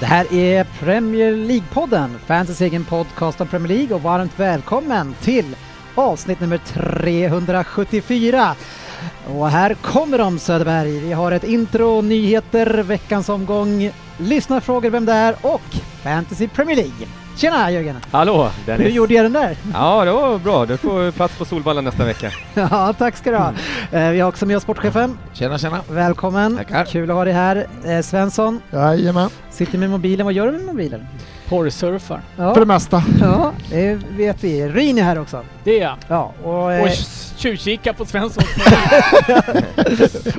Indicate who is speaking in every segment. Speaker 1: Det här är Premier League-podden, fansens egen podcast om Premier League och varmt välkommen till avsnitt nummer 374. Och här kommer de Söderberg. Vi har ett intro, nyheter, veckans omgång, lyssnarfrågor, vem det är och Fantasy Premier League. Tjena Jörgen!
Speaker 2: Hallå Dennis!
Speaker 1: Hur gjorde jag den där?
Speaker 2: Ja, det var bra. Du får plats på Solvalla nästa vecka.
Speaker 1: Ja, tack ska du ha. Eh, Vi har också med oss sportchefen.
Speaker 3: Tjena, tjena.
Speaker 1: Välkommen!
Speaker 3: Tackar.
Speaker 1: Kul att ha dig här. Eh, Svensson,
Speaker 3: Jajamän,
Speaker 1: sitter med mobilen. Vad gör du med mobilen?
Speaker 4: Porrsurfar.
Speaker 1: Ja,
Speaker 3: för det mesta.
Speaker 1: ja det vet vi. Ryn är här också.
Speaker 4: Det är jag.
Speaker 1: Ja, och, eh,
Speaker 4: Och tj- tjuvkika på Svensson.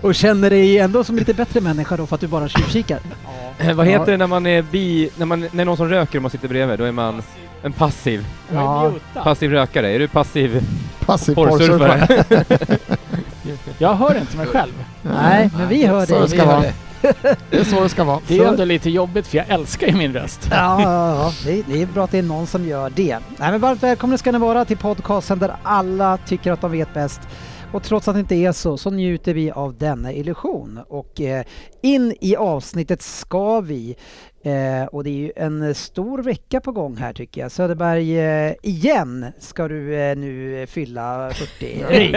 Speaker 1: och känner dig ändå som lite bättre människa då för att du bara tjuvkikar.
Speaker 2: Eh, Vad heter
Speaker 1: Ja.
Speaker 2: det när man är bi... När, man, när det är någon som röker och man sitter bredvid, då är man en passiv.
Speaker 1: Ja.
Speaker 4: Ja.
Speaker 2: Passiv rökare. Är du passiv
Speaker 3: Passiv porrsurfare.
Speaker 2: porrsurfare?
Speaker 4: Jag hör inte mig själv.
Speaker 1: Nej, men vi hör
Speaker 3: Så det
Speaker 1: dig.
Speaker 3: ska vara. Det är så det ska vara.
Speaker 4: Det är
Speaker 1: Så-
Speaker 4: ändå lite jobbigt för jag älskar ju min röst.
Speaker 1: Ja, ja, ja. Det, det är bra att det är någon som gör det. Nej, men varmt välkomna ska ni vara till podcasten där alla tycker att de vet bäst. Och trots att det inte är så, så njuter vi av denna illusion. Och eh, in i avsnittet ska vi. Eh, och det är ju en stor vecka på gång här tycker jag. Söderberg, eh, igen ska du eh, nu eh, fylla 40. Rin,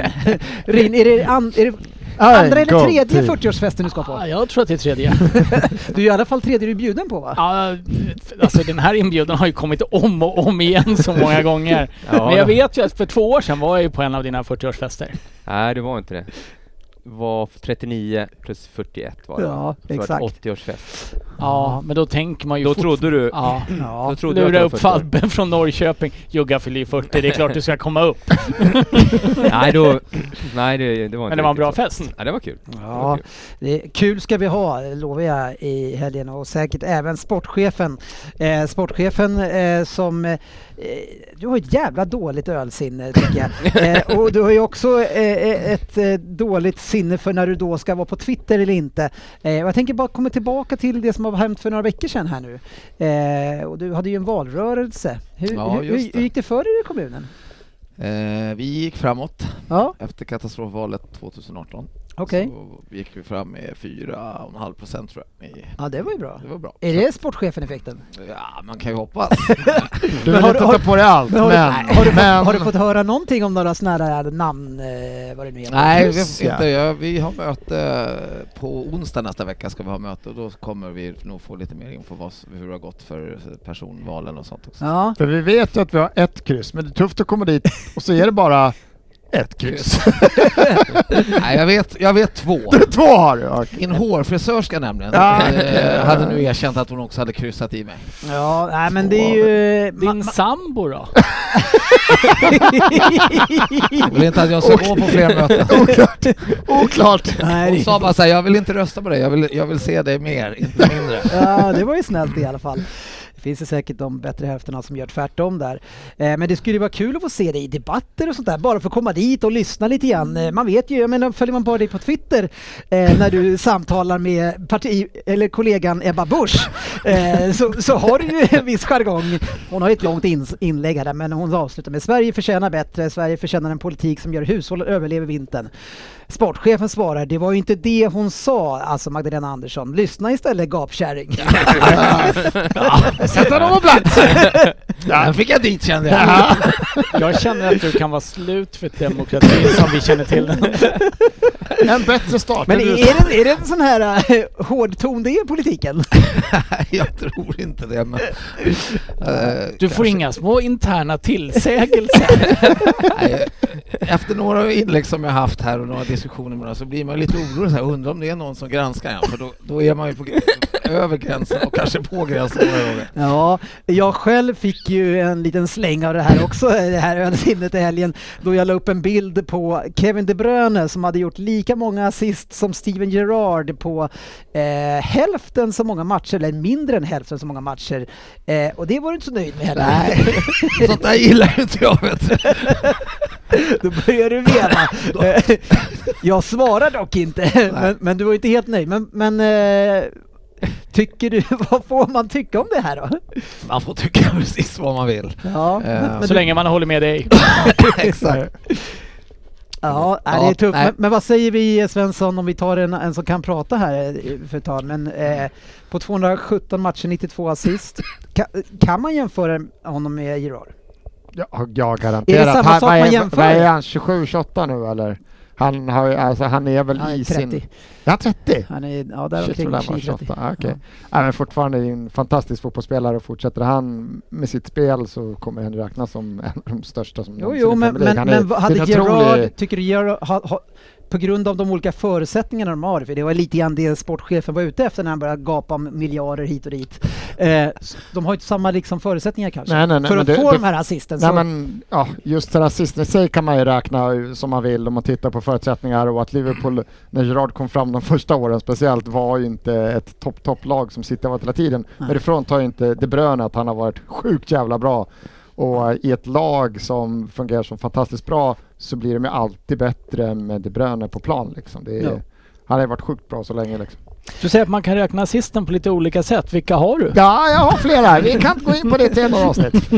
Speaker 1: Rin är det, an, är det andra eller tredje 40-årsfesten du ska
Speaker 4: Ja,
Speaker 1: på?
Speaker 4: jag tror att det är tredje.
Speaker 1: Du är i alla fall tredje du är bjuden på va?
Speaker 4: Ja, alltså den här inbjudan har ju kommit om och om igen så många gånger.
Speaker 2: Ja,
Speaker 4: Men jag
Speaker 2: då.
Speaker 4: vet ju att för två år sedan var jag ju på en av dina 40-årsfester.
Speaker 2: Nej, det var inte det. var 39 plus 41 var det.
Speaker 1: Ja,
Speaker 2: Så det var ett
Speaker 1: exakt.
Speaker 2: 80-årsfest.
Speaker 4: Ja, men då tänker man ju
Speaker 2: Då
Speaker 4: fort-
Speaker 2: trodde du...
Speaker 4: Ja.
Speaker 1: Ja.
Speaker 2: Då trodde du att
Speaker 4: Lura
Speaker 2: det var
Speaker 4: upp
Speaker 2: 40 år.
Speaker 4: Fabben från Norrköping. Jugga fyller ju 40, det är klart du ska komma upp.
Speaker 2: Nej, då... Nej, det, det var inte
Speaker 4: Men det var
Speaker 2: riktigt
Speaker 4: en
Speaker 2: så.
Speaker 4: bra fest.
Speaker 2: Ja, det var kul. Det var
Speaker 1: Ja,
Speaker 2: kul.
Speaker 1: det är, kul ska vi ha, lovar jag, i helgen och säkert även sportchefen. Eh, sportchefen eh, som... Eh, du har ett jävla dåligt ölsinne tycker jag. Eh, och du har ju också eh, ett eh, dåligt sinne för när du då ska vara på Twitter eller inte. Eh, och jag tänker bara komma tillbaka till det som har hänt för några veckor sedan här nu. Eh, och du hade ju en valrörelse. Hur,
Speaker 3: Ja,
Speaker 1: hur, hur,
Speaker 3: just det.
Speaker 1: hur gick det för er i kommunen?
Speaker 3: Eh, vi gick framåt
Speaker 1: Ja,
Speaker 3: efter katastrofvalet 2018.
Speaker 1: okej.
Speaker 3: Så gick vi fram med 4,5 procent tror jag. I-
Speaker 1: Ja, det var ju bra.
Speaker 3: Det var bra.
Speaker 1: Är det sportchefen-effekten?
Speaker 3: Ja, man kan ju hoppas.
Speaker 1: Men
Speaker 3: Du vill
Speaker 1: har-
Speaker 3: inte
Speaker 1: har-
Speaker 3: ta på dig allt,
Speaker 1: Men
Speaker 3: men...
Speaker 1: har, du, har, du fått,
Speaker 3: men
Speaker 1: har du fått höra någonting om några sådana här äh, namn, eh, vad det nu heter?
Speaker 3: Nej, vi,
Speaker 5: Plus, ja.
Speaker 3: inte, ja, vi har möte på onsdag nästa vecka ska vi ha möte och då kommer vi nog få lite mer info vad, s- hur det har gått för personvalen och sånt också.
Speaker 1: Ja,
Speaker 5: För vi vet ju att vi har ett kryss, men det är tufft att komma dit och så är det bara ett kryss.
Speaker 3: Nej, jag vet, jag vet två.
Speaker 5: Två har du! okej.
Speaker 3: Min hårfrisörska nämligen
Speaker 5: Ja.
Speaker 3: eh, hade nu erkänt att hon också hade kryssat i mig.
Speaker 1: ja nej, men det är ju...
Speaker 4: Din sambo då?
Speaker 3: Hon vill inte att jag ska gå på fler möten.
Speaker 5: Oklart! Oklart!
Speaker 1: nej,
Speaker 3: Hon
Speaker 1: det,
Speaker 3: sa bara såhär, jag vill inte rösta på dig, jag vill, jag vill se dig mer, inte mindre.
Speaker 1: ja, det var ju snällt i alla fall. Det finns ju säkert de bättre hälfterna som gör tvärtom där. Eh, men det skulle ju vara kul att få se dig i debatter och sånt där, bara för att komma dit och lyssna lite grann. Eh, man vet ju, jag menar, följer man bara dig på Twitter eh, när du samtalar med parti, eller kollegan Ebba Busch, eh, så, så har du ju en viss jargong. Hon har ju ett långt ins- inlägg här, där, men hon avslutar med Sverige förtjänar bättre, Sverige förtjänar en politik som gör hushåll överlever vintern. Sportchefen svarar, det var ju inte det hon sa, alltså Magdalena Andersson. Lyssna istället gapkärring.
Speaker 5: Sätt honom på plats!
Speaker 3: Den fick jag dit kände jag.
Speaker 5: Ja.
Speaker 4: Jag känner att du kan vara slut för demokratin som vi känner till den.
Speaker 5: En bättre start
Speaker 1: Men
Speaker 5: än du
Speaker 1: är det, är det en sån här äh, hård ton det är i politiken?
Speaker 3: Nej, jag tror inte det men... eh,
Speaker 4: Du får inga små interna tillsägelser.
Speaker 3: Nej, efter några inlägg som jag haft här och några diskussioner med några så blir man lite orolig så här, undrar om det är någon som granskar en, för då, då är man ju på, över gränsen och kanske på gränsen några gånger.
Speaker 1: Ja, jag själv fick ju en liten släng av det här också, eh, det här ölsinnet i helgen, då jag la upp en bild på Kevin De Bruyne som hade gjort lika många assist som Steven Gerrard på eh, hälften så många matcher, eller mindre än hälften så många matcher. Eh, och det var du inte så nöjd med heller. Nej.
Speaker 3: Sånt där gillar inte jag vet du.
Speaker 1: Då börjar du veva. Eh, jag svarar dock inte, men, men du var ju inte helt nöjd. Men, men eh, tycker du, vad får man tycka om det här då?
Speaker 3: Man får tycka precis vad man vill.
Speaker 1: Ja,
Speaker 3: Eh,
Speaker 1: men- men
Speaker 4: Så
Speaker 1: du-
Speaker 4: länge man håller med dig.
Speaker 3: Exakt.
Speaker 1: Ja, nej, det är
Speaker 3: Ja,
Speaker 1: tufft.
Speaker 3: nej.
Speaker 1: Men, men vad säger vi eh, Svensson om vi tar en, en som kan prata här eh, för ett tag. Men eh, på 217 matcher, 92 assist. Kan, kan man jämföra honom med Girard?
Speaker 5: Ja, jag garanterar.
Speaker 1: samma
Speaker 5: han,
Speaker 1: sak
Speaker 5: vad
Speaker 1: man
Speaker 5: är,
Speaker 1: jämför?
Speaker 5: Vad är han, 27, 28 nu eller? Han, har, ju- alltså, han är väl
Speaker 1: Han är
Speaker 5: i
Speaker 1: 30.
Speaker 5: sin... Är han 30?
Speaker 1: Han är, ja, där
Speaker 5: Shit,
Speaker 1: omkring.
Speaker 5: vad lär man
Speaker 1: 20-30.
Speaker 5: 28. Ah, okej.
Speaker 1: Ja.
Speaker 5: Nej, men fortfarande är en fantastisk fotbollsspelare och fortsätter han med sitt spel så kommer han räknas som en av de största som
Speaker 1: Jo,
Speaker 5: någonsin
Speaker 1: jo,
Speaker 5: i
Speaker 1: men,
Speaker 5: Premier League.
Speaker 1: men,
Speaker 5: Han
Speaker 1: men vad hade
Speaker 5: det är en otrolig-
Speaker 1: Gerard, tycker du Gerard, ha, ha, på grund av de olika förutsättningarna de har, för det var lite grann det sportchefen var ute efter när han började gapa om miljarder hit och dit. Eh, s- de har ju inte samma liksom, förutsättningar kanske.
Speaker 5: Nej, nej, nej,
Speaker 1: för
Speaker 5: men
Speaker 1: att
Speaker 5: det-
Speaker 1: få
Speaker 5: det-
Speaker 1: de här assisten.
Speaker 5: Nej
Speaker 1: så-
Speaker 5: men ja, just rasism i sig kan man ju räkna som man vill om man tittar på förutsättningar och att Liverpool, när Gerard kom fram de första åren speciellt, var ju inte ett topp topplag som City har varit hela tiden. Men det fråntar ju inte De Bruyne att han har varit sjukt jävla bra. Och eh, i ett lag som fungerar som fantastiskt bra så blir de ju alltid bättre med De Bruyne på plan liksom. Det är,
Speaker 1: Ja.
Speaker 5: Han har ju varit sjukt bra så länge liksom.
Speaker 4: Du säger att man kan räkna assisten på lite olika sätt. Vilka har du?
Speaker 5: Ja, jag har flera. Vi kan inte gå in på det till ett avsnitt.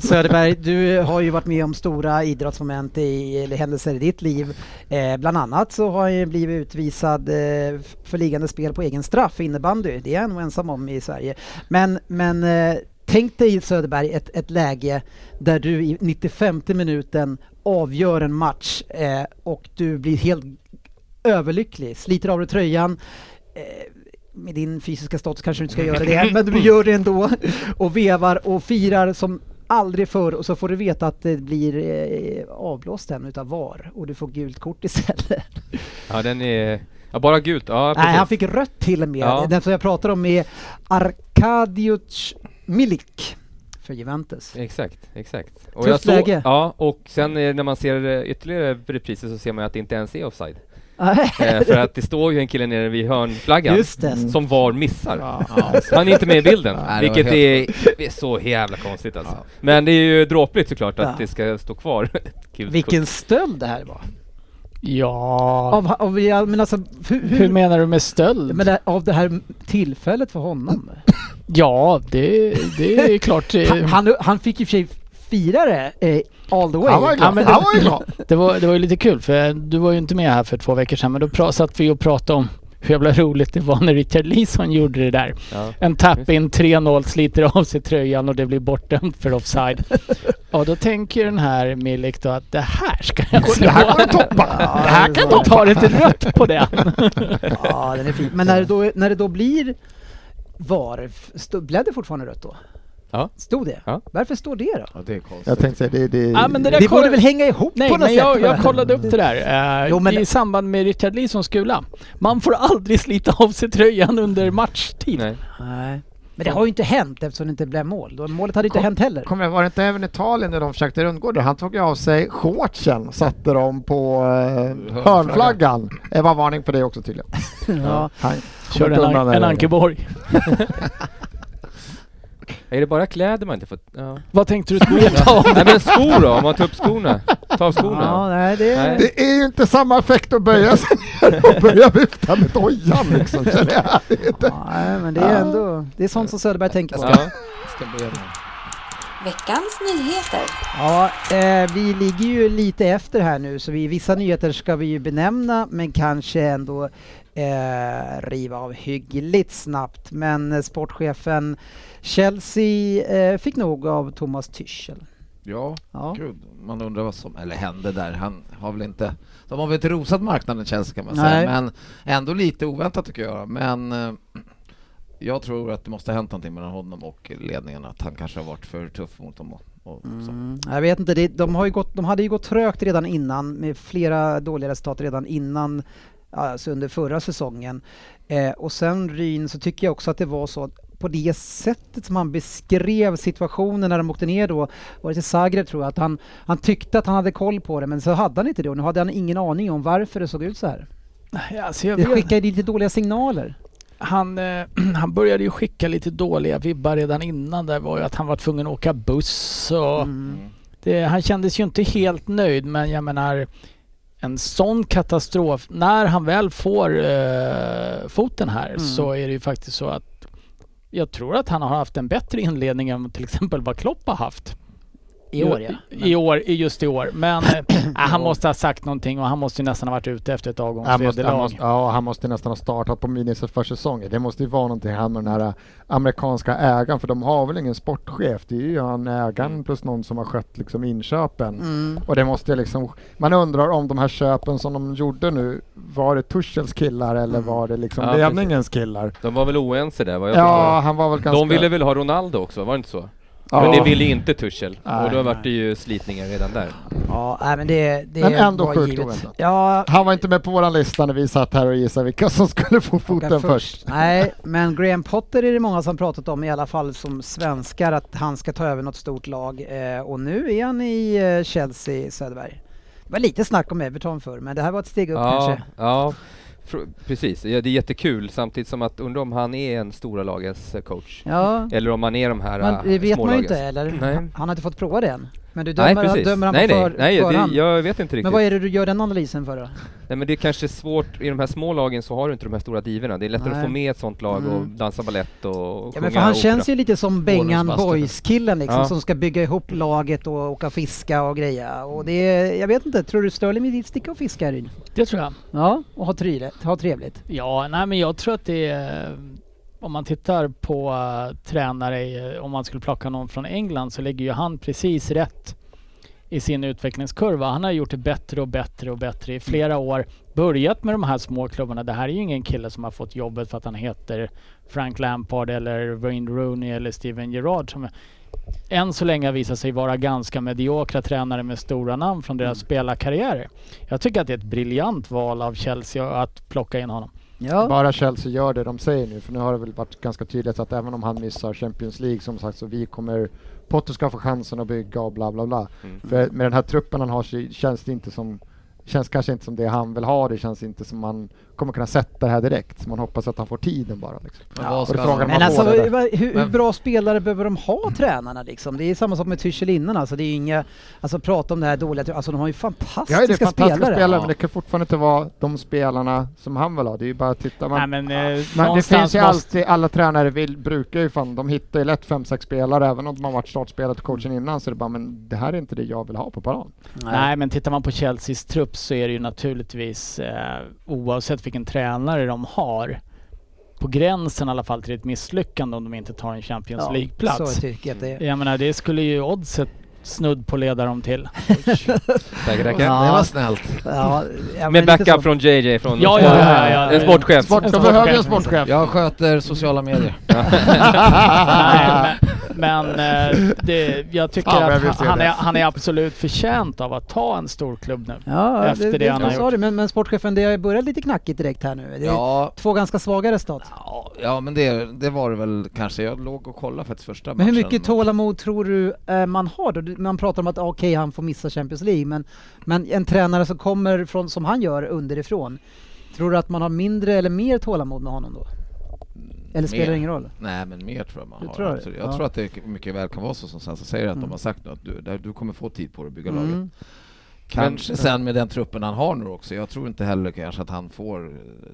Speaker 1: Söderberg, du har ju varit med om stora idrottsmoment i, eller händelser i ditt liv. Eh, bland annat så har han ju blivit utvisad eh, f- för liggande spel på egen straff i innebandy. Det är han nog ensam om i Sverige. Men, men eh, tänk dig Söderberg ett, ett läge där du i 95 minuten avgör en match eh, och du blir helt överlycklig, sliter av dig tröjan. Eh, med din fysiska status kanske du inte ska göra det, men du gör det ändå och vevar och firar som aldrig förr och så får du veta att det blir eh, avblåst än utav VAR och du får gult kort istället.
Speaker 2: Ja, den är... Ja, bara gult. Ja,
Speaker 1: Nej,
Speaker 2: precis.
Speaker 1: han fick rött till och med.
Speaker 2: Ja.
Speaker 1: Den som jag pratar om är Arkadiusz Milik för Juventus.
Speaker 2: Exakt, exakt. Och
Speaker 1: Tufft
Speaker 2: såg-
Speaker 1: läge.
Speaker 2: Ja, och sen eh, när man ser eh, ytterligare repriser så ser man ju att det inte ens är offside.
Speaker 1: Nej,
Speaker 2: Eh, för att det står ju en kille nere vid hörnflaggan
Speaker 1: Just det.
Speaker 2: som VAR missar.
Speaker 3: Ja,
Speaker 2: Han är inte med i bilden,
Speaker 3: Nej, det var
Speaker 2: vilket
Speaker 3: helt-
Speaker 2: är, det är så jävla konstigt alltså.
Speaker 3: Ja.
Speaker 2: Men det är ju dråpligt såklart att
Speaker 1: Ja.
Speaker 2: det ska stå kvar ett gult
Speaker 1: Vilken
Speaker 2: kort.
Speaker 1: stöld det här var!
Speaker 4: Ja...
Speaker 1: Av, av, jag menar alltså, hur,
Speaker 4: Hur
Speaker 1: hur,
Speaker 4: menar du med stöld?
Speaker 1: men det, av det här tillfället för honom.
Speaker 4: Ja, det, det är klart. eh,
Speaker 1: Han, han, han fick ju i och för sig fira det eh, all the way.
Speaker 5: Han var ju
Speaker 4: Ja,
Speaker 5: glad.
Speaker 4: men det-
Speaker 5: Han var ju glad.
Speaker 4: Det var, det var ju lite kul för du var ju inte med här för två veckor sedan men då pra- satt vi och pratade om hur jävla roligt det var när Richard Leeson gjorde det där.
Speaker 2: Ja.
Speaker 4: En tapp in 3-0, sliter av sig tröjan och det blir bortdömt för offside. Ja då tänker den här Milik då att det här ska jag slå.
Speaker 5: Det här går att toppa.
Speaker 4: Det här kan de ta ett rött på den.
Speaker 1: Ja, den är fin. Men när det då, när det då blir VAR, stod, blev det fortfarande rött då?
Speaker 2: Ja.
Speaker 1: Stod det?
Speaker 2: Ja.
Speaker 1: Varför står det då?
Speaker 3: Ja, det är konstigt.
Speaker 5: Jag tänkte säga, det, det,
Speaker 4: Ja, men det där
Speaker 1: Det borde
Speaker 4: koll-
Speaker 1: väl hänga ihop
Speaker 4: Nej,
Speaker 1: på något
Speaker 4: men jag,
Speaker 1: sätt?
Speaker 4: jag kollade upp det där eh,
Speaker 1: Jo, men-
Speaker 4: i samband med Richard Leesons kula. Man får aldrig slita av sig tröjan under matchtid.
Speaker 2: Nej.
Speaker 1: Nej. Men det har ju inte hänt eftersom det inte blev mål. Då- Målet hade ju inte
Speaker 5: Kom-
Speaker 1: hänt heller.
Speaker 5: Kommer jag, var det inte även Italien när de försökte rundgå det? Han tog ju av sig shortsen och satte dem på eh, hörnflaggan. Det var varning för det också tydligen.
Speaker 1: Ja.
Speaker 5: Han
Speaker 4: Kör
Speaker 5: kommer inte
Speaker 4: en,
Speaker 5: undan
Speaker 4: an-
Speaker 5: det
Speaker 4: en
Speaker 5: där.
Speaker 4: Ankeborg.
Speaker 2: Är det bara kläder man inte fått? Ja.
Speaker 4: Vad tänkte du skulle ta av
Speaker 2: Nej men skor då, om man tar upp skorna. Ta av skorna.
Speaker 1: Ja, nej, det...
Speaker 2: Nej.
Speaker 5: Det är ju inte samma effekt att böja sig ner och börja vifta med dojan liksom. känner jag.
Speaker 1: Nej, men det är ändå... Det är sånt som Söderberg tänker på.
Speaker 2: Ja.
Speaker 3: Ska bli en-
Speaker 6: Veckans nyheter.
Speaker 1: Ja, eh, vi ligger ju lite efter här nu så vi, vissa nyheter ska vi ju benämna men kanske ändå eh, riva av hyggligt snabbt. Men eh, sportchefen Chelsea eh, fick nog av Thomas Tuchel.
Speaker 3: Ja,
Speaker 1: Ja.
Speaker 3: gud. Man undrar vad som eller hände där. Han har väl inte... De har väl inte rosat marknaden Chelsea kan man säga,
Speaker 1: Nej.
Speaker 3: men ändå lite oväntat tycker jag. Men eh, jag tror att det måste ha hänt någonting mellan honom och ledningen, att han kanske har varit för tuff mot dem. Och, och så.
Speaker 1: Mm, jag vet inte, det, de, har ju gått, de hade ju gått trögt redan innan med flera dåliga resultat redan innan alltså under förra säsongen. Eh, och sen Ryn så tycker jag också att det var så att på det sättet som han beskrev situationen när de åkte ner då, var det till Zagreb tror jag, att han, han tyckte att han hade koll på det men så hade han inte det och nu hade han ingen aning om varför det såg ut så här.
Speaker 4: Nej, Alltså jag
Speaker 1: Det
Speaker 4: vet,
Speaker 1: skickar ju lite dåliga signaler.
Speaker 4: han, eh, han började ju skicka lite dåliga vibbar redan innan. Där var ju att han var tvungen att åka buss och
Speaker 1: Mm.
Speaker 4: det, han kändes ju inte helt nöjd men jag menar en sån katastrof, när han väl får eh, foten här
Speaker 1: Mm.
Speaker 4: så är det ju faktiskt så att jag tror att han har haft en bättre inledning än till exempel vad Klopp har haft.
Speaker 1: I år ja.
Speaker 4: I, i år, i just i år. Men eh, han måste ha sagt någonting och han måste ju nästan ha varit ute efter ett
Speaker 5: Han måste, han,
Speaker 4: avgångsvederlag.
Speaker 5: måste, ja, han måste nästan ha startat på minus för säsongen. Det måste ju vara någonting här med den här eh, amerikanska ägaren, för de har väl ingen sportchef? Det är ju han
Speaker 4: Mm.
Speaker 5: ägaren plus någon som har skött liksom inköpen.
Speaker 1: Mm.
Speaker 5: Och det måste ju liksom, man undrar om de här köpen som de gjorde nu, var det Tuchels killar eller var det liksom
Speaker 2: Ja,
Speaker 5: ledningens killar?
Speaker 2: De var väl oense där vad jag
Speaker 5: Ja,
Speaker 2: ja,
Speaker 5: han var väl ganska...
Speaker 2: De ville väl ha Ronaldo också, var det inte så?
Speaker 5: Ja.
Speaker 2: Men det ville inte Tuchel.
Speaker 5: Nej,
Speaker 2: och då vart det ju slitningar redan där.
Speaker 1: Ja, nej, men det, det
Speaker 5: Men ändå
Speaker 1: var
Speaker 5: sjukt
Speaker 1: givet.
Speaker 5: oväntat.
Speaker 1: Ja,
Speaker 5: Han var inte med på våran lista när vi satt här och gissade vilka som skulle få foten
Speaker 1: Åka
Speaker 5: först.
Speaker 1: Nej, men Graham Potter är det många som pratat om i alla fall som svenskar att han ska ta över något stort lag eh, och nu är han i eh, Chelsea, Söderberg. Det var lite snack om Everton förr men det här var ett steg upp
Speaker 2: Ja,
Speaker 1: kanske.
Speaker 2: ja fr- precis. Ja, det är jättekul samtidigt som att undra om han är en stora lagens eh, coach.
Speaker 1: Ja,
Speaker 2: Eller om han är de här
Speaker 1: men det vet
Speaker 2: eh,
Speaker 1: man ju
Speaker 2: smålagens.
Speaker 1: inte eller?
Speaker 2: Nej.
Speaker 1: Han har inte fått prova det än. Men du
Speaker 2: Nej
Speaker 1: dömer,
Speaker 2: precis.
Speaker 1: dömer han
Speaker 2: nej,
Speaker 1: på
Speaker 2: nej,
Speaker 1: för,
Speaker 2: nej
Speaker 1: förhand?
Speaker 2: det, jag vet inte riktigt.
Speaker 1: men vad är det du gör den analysen för då?
Speaker 2: Nej men det är kanske svårt, i de här små lagen så har du inte de här stora divorna. Det är lättare
Speaker 1: Nej.
Speaker 2: att få med ett sånt lag och
Speaker 1: Mm.
Speaker 2: dansa ballett och och
Speaker 1: Ja,
Speaker 2: sjunga
Speaker 1: men för han
Speaker 2: opera.
Speaker 1: känns ju lite som Bengan
Speaker 3: Bonusbastard.
Speaker 1: Boys-killen liksom,
Speaker 2: Ja.
Speaker 1: som ska bygga ihop laget och åka och fiska och greja. Och det, är- jag vet inte, tror du Sterling vill sticka och fiska Ryn?
Speaker 4: Det tror jag.
Speaker 1: Ja, och ha, trylet, ha trevligt.
Speaker 4: Ja, nej men jag tror att det är... eh, Om man tittar på eh, tränare, i- om man skulle plocka någon från England så ligger ju han precis rätt i sin utvecklingskurva. Han har gjort det bättre och bättre och bättre i flera år. Börjat med de här små klubbarna. Det här är ju ingen kille som har fått jobbet för att han heter Frank Lampard eller Wayne Rooney eller Steven Gerrard som än så länge har visat sig vara ganska mediokra tränare med stora namn från deras spelarkarriärer. Jag tycker att det är ett briljant val av Chelsea att plocka in honom.
Speaker 1: Ja.
Speaker 5: Bara Chelsea gör det de säger nu, för nu har det väl varit ganska tydligt att även om han missar Champions League som sagt så vi kommer Potter ska få chansen att bygga och bla bla bla.
Speaker 2: Mm.
Speaker 5: För med den här truppen han har så känns det inte som Känns kanske inte som det han vill ha, det känns inte som han kommer kunna sätta det här direkt. Så man hoppas att han får tiden bara. Liksom.
Speaker 3: Men vad
Speaker 5: och
Speaker 3: ska
Speaker 5: då frågar
Speaker 3: han-
Speaker 5: man
Speaker 1: Men
Speaker 5: får
Speaker 1: alltså,
Speaker 5: det där.
Speaker 1: vad- hur, hur
Speaker 3: Men-
Speaker 1: bra spelare behöver de ha tränarna liksom? Det är samma sak med Tuchel innan alltså, det är ju inga, alltså prata om det här dåliga, alltså de har ju fantastiska,
Speaker 5: Ja, det är fantastiska spelare,
Speaker 1: spelare.
Speaker 5: men det kan fortfarande inte vara de spelarna som han vill ha. Det är ju bara att titta. Man,
Speaker 4: Nej, men, eh,
Speaker 5: Men det
Speaker 4: någonstans
Speaker 5: finns ju
Speaker 4: måste-
Speaker 5: alltid, alla tränare vill, brukar ju fan, de hittar ju lätt 5-6 spelare även om de har varit startspelare till coachen innan så är det bara men det här är inte det jag vill ha på plan.
Speaker 4: Nej, men tittar man på Chelseas trupp så är det ju naturligtvis, eh, oavsett vilken tränare de har, på gränsen i alla fall till ett misslyckande om de inte tar en Champions
Speaker 1: Ja,
Speaker 4: League-plats.
Speaker 1: Så tycker jag att det är.
Speaker 4: Jag menar, det skulle ju oddset snudd på leda dem till.
Speaker 2: Tackar, tackar.
Speaker 1: Ja.
Speaker 3: Det var snällt.
Speaker 1: Ja, ja, men
Speaker 2: Med
Speaker 1: lite så.
Speaker 2: backup från JJ från
Speaker 4: Ja, ja, ja, ja.
Speaker 2: en sportchef.
Speaker 5: Sport, de
Speaker 4: sportchef.
Speaker 5: behöver ju en sportchef.
Speaker 3: Jag sköter sociala medier.
Speaker 4: Nej, men men eh, det, jag tycker
Speaker 5: Ja, men jag
Speaker 4: att
Speaker 5: vill
Speaker 4: han,
Speaker 5: se
Speaker 4: han,
Speaker 5: det.
Speaker 4: är, han är absolut förtjänt av att ta en stor klubb nu.
Speaker 1: Ja,
Speaker 4: efter det han har
Speaker 1: jag sa
Speaker 4: gjort.
Speaker 1: det, men, men sportchefen, det har ju börjat lite knackigt direkt här nu. Det är
Speaker 3: Ja,
Speaker 1: två ganska svaga resultat.
Speaker 3: ja, ja men det, det var det väl kanske. Jag låg och kollade faktiskt första matchen.
Speaker 1: Men hur mycket tålamod tror du eh, man har då? Du- Man pratar om att ah, okej, han får missa Champions League, men, men en tränare som kommer från, som han gör, underifrån. Tror du att man har mindre eller mer tålamod med honom då? Eller spelar det
Speaker 3: Mer.
Speaker 1: ingen roll?
Speaker 3: Nej men mer tror jag man
Speaker 1: Du
Speaker 3: har.
Speaker 1: tror det?
Speaker 3: absolut. Jag
Speaker 1: Ja.
Speaker 3: tror att det mycket väl kan vara så som Sansa säger att
Speaker 1: Mm.
Speaker 3: de har sagt nu att du, där, du kommer få tid på dig att bygga laget.
Speaker 1: Mm.
Speaker 3: Kanske sen med den truppen han har nu också. Jag tror inte heller kanske att han får,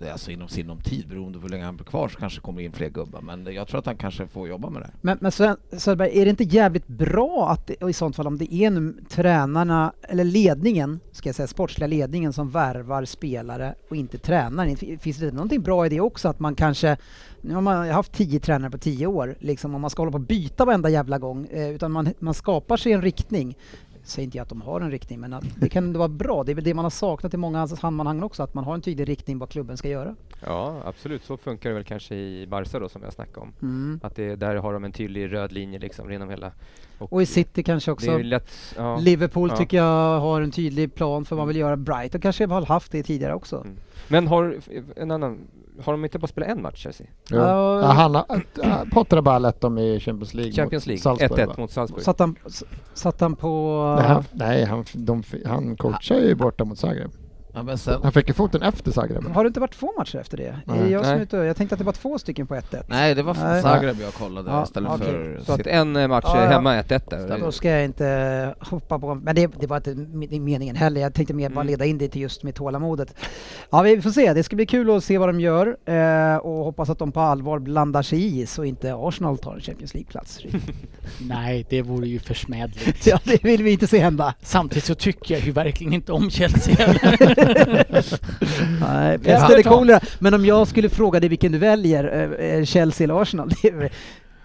Speaker 3: eh, alltså inom sinom tid beroende på hur länge han blir kvar så kanske kommer in fler gubbar. Men jag tror att han kanske får jobba med det.
Speaker 1: Men, men Sven Söderberg, är det inte jävligt bra att, det- och i sånt fall om det är nu tränarna, eller ledningen, ska jag säga, sportsliga ledningen som värvar spelare och inte tränaren? Fin- Finns det någonting bra i det också att man kanske, nu har man haft tio tränare på tio år, liksom om man ska hålla på och byta varenda jävla gång, eh, utan man, man skapar sig en riktning. säger inte jag att de har en riktning, men att det kan ändå vara bra. Det är väl det man har saknat i många sammanhang också, att man har en tydlig riktning vad klubben ska göra.
Speaker 2: Ja, absolut. Så funkar det väl kanske i Barca då, som jag snackade om.
Speaker 1: Mm.
Speaker 2: Att det, där har de en tydlig röd linje liksom, genom hela...
Speaker 1: Och i City kanske
Speaker 2: det är
Speaker 1: också.
Speaker 2: ju lätt, ja.
Speaker 1: Liverpool
Speaker 2: Ja.
Speaker 1: tycker jag har en tydlig plan för vad man vill göra. Brighton kanske har haft det tidigare också.
Speaker 2: Mm. Men har, en annan, har de inte bara spelat en match Chelsea?
Speaker 5: Jo.
Speaker 1: Ja.
Speaker 5: Ja, han, har- äh, Potter har bara lett dem i Champions League.
Speaker 2: Champions
Speaker 5: mot
Speaker 2: League,
Speaker 5: Salzburg,
Speaker 2: 1-1
Speaker 5: va?
Speaker 2: mot Salzburg.
Speaker 1: Satt han, s- satt han på...
Speaker 5: Nej, han, nej, han, de, han coachar ju borta mot Zagreb.
Speaker 3: Ja, men sen,
Speaker 5: Han fick ju foten efter Zagreb.
Speaker 1: Har det inte varit två matcher efter det?
Speaker 5: Nej.
Speaker 1: Är det jag, som är
Speaker 2: Nej.
Speaker 1: ute och- jag tänkte att det var två stycken på 1-1.
Speaker 3: nej, det var
Speaker 1: Nej.
Speaker 3: nej. Zagreb jag kollade
Speaker 1: Ja,
Speaker 3: istället
Speaker 1: okej.
Speaker 3: för...
Speaker 2: Så att
Speaker 3: City.
Speaker 2: en eh, match
Speaker 1: Ja,
Speaker 2: är
Speaker 1: ja.
Speaker 2: hemma 1-1 där.
Speaker 1: Då ska jag inte hoppa på, men det, det var inte min- meningen heller. Jag tänkte mer bara
Speaker 2: Mm.
Speaker 1: leda in det till just med tålamodet. Ja, vi får se. Det ska bli kul att se vad de gör eh, och hoppas att de på allvar blandar sig i så inte Arsenal tar en Champions League-plats.
Speaker 4: Nej, det vore ju försmädligt.
Speaker 1: ja, det vill vi inte se hända.
Speaker 4: Samtidigt så tycker jag ju verkligen inte om Chelsea heller.
Speaker 1: Nej,
Speaker 4: Ja.
Speaker 1: pest eller kolera. Men om jag skulle fråga dig vilken du väljer, eh, eh, Chelsea eller Arsenal? Det är, väl-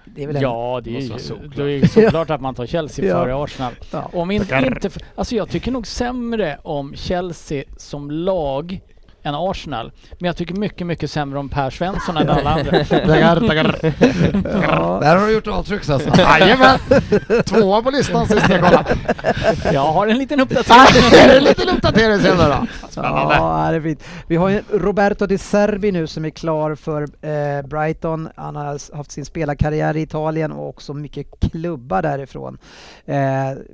Speaker 1: det är väl en-
Speaker 4: Ja, det är
Speaker 3: Måste
Speaker 4: ju
Speaker 3: vara solklart.
Speaker 4: det är ju såklart att man tar Chelsea
Speaker 1: Ja.
Speaker 4: före Arsenal.
Speaker 1: Ja.
Speaker 4: Om inte, inte, för- alltså jag tycker nog sämre om Chelsea som lag än Arsenal. Men jag tycker mycket, mycket sämre om Per Svensson än alla andra.
Speaker 5: Dagar, dagar.
Speaker 1: Ja.
Speaker 3: Där har du gjort avtryck Sassan!
Speaker 5: Jajamän! Tvåa på listan sist jag kollade.
Speaker 4: Jag har en liten
Speaker 5: Ah,
Speaker 4: uppdatering.
Speaker 5: det är lite uppdatering senare då.
Speaker 1: Ja, det är fint. Vi har ju Roberto Di Serbi nu som är klar för eh, Brighton. Han har s- haft sin spelarkarriär i Italien och också mycket klubbar därifrån. Eh,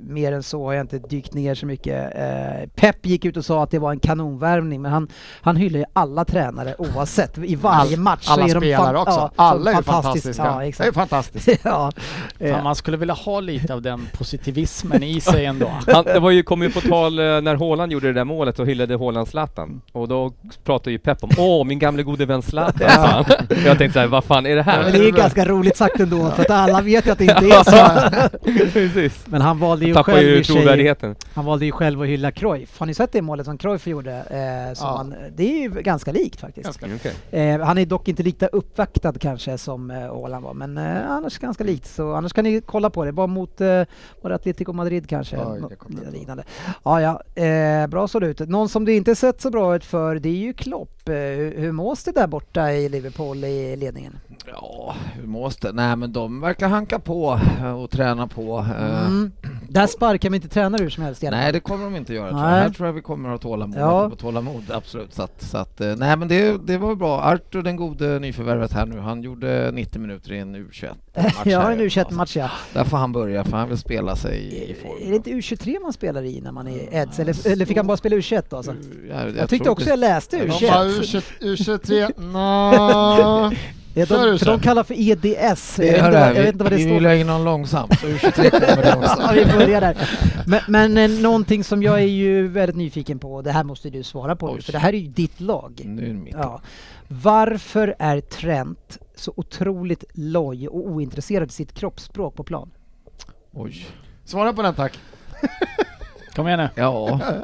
Speaker 1: mer än så har jag inte dykt ner så mycket. Eh, Pep gick ut och sa att det var en kanonvärvning, men han, han hyllar ju alla tränare oavsett. I varje match
Speaker 5: Alla
Speaker 1: så är de
Speaker 5: spelare
Speaker 1: fan-
Speaker 5: också.
Speaker 1: ja, så
Speaker 5: Alla är ju
Speaker 1: fantastiskt-
Speaker 5: fantastiska.
Speaker 1: Ja,
Speaker 5: Det är
Speaker 1: exakt.
Speaker 5: fantastiskt.
Speaker 1: ja.
Speaker 4: Fan,
Speaker 1: Eh,
Speaker 4: man skulle vilja ha lite av den positivismen i sig ändå.
Speaker 2: Han, det var ju, kom ju på tal eh, när Haaland gjorde det där målet och hyllade Haaland
Speaker 1: Mm.
Speaker 2: Zlatan. Och då pratade ju Pep om ”Åh, min gamle gode vän Zlatan”. sa han. jag tänkte såhär, vad fan är det
Speaker 1: Men
Speaker 2: här?
Speaker 1: det är ju ganska roligt sagt ändå, för att alla vet ju att det inte är så.
Speaker 2: Precis.
Speaker 1: Men han valde ju
Speaker 2: Tappar
Speaker 1: själv i
Speaker 2: ju
Speaker 1: och för sig-
Speaker 2: trovärdigheten.
Speaker 1: Han valde ju själv att hylla Cruyff. Har ni sett det målet som Cruyff gjorde? Eh, som
Speaker 5: Ja.
Speaker 1: han, det är ju ganska likt faktiskt.
Speaker 2: Mm, okej.
Speaker 1: Eh, han är dock inte lika uppvaktad kanske som eh, Åland var, men eh, annars ganska likt. Så annars kan ni kolla på det. Bara mot eh, var det Atletico Madrid kanske.
Speaker 5: Oj, det
Speaker 1: Nå-
Speaker 5: kommer jag inte
Speaker 1: liknande. Ja, ja. Eh, bra såg det ut. Någon som det inte sett så bra ut för, det är ju Klopp. Eh, hur, hur mås det där borta i Liverpool i ledningen?
Speaker 3: Ja, hur mås det? Nej men de verkar hanka på eh, och träna på. eh.
Speaker 1: Mm. Där sparkar man inte tränare hur som helst i alla
Speaker 3: Nej, det kommer de inte göra. Tror jag.
Speaker 1: Nej.
Speaker 3: Här tror jag vi kommer att ha tålamod.
Speaker 1: Ja.
Speaker 3: Ja. tålamod absolut. Så att, så att, eh, nej, men det, det var bra. Arthur, den gode nyförvärvet här nu, han gjorde 90 minuter i en U21-match.
Speaker 1: Jag har
Speaker 3: här.
Speaker 1: en U21-match ja.
Speaker 3: Där får han börja, för han vill spela sig i- i form.
Speaker 1: Eh, Är det inte U23 man spelar i när man är Eds? Eller,
Speaker 3: så-
Speaker 1: eller fick han bara spela U21 då? Alltså?
Speaker 3: Mm. jag,
Speaker 1: Jag, tyckte också jag läste
Speaker 3: De
Speaker 5: De bara
Speaker 1: U21.
Speaker 5: U20 U23, nå...
Speaker 1: Ja,
Speaker 5: kör
Speaker 1: de,
Speaker 5: U21.
Speaker 1: för de kallar för EDS. Jag
Speaker 3: Det
Speaker 1: vet,
Speaker 3: jag,
Speaker 1: inte, vad- jag
Speaker 3: vi,
Speaker 1: vet inte vad det
Speaker 3: vi
Speaker 1: står
Speaker 3: vill ha in någon långsam, så U23 kommer det också.
Speaker 1: Ja, vi börjar där. Men, men eh, någonting som jag är ju väldigt nyfiken på, och det här måste du svara på nu,
Speaker 3: Oj.
Speaker 1: för det här är ju ditt lag.
Speaker 3: Nu är det mitt.
Speaker 1: Ja. Varför är Trent så otroligt loj och ointresserad i sitt kroppsspråk på plan?
Speaker 3: Oj.
Speaker 5: Svara på den tack.
Speaker 4: Kom igen nu.
Speaker 3: Ja,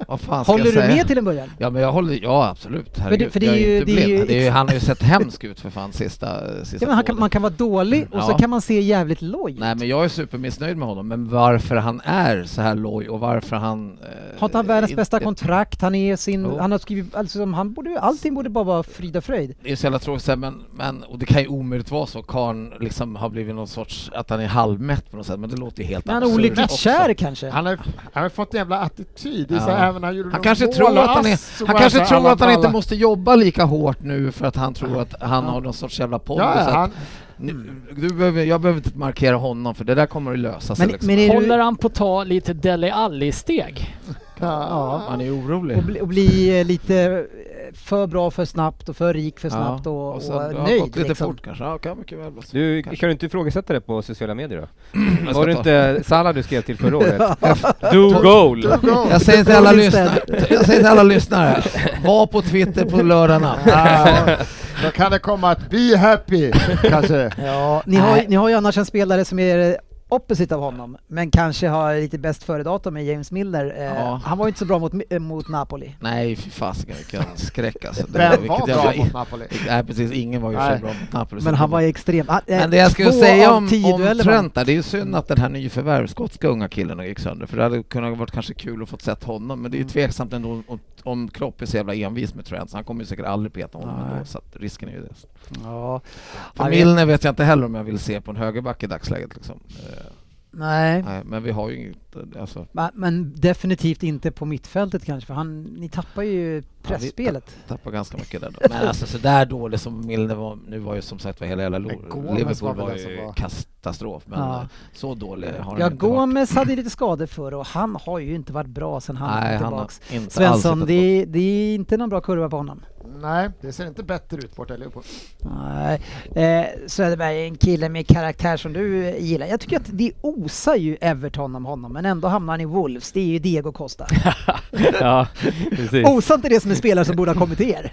Speaker 3: vad fan ska
Speaker 1: Håller
Speaker 3: jag
Speaker 1: du
Speaker 3: säga?
Speaker 1: med till en början?
Speaker 3: Ja men jag håller, ja absolut, herregud.
Speaker 1: för det är
Speaker 3: jag
Speaker 1: ju- det
Speaker 3: inte
Speaker 1: är
Speaker 3: blind.
Speaker 1: ju-
Speaker 3: det är ju, han har ju sett hemsk ut för fan sista, sista
Speaker 1: Ja, men han kan,
Speaker 3: månaden.
Speaker 1: man kan vara dålig och så
Speaker 3: Ja.
Speaker 1: kan man se jävligt loj ut.
Speaker 3: Nej men jag är supermissnöjd med honom, men varför han är så här loj och varför han... Eh,
Speaker 1: Har inte han världens
Speaker 3: inte-
Speaker 1: bästa kontrakt? Han är sin...
Speaker 3: Jo.
Speaker 1: Han har skrivit... Alltså, han borde, ju- allting borde bara vara frid och fröjd.
Speaker 3: Det är så jävla tråkigt så här, men, men, och det kan ju omöjligt vara så, Karn liksom har blivit någon sorts, att han är halvmätt på något sätt, men det låter ju helt
Speaker 1: Men han är
Speaker 3: absurt
Speaker 1: olyckligt
Speaker 3: också.
Speaker 1: kär kanske.
Speaker 5: Han har, ju- han har ju fått en jävla attityd. Det är så
Speaker 3: Ja.
Speaker 5: här, även när han gjorde
Speaker 3: Han
Speaker 5: något
Speaker 3: kanske
Speaker 5: mål
Speaker 3: tror
Speaker 5: och
Speaker 3: att han,
Speaker 5: ass, så
Speaker 3: är, han
Speaker 5: bara
Speaker 3: kanske
Speaker 5: så här,
Speaker 3: tror
Speaker 5: alla
Speaker 3: att han inte
Speaker 5: ballar.
Speaker 3: måste jobba lika hårt nu för att han tror att han har någon sorts jävla
Speaker 5: Ja,
Speaker 3: pondus.
Speaker 5: ja,
Speaker 3: att
Speaker 5: han,
Speaker 3: nu- du behöver, jag behöver inte markera honom för det där kommer att lösa sig.
Speaker 1: Men-
Speaker 3: liksom.
Speaker 1: men är du-
Speaker 4: Håller han på att ta lite Dele Alli-steg?
Speaker 5: ja,
Speaker 3: Han är orolig.
Speaker 1: Och bli, och bli eh, lite eh, för bra för snabbt och för rik för
Speaker 3: Ja,
Speaker 1: snabbt och, och,
Speaker 3: sen, det har
Speaker 1: nöjd.
Speaker 3: gått lite
Speaker 1: liksom.
Speaker 3: fort kanske. Ja, kan mycket väl vara så.
Speaker 2: Du,
Speaker 3: Kanske.
Speaker 2: kan du inte ifrågasätta det på sociala medier då?
Speaker 3: Jag ska
Speaker 2: Var det
Speaker 3: ta-
Speaker 2: inte Salah du skrev till förra året? Do goal!
Speaker 5: go.
Speaker 3: Jag säger till alla
Speaker 1: Fråga
Speaker 3: lyssnare, jag säger till alla lyssnare, var på Twitter på lördag natt.
Speaker 5: Ja, Då kan det komma att be happy, kanske.
Speaker 1: Ja, ni, har, ju-
Speaker 3: Nej.
Speaker 1: ni har ju annars en spelare som är eh, opposite av honom, men kanske har lite bäst före-datum med James Miller. Eh,
Speaker 3: Ja.
Speaker 1: Han var ju inte så bra mot, eh, mot Napoli.
Speaker 3: Nej, fy fasiken vilken skräck alltså. Det
Speaker 5: Vem
Speaker 3: vilket
Speaker 5: var
Speaker 3: jävla-
Speaker 5: bra mot Napoli?
Speaker 3: Nej precis, ingen var ju
Speaker 5: Nej.
Speaker 3: så bra mot Napoli.
Speaker 1: Men han var ju extrem. Ah, eh,
Speaker 3: Men det jag skulle
Speaker 1: två
Speaker 3: säga
Speaker 1: av
Speaker 3: om,
Speaker 1: tio
Speaker 3: om
Speaker 1: dueller
Speaker 3: Trent där, det är ju synd att den här nyförvärv, skotska unga killen gick sönder, för det hade kunnat varit kanske kul att få sett honom, men det är
Speaker 1: Mm.
Speaker 3: ju tveksamt ändå om, om Klopp är så jävla envis med Trent, så han kommer ju säkert aldrig peta honom
Speaker 1: Nej.
Speaker 3: ändå, så att risken är ju det.
Speaker 1: vann. Ja.
Speaker 3: För
Speaker 1: Ja,
Speaker 3: Milner vet jag inte heller om jag vill se på en högerback i dagsläget liksom. Eh,
Speaker 1: Nej.
Speaker 3: nej, men vi har ju inget, alltså,
Speaker 1: Ma- Men definitivt inte på mittfältet kanske, för han, ni tappar ju pressspelet.
Speaker 3: tappar ganska mycket där då. Men alltså så där dålig som Milner var, nu var ju som sagt var hela jävla lo-
Speaker 5: Men Gomes var
Speaker 3: Liverpool
Speaker 5: väl
Speaker 3: var
Speaker 5: den som
Speaker 3: ju
Speaker 5: var-
Speaker 3: katastrof, men
Speaker 1: Ja.
Speaker 3: eh, så dålig har han
Speaker 1: Ja,
Speaker 3: inte varit.
Speaker 1: Gomes hade ju lite skador för och han har ju inte varit bra sedan han kom
Speaker 3: Nej, han har
Speaker 1: tillbaks.
Speaker 3: inte alls
Speaker 1: Svensson,
Speaker 3: hittat
Speaker 1: det är, det är inte någon bra kurva på honom.
Speaker 5: Nej, det ser inte bättre ut borta i Liverpool.
Speaker 1: Nej. Eh, Söderberg är en kille med karaktär som du eh, gillar. Jag tycker att det osar ju Everton om honom, men ändå hamnar han i Wolves. Det är ju Diego Costa.
Speaker 2: ja, precis.
Speaker 1: Osar inte det som en spelare som borde ha kommit till er?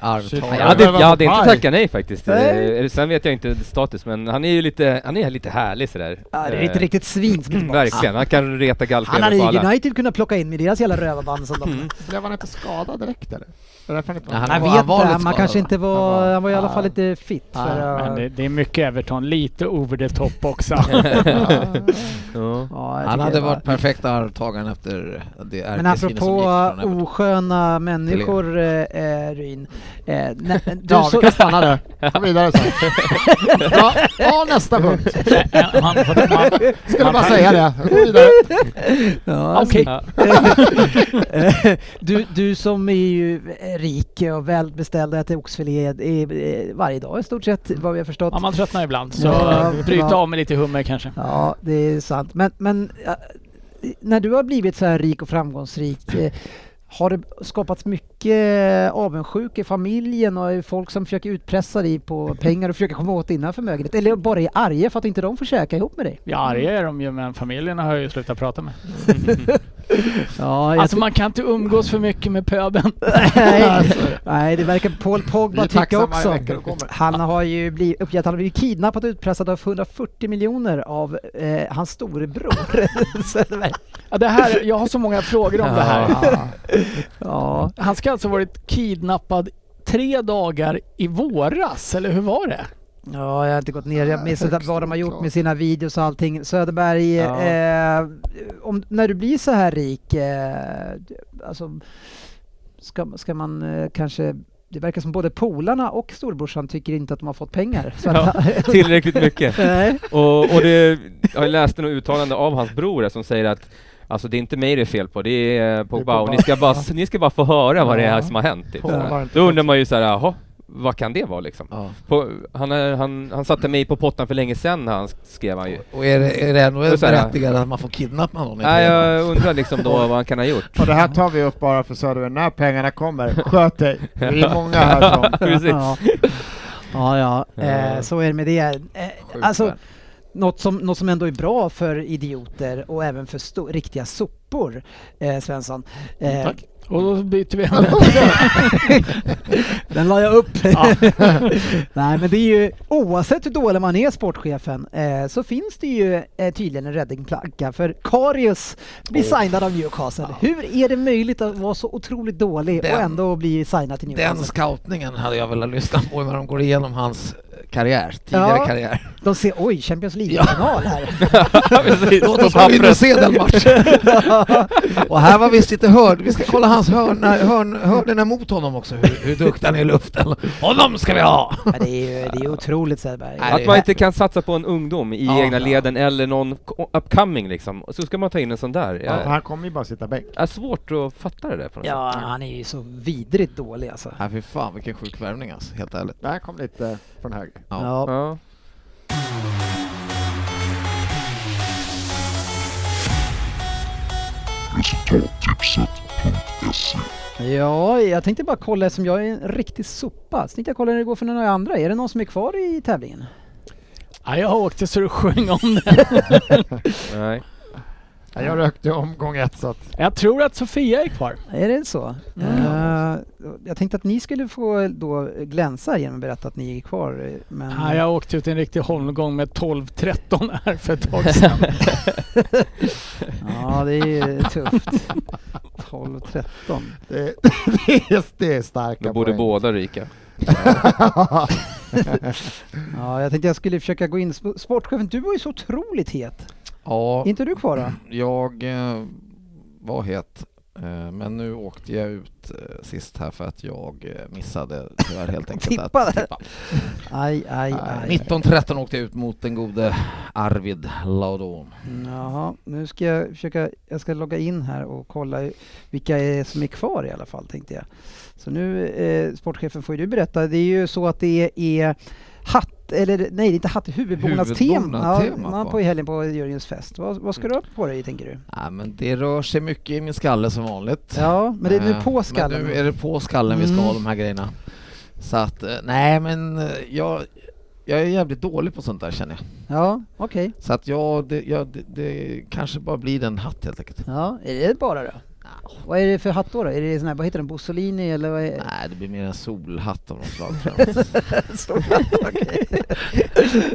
Speaker 3: Arvtagare.
Speaker 2: Nej, Oh, Jag hade,
Speaker 5: men vad
Speaker 2: jag hade
Speaker 5: för
Speaker 2: inte
Speaker 5: paj?
Speaker 2: tackat nej faktiskt.
Speaker 1: Nej.
Speaker 2: Eh, Sen vet jag inte status, men han är ju lite, han är lite härlig sådär.
Speaker 1: Ja, det är ett
Speaker 2: Eh,
Speaker 1: riktigt svin som är
Speaker 3: Mm.
Speaker 1: tillbaka.
Speaker 2: Verkligen, han kan reta
Speaker 1: Han
Speaker 2: gallfeber
Speaker 1: hade
Speaker 2: på
Speaker 1: ju
Speaker 2: alla.
Speaker 1: United kunnat plocka in med deras jävla rövarband som de...
Speaker 5: Blev han inte skadad direkt eller? Det är därför han inte var
Speaker 3: Nej,
Speaker 5: med.
Speaker 1: Jag
Speaker 3: var-
Speaker 1: vet inte,
Speaker 3: han var lite
Speaker 1: han, man
Speaker 3: skadad,
Speaker 1: kanske
Speaker 3: va?
Speaker 1: inte
Speaker 5: Han
Speaker 1: var...
Speaker 5: var-
Speaker 1: Han var i alla
Speaker 5: ja.
Speaker 1: fall lite fit.
Speaker 5: Nej,
Speaker 1: För,
Speaker 4: Men det,
Speaker 1: uh,
Speaker 4: det är mycket Everton, lite over the top också.
Speaker 2: Ja.
Speaker 1: ja, jag
Speaker 3: Han
Speaker 1: tycker
Speaker 3: hade
Speaker 1: det var-
Speaker 3: varit perfekta arvtagaren efter det
Speaker 1: Men alltså
Speaker 3: ärkesvinet som gick
Speaker 1: apropå
Speaker 3: från Everton.
Speaker 1: osköna människor, eh, eh, Ryn. Eh, nä, du
Speaker 5: Ja, vi
Speaker 1: så,
Speaker 5: kan stanna där. Gå vidare sen. Ja, ja, nästa punkt.
Speaker 4: Man- man-
Speaker 5: Skulle
Speaker 4: man-
Speaker 5: bara säga det. Gå vidare.
Speaker 1: Alltså, ja,
Speaker 4: Okej.
Speaker 2: Ja.
Speaker 1: Eh, du, du som är ju eh, rik och välbeställd och äter oxfilé eh, eh, varje dag i stort sett, vad vi har förstått.
Speaker 4: Ja, man tröttnar ibland. Så
Speaker 1: Ja,
Speaker 4: bryta
Speaker 1: ja.
Speaker 4: av med lite hummer kanske.
Speaker 1: Ja, det är sant. Men, men eh, när du har blivit så här rik och framgångsrik,
Speaker 5: Mm.
Speaker 1: eh, har det skapats mycket avundsjuka i familjen och är det folk som försöker utpressa dig på pengar och försöker komma åt dina förmögenhet? Eller bara är arga för att inte de får käka ihop med dig?
Speaker 4: Ja, arga är de ju men familjen har jag ju slutat prata med.
Speaker 1: Ja,
Speaker 4: Alltså man kan inte umgås för mycket med pöben.
Speaker 1: nej, nej, det verkar Paul
Speaker 5: Vi
Speaker 1: Pogba
Speaker 5: är
Speaker 1: tycka
Speaker 5: tacksamma i
Speaker 1: också.
Speaker 5: veckan som kommer.
Speaker 1: Han har ju blivit, uppgett att han har blivit kidnappad och utpressad av 140 miljoner av eh, hans storebror. Söderberg.
Speaker 4: Ja, det här, jag har så många frågor om det här.
Speaker 5: Ja.
Speaker 1: ja,
Speaker 4: Han ska alltså ha varit kidnappad tre dagar i våras, eller hur var det?
Speaker 1: Ja, jag har inte gått ner. Jag minns inte
Speaker 5: högst
Speaker 1: vad de har gjort
Speaker 5: oklart.
Speaker 1: med sina videos och allting. Söderberg,
Speaker 4: Ja.
Speaker 1: eh, om, när du blir så här rik, eh, alltså, ska, ska man eh, kanske... Det verkar som både polarna och storbrorsan tycker inte att de har fått pengar. Så att,
Speaker 2: Ja, tillräckligt mycket.
Speaker 1: nej.
Speaker 2: Och, och det, jag läste något uttalande av hans bror som säger att Alltså det är inte mig det är fel på, det är Pogba och ni ska bara, ni ska bara få höra vad det är som har hänt. Typ.
Speaker 5: Pogba har inte
Speaker 2: Då undrar man ju såhär, jaha, vad kan det vara liksom?
Speaker 3: Ja.
Speaker 2: På, han, är- han, han satte mig på pottan för länge sedan när han skrev han ju.
Speaker 3: Och är det, är det ändå
Speaker 2: Och så här-
Speaker 3: berättigat att man får kidnappa någon? i
Speaker 2: Nej,
Speaker 3: tre dagar?
Speaker 2: jag undrar liksom då vad han kan ha gjort.
Speaker 5: Och det här tar vi upp bara för Söderberg. När pengarna kommer, sköt dig. Vi är många här som...
Speaker 2: Precis.
Speaker 1: Ja, ja, ja. Eh, så är det med det. Eh,
Speaker 3: Sjukt
Speaker 1: alltså,
Speaker 3: värld.
Speaker 1: något, som, något som ändå är bra för idioter och även för sto- riktiga sopor, eh, Svensson. Eh,
Speaker 5: Tack.
Speaker 4: Och då byter vi ämne.
Speaker 1: Den la jag upp. Nej men det är ju oavsett hur dålig man är sportchefen eh, så finns det ju eh, tydligen en räddningsplanka för Karius blir signad av Newcastle. Hur är det möjligt att vara så otroligt dålig
Speaker 3: Den-
Speaker 1: och ändå bli signad till
Speaker 3: Den
Speaker 1: Newcastle?
Speaker 3: scoutningen hade jag velat lyssna på när de går igenom hans eh, karriär, tidigare
Speaker 1: Ja.
Speaker 3: karriär.
Speaker 1: De ser oj, Champions League-final här.
Speaker 3: Låt oss gå in och se den matchen! och här var visst inte hörd, vi ska kolla hans hörna, hörn, hörnorna mot honom också, hur, hur duktig han är i luften. Honom ska vi ha!
Speaker 1: Ja, det är ju det är otroligt Söderberg.
Speaker 3: Nej,
Speaker 2: Att man inte kan satsa på en ungdom i
Speaker 3: Ja,
Speaker 2: egna
Speaker 3: ja.
Speaker 2: leden eller någon k- upcoming liksom, så ska man ta in en sån där.
Speaker 5: Ja, för
Speaker 2: Jag
Speaker 5: han kommer ju bara sitta bänk.
Speaker 2: är svårt att fatta det där på något
Speaker 1: Ja, han är ju så vidrigt dålig alltså.
Speaker 3: Nej Äh, fy fan vilken sjuk värvning alltså, helt ärligt.
Speaker 5: Det här kom lite från höger.
Speaker 3: Ja.
Speaker 1: Ja.
Speaker 2: sätt. Ja.
Speaker 1: Ja, jag tänkte bara kolla som jag är en riktig sopa. Så tänkte jag kolla hur det går för några andra. Är det någon som är kvar i tävlingen?
Speaker 4: Ja, jag åkte så du sjöng om det.
Speaker 2: Nej.
Speaker 5: Ja, jag rökte ju omgång ett så att...
Speaker 4: Jag tror att Sofia är kvar.
Speaker 1: Är det så?
Speaker 4: Mm.
Speaker 1: Eh, jag tänkte att ni skulle få då glänsa genom att berätta att ni är kvar. eh, Men...
Speaker 4: Nej, jag åkte ut i en riktig holmgång med 12-13 här för ett tag sedan.
Speaker 1: Ja, det är ju tufft. 12 och 13.
Speaker 5: Det, det, är, det är starka
Speaker 2: Då borde
Speaker 5: poäng.
Speaker 2: båda ryka.
Speaker 1: Ja, jag tänkte jag skulle försöka gå in. Sp- Sportchefen, du var ju så otroligt het.
Speaker 3: Ja,
Speaker 1: Är inte du kvar
Speaker 3: Mm.
Speaker 1: då?
Speaker 3: jag eh, var het. eh, Men nu åkte jag ut eh, sist här för att jag eh, missade tyvärr helt enkelt
Speaker 1: Tippade.
Speaker 3: att tippa.
Speaker 1: Aj, aj,
Speaker 3: Nej,
Speaker 1: aj.
Speaker 3: 1913 åkte jag ut mot den gode Arvid Laudon.
Speaker 1: Jaha, nu ska jag försöka. Jag ska logga in här och kolla hur- vilka är som är kvar i alla fall, tänkte jag. Så nu, eh, sportchefen, får ju du berätta. Det är ju så att det är hatt, eller nej, det är inte hatt, huvudbonadstema
Speaker 3: Huvudbonadstema
Speaker 1: ja,
Speaker 3: på.
Speaker 1: på helgen på Jörgens fest. Vad, vad ska du ha på dig, tänker du?
Speaker 3: Nej, Äh, men det rör sig mycket i min skalle som vanligt.
Speaker 1: Ja, men det är nu
Speaker 3: Eh,
Speaker 1: på skallen.
Speaker 3: Men nu är det på skallen vi ska
Speaker 1: Mm.
Speaker 3: ha de här grejerna. Så att, eh, nej men eh, jag, jag är jävligt dålig på sånt där känner jag.
Speaker 1: Ja, okej.
Speaker 3: Så att jag, det, jag, det, det kanske bara blir en hatt helt enkelt.
Speaker 1: Ja, är det bara då? Vad är det för hatt då? då? Är det sån här, vad heter den, Bussolini eller vad är
Speaker 3: Nej, det blir mer en solhatt av något slag tror jag.
Speaker 1: Ja,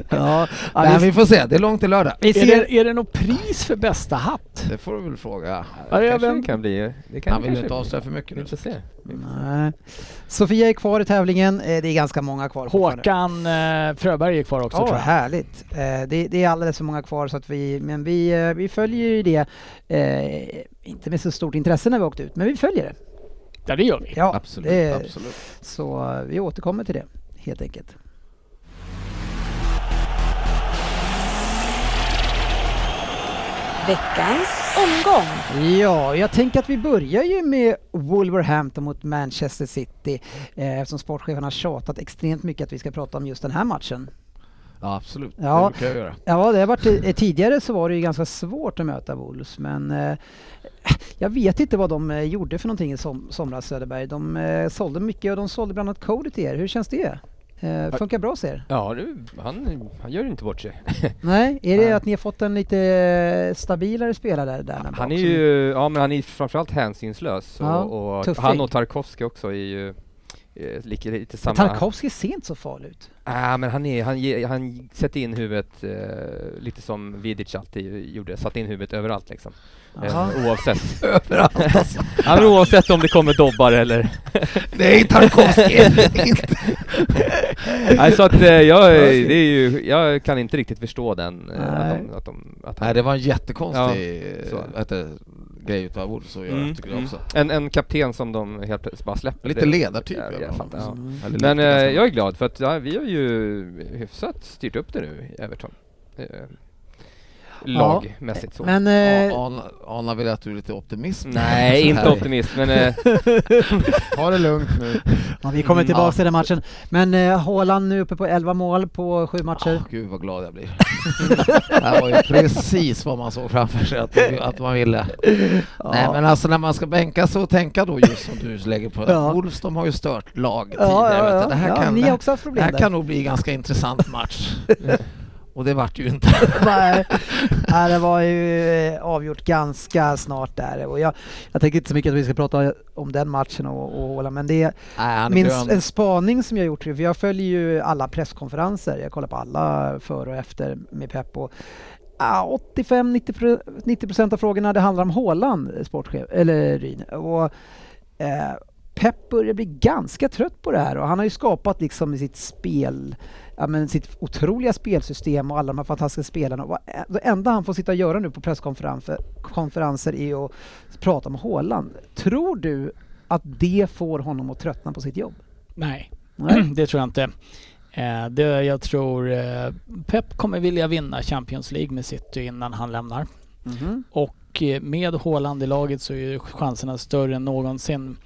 Speaker 1: ja,
Speaker 3: Nej,
Speaker 1: vi,
Speaker 3: vi får se, det är långt till lördag.
Speaker 1: vi
Speaker 4: Är
Speaker 1: ser...
Speaker 4: det, är det något pris för bästa hatt?
Speaker 3: Det får du väl fråga.
Speaker 4: Ja, jag
Speaker 2: Kanske
Speaker 4: vet
Speaker 2: det
Speaker 4: inte.
Speaker 2: kan bli. Det kan
Speaker 3: Han vill ju
Speaker 2: kanske
Speaker 3: inte
Speaker 2: bli.
Speaker 3: avslöja för mycket
Speaker 2: Vi
Speaker 3: nu.
Speaker 2: får se.
Speaker 1: Nej. Sofia är kvar i tävlingen. Eh, Det är ganska många kvar fortfarande.
Speaker 4: Håkan eh, Fröberg är kvar också
Speaker 1: Ja,
Speaker 4: tror jag.
Speaker 1: härligt. Eh, det, det är alldeles för många kvar, så att vi, men vi, eh, vi följer ju det. Eh, inte med så stort intresse när vi åkte ut, men vi följer det.
Speaker 4: Ja, det gör vi.
Speaker 1: Ja,
Speaker 3: Absolut,
Speaker 1: det,
Speaker 3: absolut.
Speaker 1: Så eh, vi återkommer till det, helt enkelt.
Speaker 7: Veckans omgång.
Speaker 1: Ja, jag tänker att vi börjar ju med Wolverhampton mot Manchester City eh, eftersom sportchefen har tjatat extremt mycket att vi ska prata om just den här matchen.
Speaker 3: Ja, absolut.
Speaker 1: Ja.
Speaker 3: Det brukar jag göra.
Speaker 1: Ja, det har varit, eh, tidigare så var det ju ganska svårt att möta Wolves, men eh, jag vet inte vad de eh, gjorde för någonting i som, somras, Söderberg. De eh, sålde mycket och de sålde bland annat Cody till er. Hur känns det? Eh, funkar bra hos er?
Speaker 2: Ja, du, han, han gör inte bort sig.
Speaker 1: Nej, är
Speaker 2: Nej.
Speaker 1: det att ni har fått en lite eh, stabilare spelare där? där
Speaker 2: Han
Speaker 1: bak
Speaker 2: är
Speaker 1: som-
Speaker 2: ju, ja men han är framförallt hänsynslös.
Speaker 1: Ja,
Speaker 2: och, och
Speaker 1: tuffing.
Speaker 2: han och Tarkovsky också är ju eh, lite, lite samma...
Speaker 1: Tarkovsky ser inte så farlig ut.
Speaker 2: Ah, men han, är, han, ge- han sätter in huvudet eh, lite som Vidic alltid gjorde, satte in huvudet överallt liksom.
Speaker 1: Jaha.
Speaker 2: Eh, oavsett. överallt alltså. ja, men oavsett om det kommer dobbar eller...
Speaker 3: Nej, Tarkovskij!
Speaker 2: Nej, så att eh, jag, är- det är ju, jag kan inte riktigt förstå den. Eh, att
Speaker 1: Nej.
Speaker 2: de, att de, att han,
Speaker 3: Nej, det var en jättekonstig
Speaker 2: så.
Speaker 3: ja, vad heter det, grej utav Wolves att göra,
Speaker 2: Mm,
Speaker 3: tycker jag
Speaker 2: mm.
Speaker 3: också.
Speaker 2: En, en kapten som de helt plötsligt bara släpper.
Speaker 3: Lite
Speaker 2: Det-
Speaker 3: ledartyp.
Speaker 2: Ja,
Speaker 3: i alla
Speaker 2: jag
Speaker 3: fall.
Speaker 2: fattar, ja.
Speaker 1: Mm.
Speaker 3: Eller
Speaker 2: Men eh,
Speaker 3: lite ganska-
Speaker 2: jag är glad för att ja, vi har ju hyfsat styrt upp det nu, Everton. Eh, lagmässigt så.
Speaker 1: Men eh,
Speaker 3: Ja, Ana- Ana vill att du är lite optimist.
Speaker 2: Nej,
Speaker 3: Så
Speaker 2: inte
Speaker 3: här.
Speaker 2: optimist, men eh,
Speaker 5: Ta det lugnt nu.
Speaker 1: Ja, vi kommer
Speaker 2: Mm,
Speaker 1: tillbaka
Speaker 2: ja.
Speaker 1: till den matchen. Men eh, Haaland nu uppe på 11 mål på sju matcher.
Speaker 3: Åh, Gud vad glad jag blir. det här var ju precis vad man såg framför sig att, att man ville. Nej men alltså när man ska bänka så tänka då just som du lägger på.
Speaker 1: Ja.
Speaker 3: Wolves de har ju stört lag tidigare.
Speaker 1: Ja, ja,
Speaker 3: vet
Speaker 1: ja.
Speaker 3: du. Det här
Speaker 1: ja,
Speaker 3: kan,
Speaker 1: ni
Speaker 3: det,
Speaker 1: har också haft problem
Speaker 3: här
Speaker 1: där.
Speaker 3: kan nog bli en ganska intressant match. Och det vart ju inte.
Speaker 1: Nej, nej, det var ju eh, avgjort ganska snart där. Och jag, jag tänker inte så mycket att vi ska prata om den matchen och, och Haaland, men det är
Speaker 3: Nej, han är
Speaker 1: min,
Speaker 3: grön.
Speaker 1: en spaning som jag gjort. För jag följer ju alla presskonferenser. Jag kollar på alla före och efter med Pep. Och, ah, 85-90 procent av frågorna det handlar om Haaland, sportchef, eller Ryn. Och, eh, Pep börjar bli ganska trött på det här och han har ju skapat liksom i sitt spel, ja, men sitt otroliga spelsystem och alla de här fantastiska spelarna. Och vad- det enda han får sitta och göra nu på presskonferenser konferenser är ju att prata om Haaland. Tror du att det får honom att tröttna på sitt jobb?
Speaker 4: Nej,
Speaker 1: Nej.
Speaker 4: det tror jag inte. Eh, det, jag tror eh, Pep kommer vilja vinna Champions League med City innan han lämnar. Och eh, med Haaland i laget så är ju chanserna större än någonsin.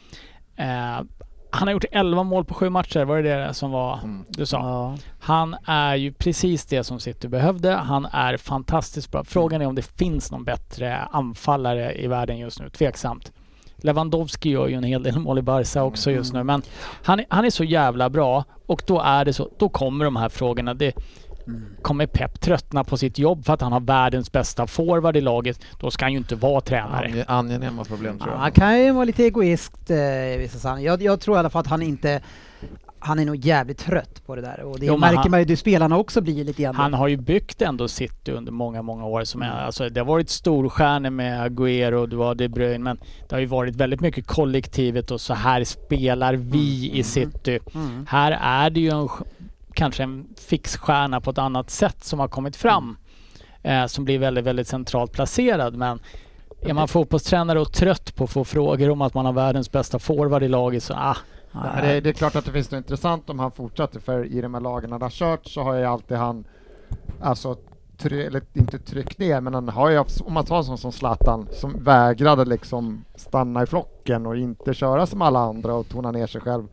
Speaker 4: Eh, han har gjort 11 mål på sju matcher, var det det som var
Speaker 3: Mm.
Speaker 4: du sa?
Speaker 1: Ja.
Speaker 4: Han är ju precis det som City behövde. Han är fantastiskt bra. Frågan är om det finns någon bättre anfallare i världen just nu. Tveksamt. Lewandowski gör ju en hel del mål i Barca också just nu, men han, är- han är så jävla bra och då är det så, då kommer de här frågorna. Det, Kommer Pep tröttna på sitt jobb för att han har världens bästa forward i laget, då ska han ju inte vara tränare.
Speaker 3: Ange- Angenäma problem tror
Speaker 1: Ja,
Speaker 3: jag.
Speaker 1: han kan ju vara lite egoist eh, i vissa sammanhang. Jag, jag tror i alla fall att han inte... Han är nog jävligt trött på det där och det
Speaker 4: Jo, men
Speaker 1: märker
Speaker 4: han-
Speaker 1: man ju, du spelarna också blir ju lite grann
Speaker 4: Han har ju byggt ändå City under många, många år. Som är, alltså, det har varit storstjärnor med Agüero, du har De Bruyne, men det har ju varit väldigt mycket kollektivet och så här spelar vi i City.
Speaker 1: Mm.
Speaker 4: Här är det ju en, sk- kanske en fixstjärna på ett annat sätt som har kommit fram. Eh, som blir väldigt, väldigt centralt placerad. Men är man fotbollstränare och trött på att få frågor om att man har världens bästa forward i laget så ah,
Speaker 5: Ja, det, det är klart att det finns något intressant om han fortsätter, för i de här lagen han har kört så har ju alltid han, alltså, try, eller inte tryckt ner, men han har ju, haft- om man tar en sån som Zlatan, som vägrade liksom stanna i flocken och inte köra som alla andra och tona ner sig själv.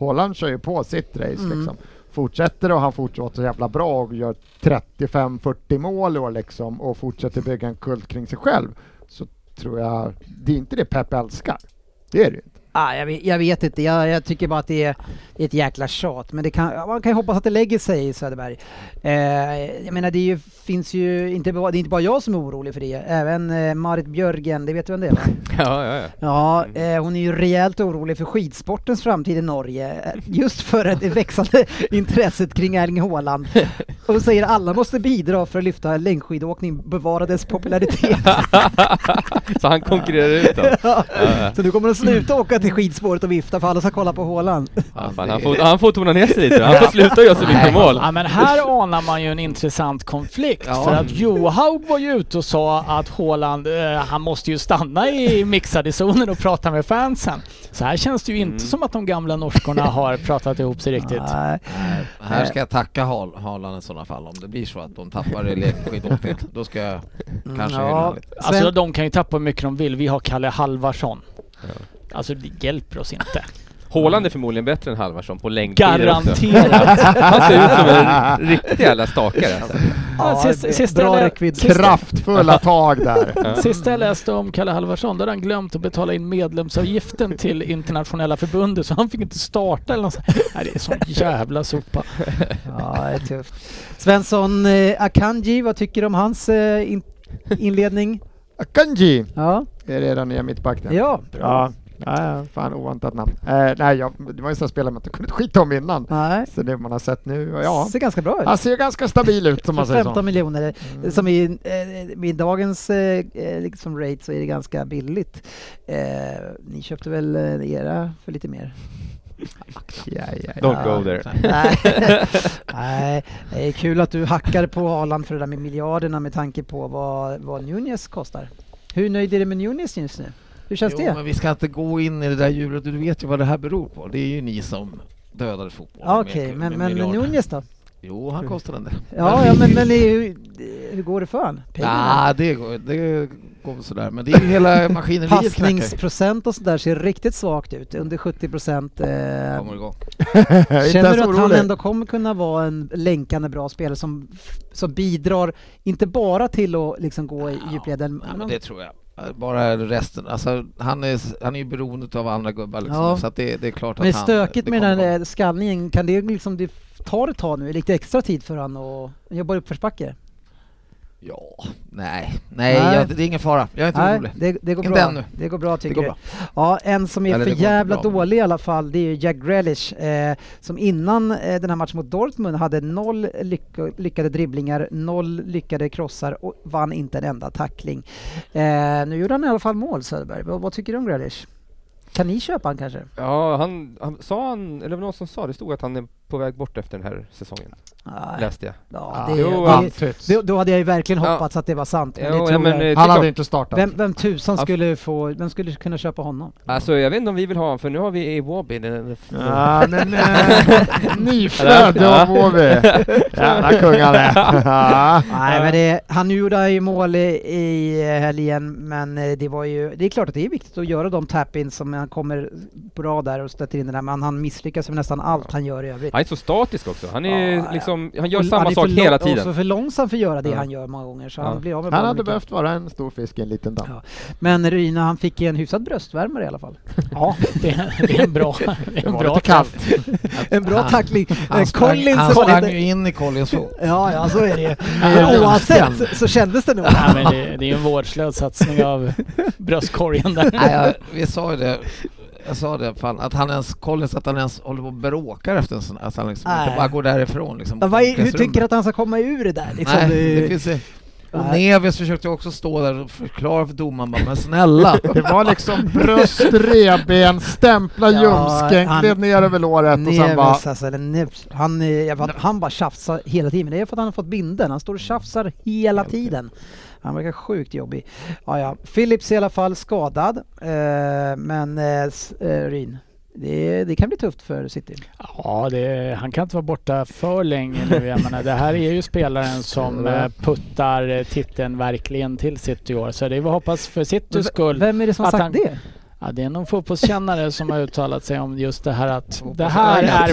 Speaker 5: Haaland kör ju på sitt race
Speaker 1: Mm.
Speaker 5: liksom. Fortsätter och han fortsätter så jävla bra och gör 35-40 mål i år liksom och fortsätter bygga en kult kring sig själv så tror jag, det är inte det Pep älskar. Det är det ju inte.
Speaker 1: Ah, jag, vet, jag vet inte, jag, jag tycker bara att det är, det är ett jäkla tjat. Men det kan, ja, man kan ju hoppas att det lägger sig i Söderberg. Eh, jag menar, det är ju, finns ju inte, bara- det är inte bara jag som är orolig för det. Även eh, Marit Björgen, det vet du vem det är va?
Speaker 2: Ja, ja, ja.
Speaker 1: Ja, eh, hon är ju rejält orolig för skidsportens framtid i Norge. eh, Just för att det växande intresset kring Erling Haaland. Och hon säger alla måste bidra för att lyfta längdskidåkning, bevara dess popularitet.
Speaker 2: Så han konkurrerar ut dem.
Speaker 1: Ja. Så nu kommer de sluta åka till skidspåret och vifta för alla ska kolla på Haaland.
Speaker 2: Ja, fan, han, får, han får tona ner sig lite. Han får sluta göra så mycket mål.
Speaker 4: Ja men här anar man ju en intressant konflikt
Speaker 3: Ja.
Speaker 4: för att Johaug var ju ute och sa att Haaland, eh, han måste ju stanna i mixade zonen och prata med fansen. Så här känns det ju inte som att de gamla norskorna har pratat ihop sig riktigt.
Speaker 1: Mm. Nej.
Speaker 3: Nej, Här
Speaker 1: Eh.
Speaker 3: ska jag tacka Hal- Haaland i sådana fall om det blir så att de tappar i längdskidåkning. Då ska jag kanske
Speaker 1: Mm, Ja.
Speaker 3: hylla honom lite.
Speaker 4: Alltså
Speaker 1: Sven-
Speaker 4: de kan ju tappa hur mycket de vill. Vi har Kalle Halvarsson. Alltså det hjälper oss inte.
Speaker 2: Haaland är förmodligen bättre än Halvarsson på längdskidor också.
Speaker 4: Garanterat.
Speaker 2: Han ser ut som en riktig jävla stakare. Alltså.
Speaker 4: Ja, sist-
Speaker 1: det är
Speaker 4: sist
Speaker 1: bra
Speaker 4: eller-
Speaker 1: räckvidd.
Speaker 4: sist-
Speaker 5: Kraftfulla tag där.
Speaker 4: Sista jag läste om Kalle Halvarsson, då hade han glömt att betala in medlemsavgiften till internationella förbundet så han fick inte starta eller något sånt. Nej, det är sån jävla sopa.
Speaker 1: Ja, det är tufft. Svensson eh, Akanji, vad tycker du om hans eh, in- inledning?
Speaker 5: Akanji
Speaker 1: Ja,
Speaker 5: är det den nya mittbacken.
Speaker 1: ja.
Speaker 5: Ja, ja, fan oväntat namn. Eh, nej, jag, det var ju en sån spelare man inte kunde skita om innan.
Speaker 1: Nej.
Speaker 5: Så det man har sett nu, och ja.
Speaker 1: Ser ganska bra ut.
Speaker 5: Han ser ganska stabil ut om man
Speaker 1: För
Speaker 5: säger
Speaker 1: 15
Speaker 5: så.
Speaker 1: miljoner, eh,
Speaker 3: Mm.
Speaker 1: som i, eh, med dagens eh, eh, liksom rate så är det ganska billigt. Eh, ni köpte väl eh, era för lite mer?
Speaker 5: Ja, ja, ja.
Speaker 2: Don't go there.
Speaker 1: Nej. Nej, det är kul att du hackar på Haaland för det där med miljarderna med tanke på vad, vad Nunez kostar. Hur nöjd är du med Nunez just nu? Hur känns
Speaker 3: Jo,
Speaker 1: det?
Speaker 3: men vi ska inte gå in i det där hjulet. Du vet ju vad det här beror på. Det är ju ni som dödade fotbollen.
Speaker 1: Ja,
Speaker 3: med-
Speaker 1: Ah, Okej,
Speaker 3: med
Speaker 1: men, men
Speaker 3: miljarder.
Speaker 1: Nunez då?
Speaker 3: Jo, han kostar den där.
Speaker 1: Ja, ja men, men det är ju, hur går det för han? Pengarna?
Speaker 3: Ja, Ah, det går, det går väl sådär. Men det är ju hela maskineriet knackar.
Speaker 1: Passningsprocent och sådär ser riktigt svagt ut, under 70 procent. Eh,
Speaker 3: Kommer igång.
Speaker 5: Inte
Speaker 1: känner
Speaker 5: ens
Speaker 1: du att han
Speaker 5: orolig.
Speaker 1: ändå kommer kunna vara en länkande bra spelare som, som bidrar, inte bara till att liksom gå i
Speaker 3: Ja,
Speaker 1: djupleden,
Speaker 3: nej,
Speaker 1: men
Speaker 3: men
Speaker 1: han-
Speaker 3: det tror jag. Bara resten. Alltså, han, är, han är ju beroende av andra gubbar liksom.
Speaker 1: Ja.
Speaker 3: Så att det, det är klart
Speaker 1: Men det
Speaker 3: att
Speaker 1: är
Speaker 3: han...
Speaker 1: stökigt med
Speaker 3: kommer
Speaker 1: den
Speaker 3: igång.
Speaker 1: där skallningen, kan det liksom, det tar ett tag nu, lite extra tid för han och jobba uppförsbacke?
Speaker 3: Ja, nej. Nej,
Speaker 1: Nej.
Speaker 3: Jag, det är ingen fara. Jag är inte orolig.
Speaker 1: det, det går
Speaker 3: Inte
Speaker 1: bra.
Speaker 3: ännu.
Speaker 1: Det går bra
Speaker 3: Det
Speaker 1: tycker
Speaker 3: går
Speaker 1: du?
Speaker 3: bra.
Speaker 1: Ja, en som är
Speaker 3: Eller det
Speaker 1: för
Speaker 3: går inte
Speaker 1: jävla
Speaker 3: bra.
Speaker 1: dålig i alla fall, det är ju Jack Grealish, eh, som innan eh, den här matchen mot Dortmund hade noll lyck- lyckade dribblingar, noll lyckade krossar och vann inte en enda tackling. Eh, nu gjorde han i alla fall mål, Söderberg. Vad, vad tycker du om Grealish? Kan ni köpa han kanske?
Speaker 2: Ja, han, han sa han, eller det var någon som sa, det stod att han är på väg bort efter den här säsongen,
Speaker 1: Nej.
Speaker 2: läste jag.
Speaker 1: Ja,
Speaker 5: Ja,
Speaker 1: det,
Speaker 2: Ah, Jo,
Speaker 1: det,
Speaker 5: Antytts.
Speaker 1: det, då hade jag ju verkligen
Speaker 2: Ja.
Speaker 1: hoppats att det var sant, men
Speaker 2: Jo,
Speaker 1: det tror jag
Speaker 2: men, eh,
Speaker 5: Han
Speaker 2: tycker
Speaker 5: hade
Speaker 2: jag-
Speaker 5: inte startat.
Speaker 1: Vem, vem tusan
Speaker 2: Ja.
Speaker 1: skulle få, vem skulle kunna köpa honom?
Speaker 2: Alltså jag vet inte om vi vill ha honom, för nu har vi i Wobby. den-
Speaker 5: Ja, men eh, nyfödd, då får vi. Jävla kungar det. Ja.
Speaker 1: Nej men det, han nu gjorde ju mål i, i helgen men eh, det var ju, det är klart att det är viktigt att göra de tap-ins som han kommer bra där och stöter in den där men han misslyckas med nästan allt han gör i övrigt.
Speaker 2: Han är så statisk också. Han är
Speaker 1: Ja,
Speaker 2: liksom liksom, han gör
Speaker 1: Och han
Speaker 2: samma
Speaker 1: är för
Speaker 2: sak
Speaker 1: lång-
Speaker 2: hela
Speaker 1: Och så
Speaker 2: tiden.
Speaker 1: för långsam för att göra det
Speaker 2: Ja.
Speaker 1: han gör många gånger så
Speaker 2: Ja.
Speaker 1: han blir av med
Speaker 5: Han
Speaker 1: bollen
Speaker 5: hade
Speaker 1: mycket.
Speaker 5: behövt vara en stor fisk i en liten damm.
Speaker 1: Ja. Men Ryna han fick en hyfsad bröstvärmare i alla fall.
Speaker 4: Ja, det är, det är en bra... Det är
Speaker 5: Det
Speaker 4: en
Speaker 5: var
Speaker 4: bra
Speaker 5: lite kallt.
Speaker 1: En bra
Speaker 3: Han-
Speaker 1: tackling.
Speaker 3: Han
Speaker 1: Eh,
Speaker 3: sprang,
Speaker 1: Collins
Speaker 3: han
Speaker 1: var
Speaker 3: sprang
Speaker 1: lite-
Speaker 3: ju in i Collins fot.
Speaker 1: Ja, ja så är det ju.
Speaker 5: Med
Speaker 1: Men oavsett
Speaker 5: ljumsken.
Speaker 1: så- så kändes det nog.
Speaker 4: Nej, men det, det är ju en vårdslös satsning av bröstkorgen där.
Speaker 3: Nej, jag, vi sa ju det. Jag sa det, fan, att han ens, Collins, att han ens håller på och bråkar efter en sån, att han liksom
Speaker 1: Nej.
Speaker 3: inte bara går därifrån liksom.
Speaker 1: Ja, Vad är, hur tycker du
Speaker 3: omklädningsrummet.
Speaker 1: att han ska komma ur det där? Liksom,
Speaker 3: Nej,
Speaker 1: eh,
Speaker 3: det finns ju- och
Speaker 1: nej.
Speaker 3: Neves försökte också stå där och förklara för domaren, bara, men snälla.
Speaker 5: Det var liksom bröst, revben, stämpla
Speaker 1: Ja,
Speaker 5: ljumsken,
Speaker 1: han-
Speaker 5: klev ner över låret och sen
Speaker 1: Neves,
Speaker 5: bara...
Speaker 1: alltså, eller Neves. han, eh, jag vet, han bara tjafsar hela tiden. Men det är för att han har fått binden. Han står och tjafsar hela tiden. Han verkar sjukt jobbig. Ja, ja. Philips i alla fall skadad. Eh, men eh, s- eh, Ryn, det, det kan bli tufft för City.
Speaker 4: Ja, det, han kan inte vara borta för länge nu. Jag menar, det här är ju spelaren som eh, puttar eh, titeln verkligen till City i år. Så det är vad jag hoppas för Citys skull.
Speaker 1: Vem är det som har
Speaker 4: att
Speaker 1: sagt
Speaker 4: han-
Speaker 1: det?
Speaker 4: Ja, det är någon fotbollskännare som har uttalat sig om just det här att det här är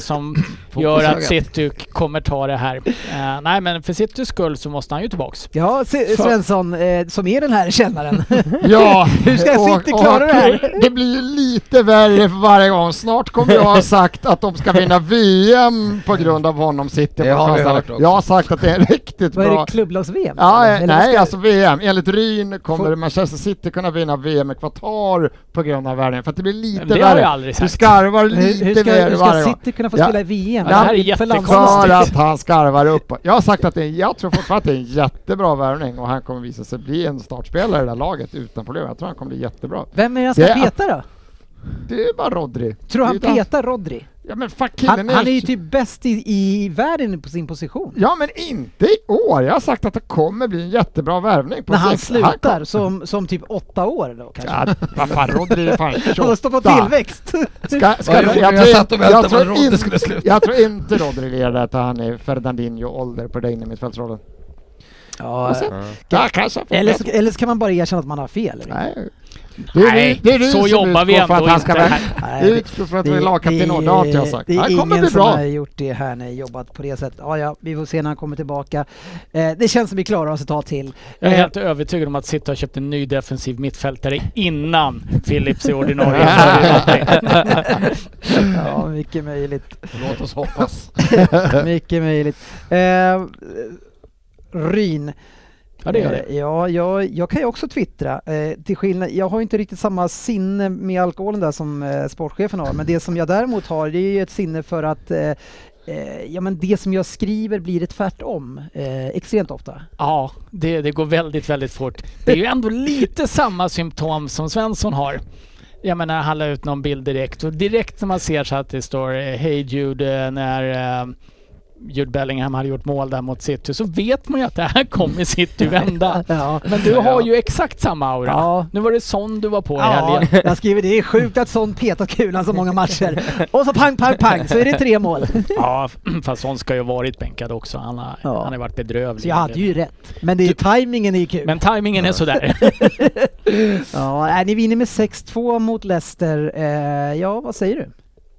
Speaker 4: som gör att City kommer ta det här. Eh, nej, men för Citys skull så måste han ju tillbaks.
Speaker 1: Ja, Se-
Speaker 4: Fan.
Speaker 1: Svensson, eh, som är den här kännaren.
Speaker 5: Ja,
Speaker 1: Hur ska jag
Speaker 5: och-
Speaker 1: City klara
Speaker 5: och
Speaker 1: det här?
Speaker 5: Det blir ju lite värre för varje gång. Snart kommer jag ha sagt att de ska vinna VM på grund av honom City.
Speaker 3: Det har vi hört också.
Speaker 5: jag har sagt att det är riktigt
Speaker 1: Vad är
Speaker 5: bra.
Speaker 1: det, klubblags-VM?
Speaker 5: Ja,
Speaker 1: Eller
Speaker 5: eh,
Speaker 1: vad ska-
Speaker 5: nej, alltså VM. Enligt Ryn kommer
Speaker 1: Får-
Speaker 5: Manchester City kunna vinna VM i Qatar på grund av världen. För att det blir lite
Speaker 4: Det har
Speaker 5: värre.
Speaker 4: jag aldrig
Speaker 5: Du
Speaker 4: sagt.
Speaker 5: skarvar
Speaker 1: Hur,
Speaker 5: lite
Speaker 1: hur, ska,
Speaker 5: värre
Speaker 1: hur ska
Speaker 5: varje gång.
Speaker 1: City kunna få
Speaker 5: Ja.
Speaker 1: spela i VM?
Speaker 4: Ja, det här är
Speaker 1: För
Speaker 4: jättekonstigt.
Speaker 5: För
Speaker 1: landslaget.
Speaker 5: att han skarvar upp. Jag har sagt att det är, jag tror fortfarande att det är en jättebra värvning och han kommer visa sig bli en startspelare i det här laget utan problem. Jag tror han kommer bli jättebra.
Speaker 1: Vem är det han ska
Speaker 5: Det är-
Speaker 1: peta då?
Speaker 5: Det är bara Rodri.
Speaker 1: Tror han
Speaker 5: Det är ju
Speaker 1: petar Rodri?
Speaker 5: Ja men fuck killen
Speaker 1: Han, han är ju typ bäst i, i världen på sin position.
Speaker 5: Ja men inte i år! Jag har sagt att det kommer bli en jättebra värvning på
Speaker 1: När han
Speaker 5: sikt.
Speaker 1: slutar som, som typ åtta år då kanske.
Speaker 5: Ja, vad fan, Rodri är fan
Speaker 1: Han har stått på
Speaker 5: 28.
Speaker 1: tillväxt.
Speaker 5: Ska, ska
Speaker 3: Ja, jag- jag
Speaker 5: tror-
Speaker 3: satt och väntade
Speaker 5: jag tror
Speaker 3: på att Rodri
Speaker 5: inte-
Speaker 3: skulle sluta.
Speaker 5: Jag tror inte Rodri leder att han är Fernandinho-ålder på det innermittfältsrollen.
Speaker 1: Ja,
Speaker 5: Ja, kanske.
Speaker 1: eh, eller, så, eller så kan man bara erkänna att man har fel.
Speaker 5: Nej. Det är,
Speaker 4: Nej,
Speaker 5: det är du
Speaker 4: så
Speaker 5: som
Speaker 4: jobbar vi
Speaker 5: utgår för
Speaker 4: ändå
Speaker 5: att han ska
Speaker 4: inte
Speaker 5: vara...
Speaker 4: här.
Speaker 1: Nej,
Speaker 5: Du utgår för att vi är lagkapten och det har inte jag sagt.
Speaker 1: Det
Speaker 5: Det
Speaker 1: är
Speaker 5: kommer
Speaker 1: ingen
Speaker 5: bli
Speaker 1: som
Speaker 5: bra.
Speaker 1: har gjort det här när jag jobbat på det sättet. Ja, ja, vi får se när han kommer tillbaka. Eh, det känns som vi klarar oss ett tag till.
Speaker 4: Jag är
Speaker 1: Eh,
Speaker 4: helt övertygad om att City har köpt en ny defensiv mittfältare innan Philips är ordinarie.
Speaker 1: ja, mycket möjligt.
Speaker 3: Låt oss hoppas.
Speaker 1: Mycket möjligt. Eh, Ryn.
Speaker 4: Ja, det gör det.
Speaker 1: Eh, Ja, jag, jag kan ju också twittra. Eh, till skillnad, jag har ju inte riktigt samma sinne med alkoholen där som eh, sportchefen har, men det som jag däremot har det är ju ett sinne för att eh, eh, ja, men det som jag skriver blir det tvärtom eh, extremt ofta.
Speaker 4: Ja, det, det går väldigt, väldigt fort. Det är ju ändå lite samma symptom som Svensson har. Jag menar, han la ut någon bild direkt och direkt när man ser så att det står eh, Hej Jude eh, när eh, Jude Bellingham hade gjort mål där mot City så vet man ju att det här kommer City vända.
Speaker 1: Ja.
Speaker 4: Men du har ju exakt samma aura.
Speaker 1: Ja.
Speaker 4: Nu var det sån du var på i
Speaker 1: Ja,
Speaker 4: helgen.
Speaker 1: jag skriver det är sjukt att sån petat kulan så många matcher. Och så pang, pang, pang så är det tre mål.
Speaker 4: Ja, fast sån ska ju ha varit bänkad också. Han har,
Speaker 1: Ja.
Speaker 4: han har ju varit bedrövlig.
Speaker 1: Så jag hade ju rätt. Men det är tajmingen är ju kul.
Speaker 4: Men tajmingen är sådär.
Speaker 1: Ja, nej, ni vinner med 6-2 mot Leicester. Eh, ja, vad säger du?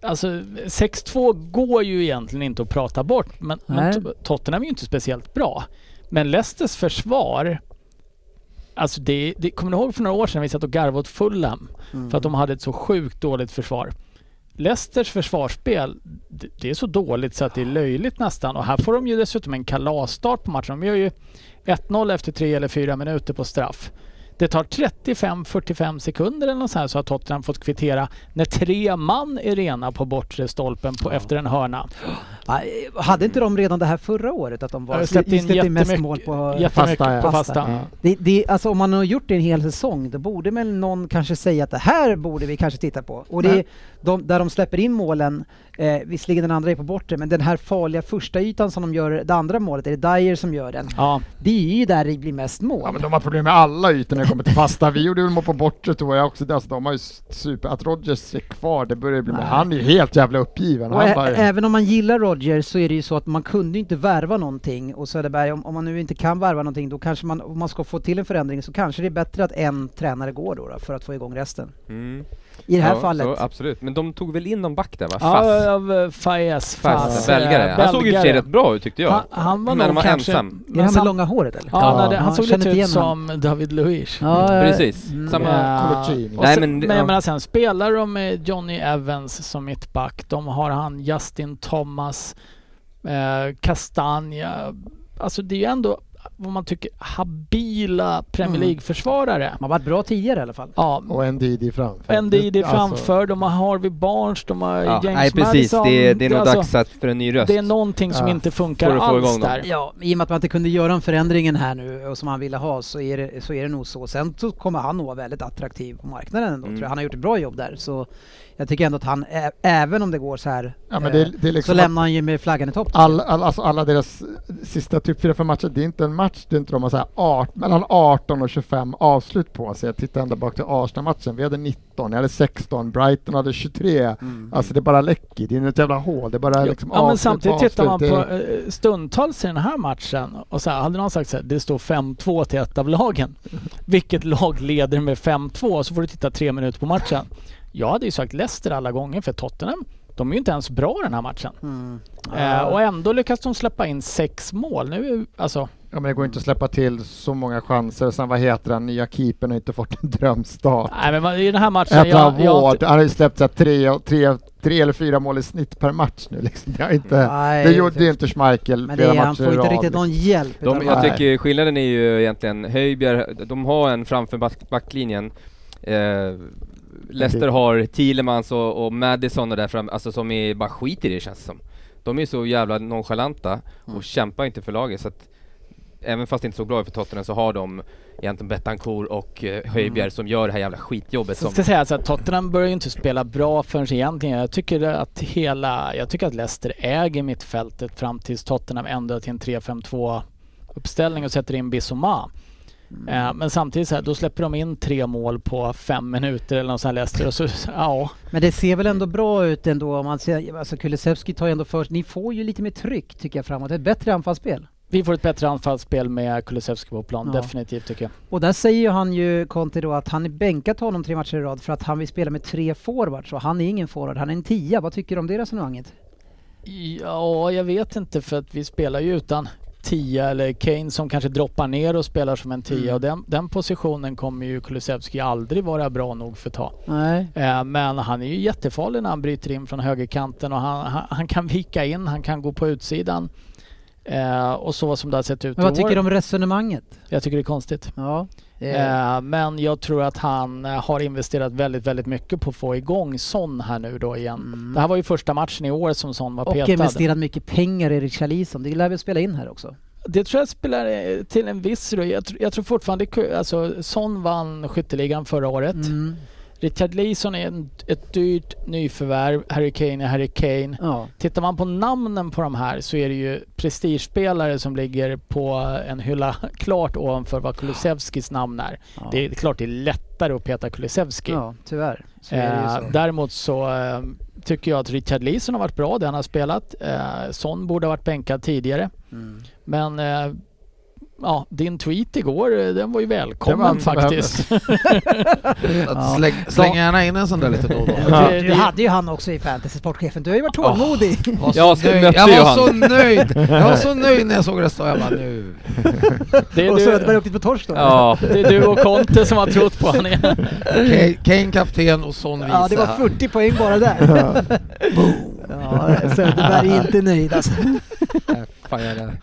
Speaker 4: Alltså 6-2 går ju egentligen inte att prata bort men, men
Speaker 1: Nej.
Speaker 4: Tot- Tottenham är ju inte speciellt bra. Men Leicesters försvar Alltså det, det, kommer ni ihåg för några år sedan vi satt och garvade åt Fulham för att de hade ett så sjukt dåligt försvar. Leicesters försvarsspel, det, det är så dåligt så att det är löjligt nästan och här får de ju dessutom en kalasstart på matchen. De gör ju 1-0 efter 3 eller 4 minuter på straff. Det tar 35-45 sekunder eller något sånt här så har Tottenham fått kvittera när tre man är rena på bortre stolpen på, efter en hörna.
Speaker 1: Ja, hade inte de redan det här förra året? Att de var,
Speaker 4: Jag har släppt in
Speaker 1: mest
Speaker 4: jättemycket-
Speaker 1: mål på...
Speaker 4: Jättemycket
Speaker 5: fasta, ja.
Speaker 4: på
Speaker 1: Fasta.
Speaker 4: fasta.
Speaker 5: Ja.
Speaker 1: Det, det, alltså om man har gjort det en hel säsong, då borde väl någon kanske säga att det här borde vi kanske titta på. Och det är
Speaker 4: Nej.
Speaker 1: de, där de släpper in målen, eh, visserligen den andra är på bortre, men den här farliga första ytan som de gör det andra målet, är det Dyer som gör den?
Speaker 4: Ja.
Speaker 1: Det är ju där det blir mest mål.
Speaker 5: Ja men de har problem med alla ytor när det kommer till fasta. Vi gjorde väl mål på bortre tror jag också. Alltså, de har ju super... Att Rodgers är kvar, det börjar bli... Men han är ju helt jävla uppgiven.
Speaker 1: Och
Speaker 5: Han
Speaker 1: ä-
Speaker 5: bara,
Speaker 1: även om man gillar Rodgers så är det ju så att man kunde ju inte värva någonting och Söderberg, om, om man nu inte kan värva någonting då kanske man, om man ska få till en förändring så kanske det är bättre att en tränare går då, då för att få igång resten.
Speaker 2: Mm.
Speaker 1: i det här
Speaker 2: Ja,
Speaker 1: fallet.
Speaker 2: så absolut. Men de tog väl in någon back där va? Fast.
Speaker 4: Ja, av eh, Faez.
Speaker 2: Fast.
Speaker 4: Faz,
Speaker 2: Belgare.
Speaker 4: eh,
Speaker 2: Han såg ju i och för sig rätt bra ut tyckte jag.
Speaker 4: Han, han var
Speaker 2: Men
Speaker 4: nog
Speaker 2: han var
Speaker 4: kanske...
Speaker 2: ensam.
Speaker 1: är det han med
Speaker 4: sam-
Speaker 1: långa håret eller?
Speaker 4: Ja,
Speaker 5: Ja,
Speaker 4: nej, det, han
Speaker 1: jag
Speaker 4: såg
Speaker 1: känner
Speaker 4: lite
Speaker 1: inte
Speaker 4: ut
Speaker 1: igen
Speaker 4: som David Luiz.
Speaker 1: Ja, eh,
Speaker 2: Precis.
Speaker 1: mm,
Speaker 2: Samma...
Speaker 4: Ja.
Speaker 5: Convertini.
Speaker 4: Och
Speaker 2: Nej,
Speaker 4: sen,
Speaker 2: men-
Speaker 4: men, men
Speaker 2: ja.
Speaker 4: jag menar sen spelar de med Johnny Evans som mittback. De har han Justin Thomas, eh, Castagna. Alltså det är ju ändå vad man tycker habila Premier
Speaker 1: Mm.
Speaker 4: League-försvarare.
Speaker 1: De har varit bra tidigare i alla fall.
Speaker 4: Ja,
Speaker 5: Och en Didi framför.
Speaker 4: en DD
Speaker 5: Alltså,
Speaker 4: framför, de har Harvey Barnes, de har
Speaker 2: Ja,
Speaker 4: James
Speaker 2: nej precis,
Speaker 4: Madison.
Speaker 2: det, det är nog
Speaker 4: Alltså,
Speaker 2: dags att för en ny röst.
Speaker 4: Det är någonting som
Speaker 5: Ja.
Speaker 4: inte funkar
Speaker 2: Får du få
Speaker 4: alls
Speaker 2: igång dem?
Speaker 4: där.
Speaker 1: Ja, i och med att man inte kunde göra en förändringen här nu och som han ville ha så är det, så är det nog så. Sen så kommer han nog vara väldigt attraktiv på marknaden ändå,
Speaker 2: Mm.
Speaker 1: tror jag. Han har gjort ett bra jobb där. Så jag tycker ändå att han, ä- även om det går så här,
Speaker 5: Ja, men det,
Speaker 1: eh,
Speaker 5: är- det
Speaker 1: så
Speaker 5: är liksom
Speaker 1: lämnar han ju med flaggan i topp.
Speaker 5: All, all, alltså alla deras sista typ 4-5 matcher, det är inte en match, det är inte de har så här art, mellan 18 och 25 avslut på sig. Jag tittar ända bak till Arsenal-matchen, vi hade 19, jag hade 16, Brighton hade 23. Alltså det bara läcker, det är ett jävla hål, det är bara liksom
Speaker 4: Ja men
Speaker 5: avslut
Speaker 4: samtidigt
Speaker 5: avslut.
Speaker 4: tittar man på
Speaker 5: Det-
Speaker 4: eh, stundtals i den här matchen och så här, hade någon sagt så här, det står 5-2 till ett av lagen. Vilket lag leder med 5-2? Så får du titta tre minuter på matchen. Jag hade ju sagt Leicester alla gånger för Tottenham, de är ju inte ens bra den här matchen.
Speaker 1: Mm.
Speaker 4: Eh, och ändå lyckas de släppa in sex mål. Nu, alltså,
Speaker 5: Ja men det går inte att släppa till så många chanser. Sen vad heter han, nya keepern har inte fått en drömstart.
Speaker 4: nej men vad- i den här matchen...
Speaker 5: Heter han
Speaker 4: jag- jag har
Speaker 5: Ward?
Speaker 4: inte-
Speaker 5: Han har ju släppt så här tre, tre, tre eller fyra mål i snitt per match nu liksom. Det, har inte,
Speaker 1: Nej,
Speaker 5: det gjorde ju inte Schmeichel
Speaker 1: Men det
Speaker 5: flera
Speaker 1: är, han
Speaker 5: matcher
Speaker 1: får
Speaker 5: i
Speaker 1: inte
Speaker 5: rad,
Speaker 1: riktigt
Speaker 5: liksom.
Speaker 1: någon hjälp.
Speaker 2: De,
Speaker 1: utan
Speaker 2: jag
Speaker 5: Nej.
Speaker 2: tycker skillnaden är ju egentligen Höjbjerg, de har en framför back, backlinjen. Eh, Leicester har Thielemans och, och Madison och där fram, alltså som är bara skiter i det känns det som. De är ju så jävla nonchalanta och kämpar inte för laget så att även fast det inte såg bra ut för Tottenham så har de egentligen Betancourt och eh, Höjbjerg som gör det här jävla skitjobbet
Speaker 4: Så
Speaker 2: som...
Speaker 4: ska säga så att Tottenham börjar ju inte spela bra förrän egentligen. Jag tycker att hela, jag tycker att Leicester äger mittfältet fram tills Tottenham ändrar till en 3-5-2 uppställning och sätter in Bissouma. Eh, Men samtidigt så här, då släpper de in tre mål på fem minuter eller något sånt här Leicester och så, ja.
Speaker 1: Men det ser väl ändå bra ut ändå om man ser, alltså Kulusevski tar ju ändå först. Ni får ju lite mer tryck tycker jag framåt. Ett bättre anfallsspel.
Speaker 4: Vi får ett bättre anfallsspel med Kulusevski på plan,
Speaker 1: Ja.
Speaker 4: definitivt tycker jag.
Speaker 1: Och där säger ju han ju, Conte då, att han är bänkat honom tre matcher i rad för att han vill spela med tre forwards. Så han är ingen forward, han är en tia. Vad tycker du om det resonemanget?
Speaker 4: Ja, jag vet inte för att vi spelar ju utan 10 eller Kane som kanske droppar ner och spelar som en 10
Speaker 1: Mm.
Speaker 4: och den, den positionen kommer ju Kulusevski aldrig vara bra nog för att ta.
Speaker 1: Nej.
Speaker 4: Eh, Men han är ju jättefarlig när han bryter in från högerkanten och han, han, han kan vika in, han kan gå på utsidan. Eh, och så som det har sett ut
Speaker 1: Men
Speaker 4: i
Speaker 1: vad tycker
Speaker 4: år.
Speaker 1: du om resonemanget?
Speaker 4: Jag tycker det är konstigt.
Speaker 1: Ja.
Speaker 4: Eh, men jag tror att han eh, har investerat väldigt, väldigt mycket på att få igång Son här nu då igen.
Speaker 1: Mm.
Speaker 4: Det här var ju första matchen i år som Son var
Speaker 1: Och
Speaker 4: petad.
Speaker 1: investerat mycket pengar i Richarlison. Det lär vi spela in här också.
Speaker 4: Det tror jag spelar eh, till en viss roll. Jag, tr- jag tror fortfarande, ku- alltså Son vann skytteligan förra året.
Speaker 1: Mm.
Speaker 4: Richard Leeson är en, ett dyrt nyförvärv. Harry Kane är Harry Kane.
Speaker 1: Ja.
Speaker 4: Tittar man på namnen på de här så är det ju prestigespelare som ligger på en hylla klart ovanför vad Kulusevskis namn är.
Speaker 1: Ja.
Speaker 4: Det är klart det är lättare att peta Kulusevski.
Speaker 1: ja, tyvärr. Så är det ju
Speaker 4: Eh,
Speaker 1: så.
Speaker 4: däremot så eh, tycker jag att Richard Leeson har varit bra, det han har spelat. Eh, Son borde ha varit bänkad tidigare.
Speaker 1: Mm.
Speaker 4: Men eh, ja, din tweet igår, eh, den var ju
Speaker 5: Det var
Speaker 4: välkommen
Speaker 5: allt som
Speaker 4: faktiskt.
Speaker 3: Att Släng, släng gärna in en sån där lite då och då.
Speaker 4: Ja.
Speaker 1: Du, du hade ju han också i fantasy, sportchefen. Du har ju varit tålmodig.
Speaker 3: var så
Speaker 2: Jag s-
Speaker 3: nöjd.
Speaker 2: mötte
Speaker 3: jag
Speaker 2: ju
Speaker 3: var
Speaker 2: han.
Speaker 3: så nöjd! Jag var så nöjd när jag såg det stå. Jag bara nu...
Speaker 4: Det är,
Speaker 1: Och så Söderberg
Speaker 4: du,
Speaker 1: åkte på torsk då.
Speaker 2: Ja,
Speaker 4: det är du och Conte som har trott på honom igen.
Speaker 3: Kane- Kane kapten och Son vice.
Speaker 1: Ja, det var 40 poäng bara där. ja, Söderberg är inte nöjd alltså.
Speaker 2: fan jag är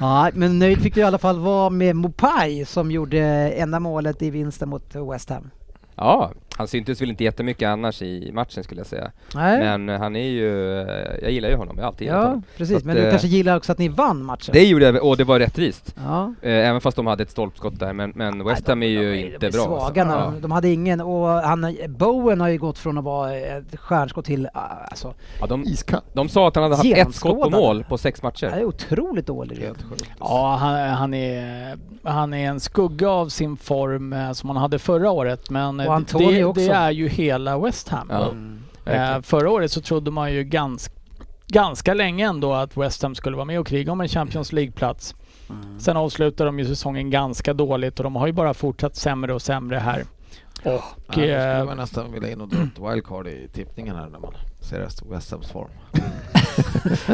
Speaker 1: Ja, men nöjd fick du i alla fall vara med Mopai som gjorde enda målet i vinsten mot West Ham.
Speaker 2: Ja, han syntes väl inte jättemycket annars i matchen skulle jag säga.
Speaker 1: Nej,
Speaker 2: Men eh, han är ju... eh, Jag gillar ju honom, jag har alltid gillat
Speaker 1: ja,
Speaker 2: honom. Så
Speaker 1: precis.
Speaker 2: att,
Speaker 1: Men du
Speaker 2: eh,
Speaker 1: kanske gillar också att ni vann matchen?
Speaker 2: Det gjorde jag, väl- och det var rättvist.
Speaker 1: Ja.
Speaker 2: Eh, Även fast de hade ett stolpskott där, men, men West Ham är ju inte
Speaker 1: De är
Speaker 2: bra.
Speaker 1: svaga när
Speaker 2: alltså.
Speaker 1: de, de hade ingen och han, Bowen har ju gått från att vara ett stjärnskott till, ah, alltså,
Speaker 2: Ja, de,
Speaker 5: Iskall.
Speaker 2: de sa att han hade haft ett skott på
Speaker 1: Genomskådade.
Speaker 2: mål på sex
Speaker 1: han
Speaker 2: matcher.
Speaker 1: är otroligt dålig.
Speaker 3: Helt sjukt.
Speaker 4: Ja, han, han, är, han är en skugga av sin form eh, som han hade förra året. Men eh,
Speaker 1: Och Antonio
Speaker 4: det,
Speaker 1: också.
Speaker 4: det är ju hela West Ham.
Speaker 2: Ja,
Speaker 1: Mm.
Speaker 4: Eh,
Speaker 2: verkligen.
Speaker 4: förra året så trodde man ju ganska, ganska länge ändå att West Ham skulle vara med och kriga om en Champions League-plats. Sen avslutar de ju säsongen ganska dåligt och de har ju bara fortsatt sämre och sämre här. Och Och...
Speaker 3: Nej, jag skulle
Speaker 4: eh,
Speaker 3: man nästan vilja in och dra upp wildcard i tippningen här när man ser rest- West Hams form.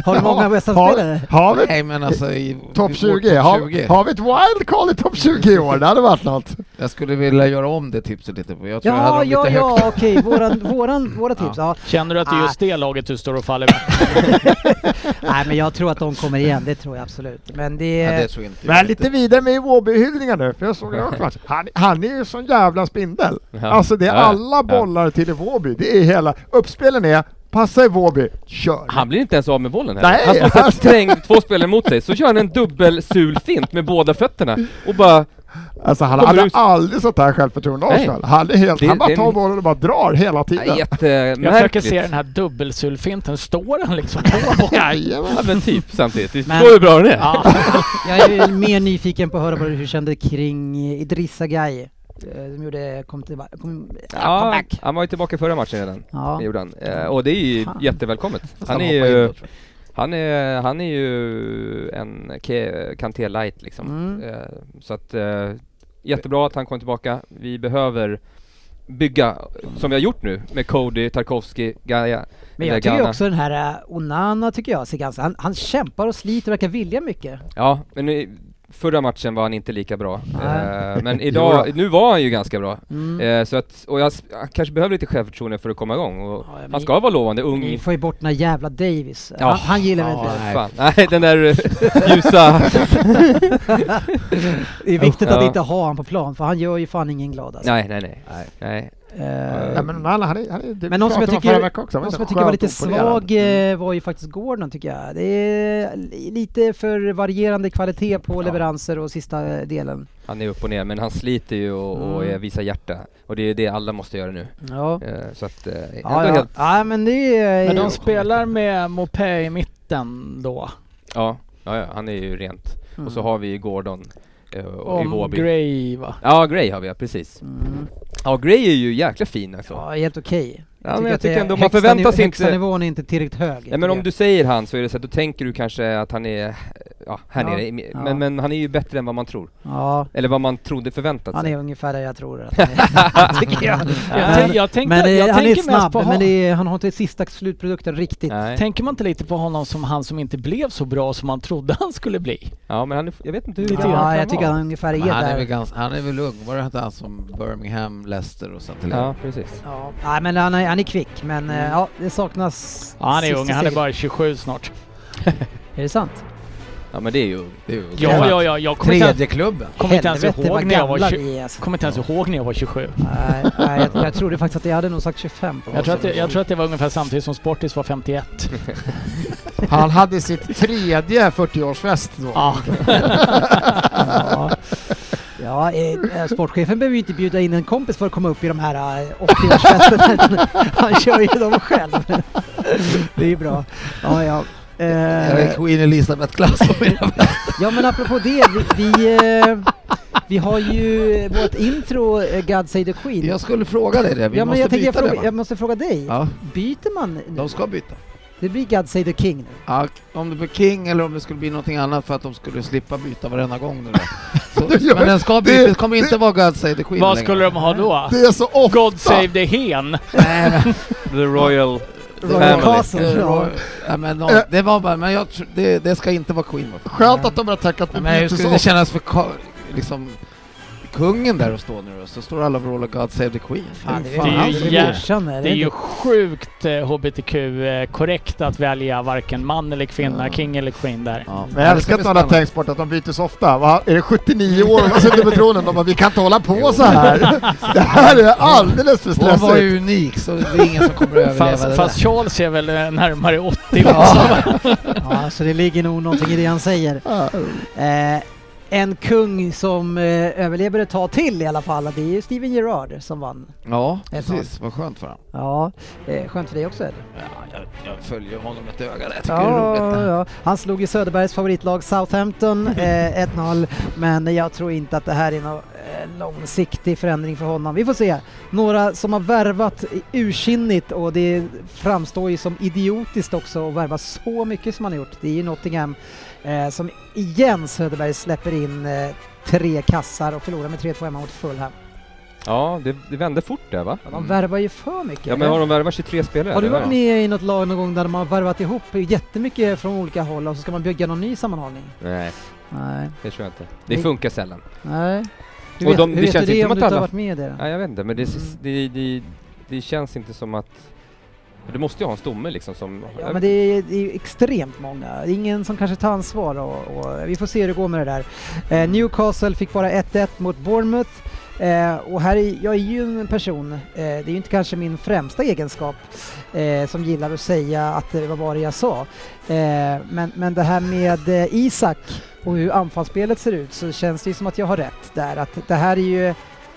Speaker 1: Har du många
Speaker 5: Ja,
Speaker 1: West
Speaker 5: har-
Speaker 1: Ham-spelare?
Speaker 5: Har vi Eh,
Speaker 3: Nej men alltså i
Speaker 5: topp
Speaker 3: i
Speaker 5: 20?
Speaker 3: vår
Speaker 5: Har,
Speaker 3: topp 20.
Speaker 5: har vi ett wildcard i topp 20 i år? Det hade varit något.
Speaker 3: Jag skulle vilja göra om det tipset lite. för Jag tror jag hade
Speaker 1: Ja, ja,
Speaker 3: dem lite högt.
Speaker 1: ja, okej. Våran, våran, våra tips. Ja.
Speaker 4: Känner du att det är just det laget du står och faller med?
Speaker 1: Nej, men jag tror att de kommer igen. Det tror jag absolut. Men det...
Speaker 3: Ja, det tror jag inte.
Speaker 5: Men jag är lite vidare med Iwobi-hyllningar nu, för jag såg det också. Han, han är ju sån jävla spindel.
Speaker 2: Ja.
Speaker 5: Alltså det är
Speaker 2: Ja, ja.
Speaker 5: alla
Speaker 2: Ja.
Speaker 5: bollar till Iwobi. Det är hela... Uppspelen är passa Iwobi, kör.
Speaker 2: Han blir inte ens av med bollen heller.
Speaker 5: Nej,
Speaker 2: han står
Speaker 5: alltså.
Speaker 2: alltså. trängd två spelare mot sig, så gör han en dubbel sulfint med båda fötterna och bara...
Speaker 5: Alltså han
Speaker 2: Kommer
Speaker 5: hade
Speaker 2: ut.
Speaker 5: aldrig sånt här självförtroende
Speaker 2: Nej.
Speaker 5: Arsenal. Han, är helt,
Speaker 2: Det-
Speaker 5: han bara
Speaker 2: det-
Speaker 5: tar bollen och bara drar hela tiden.
Speaker 4: Jag försöker se
Speaker 2: Jättemärkligt.
Speaker 4: den här dubbelsulfinten. Står han liksom på bollen?
Speaker 5: Jajamän.
Speaker 2: Ja men typ samtidigt. Vi
Speaker 1: Men-
Speaker 2: förstår hur bra den är.
Speaker 4: Ja.
Speaker 1: Jag är ju mer nyfiken på att höra vad du hur du kände kring Idrissa Gueye. eh, Som gjorde... Kom tillbaka... Kom, ja,
Speaker 2: Ja,
Speaker 1: comeback.
Speaker 2: han var ju tillbaka i förra matchen redan.
Speaker 1: Ja.
Speaker 2: Det gjorde han. Eh, och det är ju
Speaker 1: Fan.
Speaker 2: jättevälkommet. Han
Speaker 3: Han
Speaker 2: är
Speaker 3: hoppar in
Speaker 2: ju...
Speaker 3: då, tror
Speaker 2: Han är, han är ju en Ke- Kanté light liksom.
Speaker 1: Mm.
Speaker 2: Eh, så att eh, jättebra att han kom tillbaka. Vi behöver bygga, som vi har gjort nu, med Cody, Tarkovsky, Gaia.
Speaker 1: Men
Speaker 2: eller
Speaker 1: jag tycker
Speaker 2: Ghana.
Speaker 1: också den här eh, Onana tycker jag ser ganska... Han, han kämpar och sliter och verkar vilja mycket.
Speaker 2: Ja, men nu, förra matchen var han inte lika bra.
Speaker 1: Nej.
Speaker 2: Eh, men idag, nu var han ju ganska bra.
Speaker 1: Mm.
Speaker 2: Eh, så att, och jag, s- jag kanske behöver lite självförtroende för att komma igång. Och
Speaker 1: Ja, men-
Speaker 2: han ska vara lovande,
Speaker 1: Ni
Speaker 2: ung.
Speaker 1: får ju bort den här jävla Davis.
Speaker 2: Ja.
Speaker 1: Han, han gillar väl
Speaker 3: Ja,
Speaker 1: inte det.
Speaker 3: nej.
Speaker 2: Fan. Nej, den där eh, ljusa...
Speaker 1: Det är viktigt att
Speaker 2: Ja.
Speaker 1: inte ha han på plan för han gör ju fan ingen glad alltså.
Speaker 2: nej, nej, nej. nej. nej.
Speaker 1: Eh,
Speaker 5: Ja, men han, han är, han är, det
Speaker 1: Men någon som jag
Speaker 5: pratade man
Speaker 1: tycker-
Speaker 5: förra veckan också. Han
Speaker 1: Någon som
Speaker 5: så
Speaker 1: jag tycker var lite
Speaker 5: skönt Mm. opolerad.
Speaker 1: svag eh, var ju faktiskt Gordon tycker jag. Det är li- lite för varierande kvalitet på leveranser och sista eh, delen.
Speaker 2: Han är upp och ner, men han sliter ju och, och
Speaker 1: Mm.
Speaker 2: eh, visar hjärta. Och det är ju det alla måste göra nu.
Speaker 1: Ja.
Speaker 2: Eh, Så att, eh,
Speaker 1: Ja,
Speaker 2: ändå
Speaker 1: ja.
Speaker 2: helt...
Speaker 1: ja men det är...
Speaker 4: Men de spelar med Mopé i mitten då.
Speaker 2: Ja, ja, ja, han är ju rent.
Speaker 1: Mm.
Speaker 2: Och så har vi ju Gordon eh, och
Speaker 4: Om
Speaker 2: Iwobi.
Speaker 4: Gray va?
Speaker 2: Ja, Gray har vi ja, precis.
Speaker 1: Mm.
Speaker 2: Ja, Gray är ju jäkla fin alltså. Ja,
Speaker 1: Ja, helt okej.
Speaker 2: men jag
Speaker 1: att det
Speaker 2: tycker
Speaker 1: är-
Speaker 2: ändå man
Speaker 1: högsta
Speaker 2: förväntar
Speaker 1: niv-
Speaker 2: sig
Speaker 1: högsta
Speaker 2: inte...
Speaker 1: nivån är inte tillräckligt hög.
Speaker 2: Nej men om du säger han så är det så att då tänker du kanske att han är, eh, ja, här
Speaker 1: Ja.
Speaker 2: nere. i- Men,
Speaker 1: Ja.
Speaker 2: men han är ju bättre än vad man tror.
Speaker 1: Ja,
Speaker 2: Eller vad man trodde förväntat
Speaker 1: han
Speaker 2: sig.
Speaker 1: är ungefär där jag tror att han är.
Speaker 2: tycker jag.
Speaker 4: Jag,
Speaker 1: men-
Speaker 4: tänk- jag, tänkte,
Speaker 1: Men eh,
Speaker 4: jag
Speaker 1: han är
Speaker 4: tänker mest
Speaker 1: snabb,
Speaker 4: på
Speaker 1: men
Speaker 4: honom.
Speaker 1: det är, han har inte sista slutprodukten riktigt.
Speaker 2: Nej.
Speaker 4: Tänker man inte lite på honom som han som inte blev så bra som man trodde han skulle bli?
Speaker 2: Ja men han är, jag vet inte hur
Speaker 4: Lite
Speaker 2: gammal
Speaker 1: Ja,
Speaker 4: grann
Speaker 1: jag tycker
Speaker 2: var.
Speaker 1: han ungefär är
Speaker 3: Men han, är
Speaker 1: där.
Speaker 3: väl ganska, han är väl ung? Var det inte han som Birmingham, Leicester och sånt? eller?
Speaker 2: Ja, precis.
Speaker 1: Ja, nej, men han är, han är kvick, men eh, ja, det saknas...
Speaker 4: Ja, han är
Speaker 1: sista
Speaker 4: ung, han är
Speaker 1: steget.
Speaker 4: bara 27 snart.
Speaker 1: Är det sant?
Speaker 2: Ja men det är ju
Speaker 3: Det är ju
Speaker 4: Ja, ja, ja, jag kommer inte, ens-
Speaker 3: Tredje klubben.
Speaker 4: kommer inte ens
Speaker 1: Helvete,
Speaker 4: ihåg
Speaker 1: vad
Speaker 4: när jag var
Speaker 1: gamla
Speaker 4: 20
Speaker 1: vi är, alltså.
Speaker 4: kommer inte ens ihåg när jag var 27.
Speaker 1: Nej, nej, jag, jag trodde faktiskt att jag hade nog sagt 25. På
Speaker 4: Jag tror, att det,
Speaker 1: avsnitt.
Speaker 4: jag tror att det var ungefär samtidigt som Sportis var 51.
Speaker 5: Han hade sitt tredje 40-årsfest då.
Speaker 4: Ja.
Speaker 1: Ja, ja eh, eh, sportchefen behöver ju inte bjuda in en kompis för att komma upp i de här eh, 80-årsfesterna. utan han kör ju dem själv. Det är ju bra. Ja, ja.
Speaker 3: Jag
Speaker 1: Eh,
Speaker 3: är Queen Elizabeth-klass på mina vänner.
Speaker 1: Ja men apropå det, vi, vi, eh, vi har ju vårt intro eh, God Save the Queen.
Speaker 3: Jag skulle fråga dig det. Vi
Speaker 1: ja, men
Speaker 3: måste
Speaker 1: jag, tänker jag,
Speaker 3: byta
Speaker 1: fråga,
Speaker 3: det
Speaker 1: jag
Speaker 3: va?
Speaker 1: måste fråga dig,
Speaker 3: Ja,
Speaker 1: byter man nu?
Speaker 3: de ska byta.
Speaker 1: Det blir God Save the King nu.
Speaker 3: Ja, om det blir King eller om det skulle bli någonting annat för att de skulle slippa byta varenda gång nu då.
Speaker 5: Det
Speaker 3: Så,
Speaker 5: gör-
Speaker 3: men den ska byta,
Speaker 5: det-
Speaker 3: det kommer inte vara God Save the Queen
Speaker 4: Vad
Speaker 3: längre.
Speaker 4: skulle de ha då?
Speaker 5: Det är så ofta.
Speaker 4: God save the hen!
Speaker 2: The Royal
Speaker 1: Royal
Speaker 2: Family.
Speaker 1: Castle.
Speaker 3: Eh,
Speaker 1: Ja.
Speaker 3: ja, men, no, det var bara, men jag, tr- det, det ska inte vara Queen. va?
Speaker 5: Eh. Skönt att de har tackat
Speaker 3: Ja,
Speaker 5: med
Speaker 3: men hur
Speaker 5: byte
Speaker 3: skulle
Speaker 5: så
Speaker 3: det
Speaker 5: ofta.
Speaker 3: kännas för ka- liksom, kungen där och stå nu då? Så står alla och vrålar God Save the Queen. Fan,
Speaker 1: alltså, det
Speaker 3: fan,
Speaker 4: ju
Speaker 1: är
Speaker 3: han-
Speaker 1: ju
Speaker 4: jä-
Speaker 1: morsan är
Speaker 4: Det är ju
Speaker 1: inte?
Speaker 4: sjukt eh, HBTQ-korrekt att välja varken man eller kvinna,
Speaker 3: Ja.
Speaker 4: king eller queen där.
Speaker 3: Ja,
Speaker 5: Men jag älskar att någon har tänkt bort att de byter så ofta. Va? Är det 79 år och de sitter på tronen? De bara, vi kan inte hålla på så här. Det här är alldeles för
Speaker 3: Hon var
Speaker 5: stressigt.
Speaker 3: ju unik så det är ingen som kommer att överleva det
Speaker 4: Fast,
Speaker 3: där.
Speaker 4: fast Charles är väl eh, närmare 80
Speaker 1: Ja, så det ligger nog någonting i det han säger.
Speaker 5: Ja.
Speaker 1: Eh, en kung som eh, överlever ett tag till i alla fall, det är ju Steven Gerrard som vann.
Speaker 3: Ja,
Speaker 1: Ett
Speaker 3: precis. Vad skönt för honom.
Speaker 1: Ja, eh, skönt för dig också eller?
Speaker 3: Ja, jag, jag följer honom ett öga där. Jag tycker det är
Speaker 1: Ja,
Speaker 3: roligt.
Speaker 1: ja. Han slog ju Söderbergs favoritlag Southampton eh, 1-0, men jag tror inte att det här är någon eh, långsiktig förändring för honom. Vi får se. Några som har värvat ursinnigt och det framstår ju som idiotiskt också att värva så mycket som han har gjort. Det är ju Nottingham eh, som igen Söderberg släpper in eh, tre kassar och förlorar med 3-2 hemma mot Fulham.
Speaker 2: Ja, det, det vände fort där va?
Speaker 1: Ja, de värvar ju för mycket.
Speaker 2: Mm. Ja men har de värvat 23 spelare?
Speaker 1: Har du
Speaker 2: eller?
Speaker 1: varit med i något lag någon gång där man har värvat ihop jättemycket från olika håll och så ska man bygga någon ny sammanhållning?
Speaker 2: Nej,
Speaker 1: Nej.
Speaker 2: det tror jag inte. Det
Speaker 1: Nej.
Speaker 2: funkar sällan.
Speaker 1: Nej. Hur
Speaker 2: Och
Speaker 1: vet,
Speaker 2: de-
Speaker 1: hur
Speaker 2: det
Speaker 1: vet
Speaker 2: känns
Speaker 1: du det
Speaker 2: inte
Speaker 1: om
Speaker 2: som
Speaker 1: du
Speaker 2: att
Speaker 1: inte har
Speaker 2: alla-
Speaker 1: varit med i det?
Speaker 2: Nej jag vet inte, men det,
Speaker 1: Mm.
Speaker 2: det, det, det känns inte som att... Du måste ju ha en stomme liksom som...
Speaker 1: Ja, men det är, det är ju extremt många. Det är Ingen som kanske tar ansvar och, och vi får se hur det går med det där. Eh, Newcastle fick bara 1-1 mot Bournemouth. Eh, och här är, jag är ju en person, eh, det är ju inte kanske min främsta egenskap, eh, som gillar att säga att det var bara jag sa. Eh, men, men det här med eh, Isak och hur anfallsspelet ser ut så känns det ju som att jag har rätt där. Att det här är ju,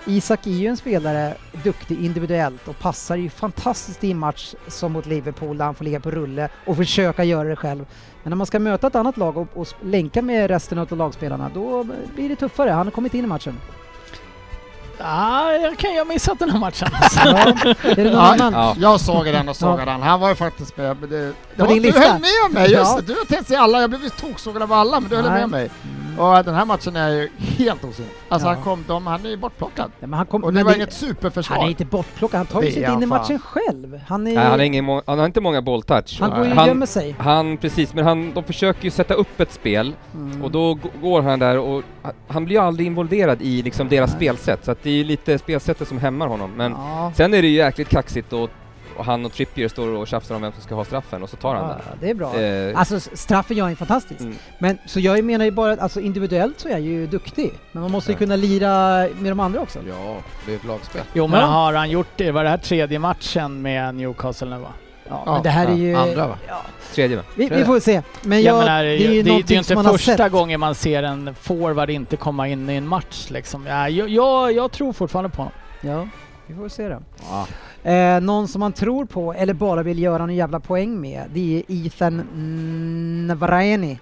Speaker 1: Isak är ju en spelare, duktig individuellt och passar ju fantastiskt i en match som mot Liverpool där han får ligga på rulle och försöka göra det själv. Men när man ska möta ett annat lag och, och sp- länka med resten av lagspelarna då blir det tuffare. Han har kommit in i matchen.
Speaker 4: Ah, jag kan ju ha missat den här matchen. alltså.
Speaker 1: Ja, är det någon
Speaker 5: Ja,
Speaker 1: annan?
Speaker 2: Ja.
Speaker 5: Jag såg den och sågade den. Han var ju faktiskt med. men Det, det var,
Speaker 1: din
Speaker 5: du
Speaker 1: lista?
Speaker 5: höll med mig! Just
Speaker 1: Ja.
Speaker 5: det, du har tänkt sig alla. Jag blev ju toksågad av alla, men du höll
Speaker 1: Nej.
Speaker 5: med mig.
Speaker 1: Mm.
Speaker 5: Och den här matchen är ju helt osynlig. Alltså
Speaker 1: Ja.
Speaker 5: han kom, de, han är ju bortplockad.
Speaker 1: Ja, men han kom,
Speaker 5: Och det
Speaker 1: men
Speaker 5: var
Speaker 1: det-
Speaker 5: inget superförsvar.
Speaker 1: han är inte bortplockad, han tar
Speaker 5: Det
Speaker 1: ju
Speaker 5: är
Speaker 1: sig inte in i
Speaker 5: han fan.
Speaker 1: matchen själv. Han, är,
Speaker 2: Nej, han, har ingen, må- han har inte många bolltouch.
Speaker 1: Eh, han går ju och
Speaker 2: han,
Speaker 1: gömmer sig.
Speaker 2: han, precis, men han, de försöker ju sätta upp ett spel
Speaker 1: Mm.
Speaker 2: och då g- går han där och han- han blir ju aldrig involverad i liksom deras spelsätt så att det är ju lite spelsättet som hämmar honom. Men
Speaker 1: ja.
Speaker 2: sen är det ju jäkligt kaxigt och, och han och Trippier står och tjafsar om vem som ska ha straffen och så tar han
Speaker 1: Ja, det är bra.
Speaker 2: den. Eh,
Speaker 1: Alltså s- straffen gör ju fantastiskt.
Speaker 2: Mm.
Speaker 1: Men så jag menar ju bara att alltså, individuellt så är jag ju duktig. Men man måste ju
Speaker 2: Ja.
Speaker 1: kunna lira med de andra också.
Speaker 3: Ja, det är ett lagspel.
Speaker 4: Jo men
Speaker 1: Ja.
Speaker 4: har han gjort det? Var det här tredje matchen med Newcastle nu va?
Speaker 1: Ja,
Speaker 5: Ja,
Speaker 1: men det här är ju...
Speaker 3: Andra va?
Speaker 1: Ja,
Speaker 2: tredje va?
Speaker 1: vi,
Speaker 3: Tror
Speaker 1: vi
Speaker 3: jag.
Speaker 1: får se. Men
Speaker 4: Jag
Speaker 1: jag,
Speaker 4: menar,
Speaker 1: det är ju
Speaker 4: det är
Speaker 1: någonting
Speaker 4: ju inte
Speaker 1: som man har
Speaker 4: första
Speaker 1: sett.
Speaker 4: gången man ser en forward inte komma in i en match liksom. Ja, jag, jag, jag tror fortfarande på honom.
Speaker 1: Ja, vi får se då.
Speaker 3: Ja.
Speaker 1: Eh, någon som man tror på eller bara vill göra en jävla poäng med, det är Ethan Navareni.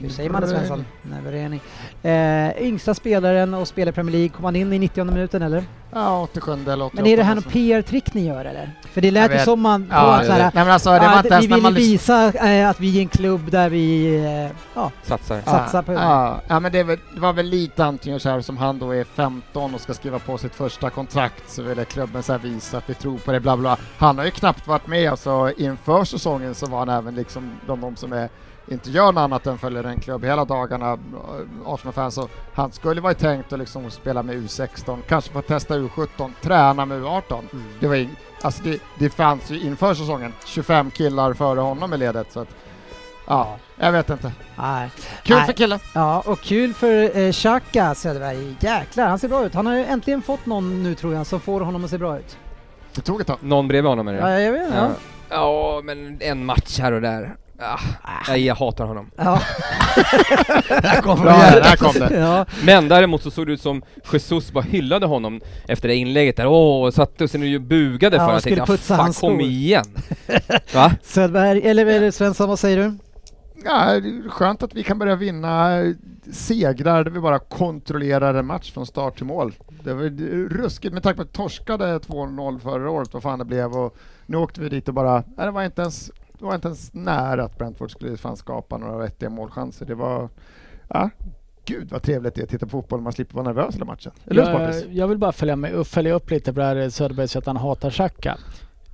Speaker 1: Hur säger man det Svensson? Navareni. Eh, yngsta spelaren och spelar i Premier League. Kom han in i 90 minuten eller?
Speaker 5: Ja, 87 eller 88.
Speaker 1: Men är det här något
Speaker 5: alltså.
Speaker 1: PR-trick ni gör eller? För det
Speaker 5: Jag
Speaker 1: lät ju
Speaker 5: vet.
Speaker 1: som man... på
Speaker 5: Ja,
Speaker 1: att så här,
Speaker 5: Nej men alltså det var
Speaker 1: att
Speaker 5: inte ens
Speaker 1: vi
Speaker 5: när
Speaker 1: vill
Speaker 5: man lyssnade.
Speaker 1: visa eh, att vi är en klubb där vi... Eh, ja,
Speaker 2: Satsar.
Speaker 1: Ja. satsa på-
Speaker 5: Ja, ja men det, är väl- det var väl lite antingen så här som han då är 15 och ska skriva på sitt första kontrakt så ville klubben så här visa att vi tror på det bla bla. Han har ju knappt varit med alltså inför säsongen så var han även liksom bland de som är inte gör något annat än följer en klubb hela dagarna, eh, Arsenal-fans. Så han skulle vara tänkt att liksom spela med U16, kanske få testa U17, träna med U18.
Speaker 1: Mm.
Speaker 5: Det, var ing- alltså det, det fanns ju inför säsongen 25 killar före honom i ledet. Så att, ja, jag vet inte.
Speaker 1: nej.
Speaker 5: Kul
Speaker 1: Nej.
Speaker 5: för killen.
Speaker 1: Ja, och kul för eh, Xhaka Söderberg. Jäklar, han ser bra ut. Han har ju äntligen fått någon nu tror jag som får honom att se bra ut.
Speaker 5: Det tog ett tag.
Speaker 2: Någon bredvid honom är det?
Speaker 1: Ja, jag vet
Speaker 2: Ja.
Speaker 1: ja.
Speaker 2: ja, men en match här och där. Ah, nej, jag hatar honom.
Speaker 1: Ja.
Speaker 3: Där kom
Speaker 5: Bra, där kom det.
Speaker 1: ja.
Speaker 2: Men däremot så såg det ut som Jesus bara hyllade honom efter det inlägget där. Åh, och satte sig nu och bugade
Speaker 1: Ja,
Speaker 2: för
Speaker 1: och
Speaker 2: att
Speaker 1: skulle
Speaker 2: tänkte, "Ah,
Speaker 1: putsa
Speaker 2: fan
Speaker 1: hans
Speaker 2: kom
Speaker 1: skor."
Speaker 2: igen. Va?
Speaker 1: Söderberg, eller, eller Svensson, vad säger du?
Speaker 5: Ja, det är skönt att vi kan börja vinna segrar där vi bara kontrollerar en match från start till mål. Det var ju ruskigt med tanke på att vi torskade 2-0 förra året, vad fan det blev, och nu åkte vi dit och bara, nej, det var inte ens, det var inte ens nära att Brentford skulle fan skapa några vettiga målchanser. Det var, ja, gud vad trevligt det är att titta på fotboll, man slipper vara nervös hela matchen. Eller hur
Speaker 4: Jag,
Speaker 5: Pontus?
Speaker 4: jag vill bara följa, med, följa upp lite på det här Söderberg så att han hatar Xhaka.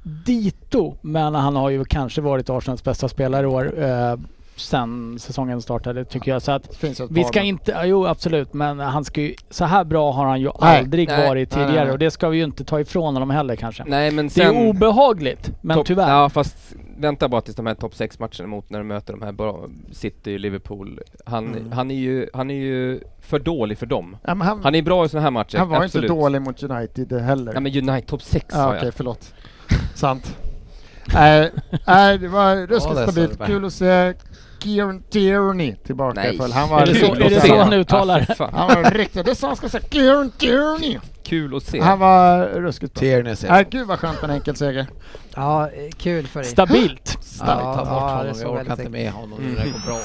Speaker 4: Dito, men han har ju kanske varit Arsenals bästa spelare i år eh, sen säsongen startade tycker jag. Så att
Speaker 5: Det finns ju ett
Speaker 4: Vi
Speaker 5: par,
Speaker 4: ska
Speaker 5: men-
Speaker 4: inte, ja, jo absolut, men han ska ju, så här bra har han ju
Speaker 5: Nej,
Speaker 4: aldrig
Speaker 2: nej,
Speaker 4: varit
Speaker 5: nej,
Speaker 4: tidigare
Speaker 5: nej.
Speaker 4: och det ska vi ju inte ta ifrån honom heller kanske.
Speaker 2: Nej men
Speaker 4: det
Speaker 2: sen...
Speaker 4: är obehagligt, men
Speaker 2: topp-
Speaker 4: tyvärr.
Speaker 2: Ja fast vänta bara tills de här topp 6 matcherna mot när de möter de här bra City, Liverpool. Han, han, är ju, han är ju för dålig för dem.
Speaker 5: Ja, men han, han,
Speaker 2: Han är bra i såna här matcher,
Speaker 5: var ju
Speaker 2: absolut.
Speaker 5: inte dålig mot United heller.
Speaker 2: Nej men United, topp 6
Speaker 5: Ja,
Speaker 2: sa
Speaker 5: Okej,
Speaker 2: jag.
Speaker 5: förlåt. Sant. Nej, nej, det var ruskigt
Speaker 3: det är
Speaker 5: stabilt.
Speaker 3: Söderberg.
Speaker 5: Kul att se Kieran Tierney tillbaka i full. Han var
Speaker 4: Är det så-
Speaker 5: riktigt
Speaker 4: är det så
Speaker 5: bra.
Speaker 4: han uttalar det?
Speaker 2: Ah, fy fan.
Speaker 5: Han var riktigt, det är så han ska säga. Kieran Tierney!
Speaker 2: Kul att se.
Speaker 5: Han var ruskigt bra.
Speaker 3: Tierney säger
Speaker 5: Nej,
Speaker 3: jag.
Speaker 5: gud vad skönt med en enkel seger.
Speaker 1: Ja, eh, kul för dig.
Speaker 4: Stabilt.
Speaker 3: Starkt,
Speaker 1: Ja,
Speaker 3: ta bort
Speaker 1: ja, det
Speaker 3: honom.
Speaker 1: såg
Speaker 3: Jag orkar
Speaker 1: väldigt
Speaker 3: inte med honom nu när det går bra.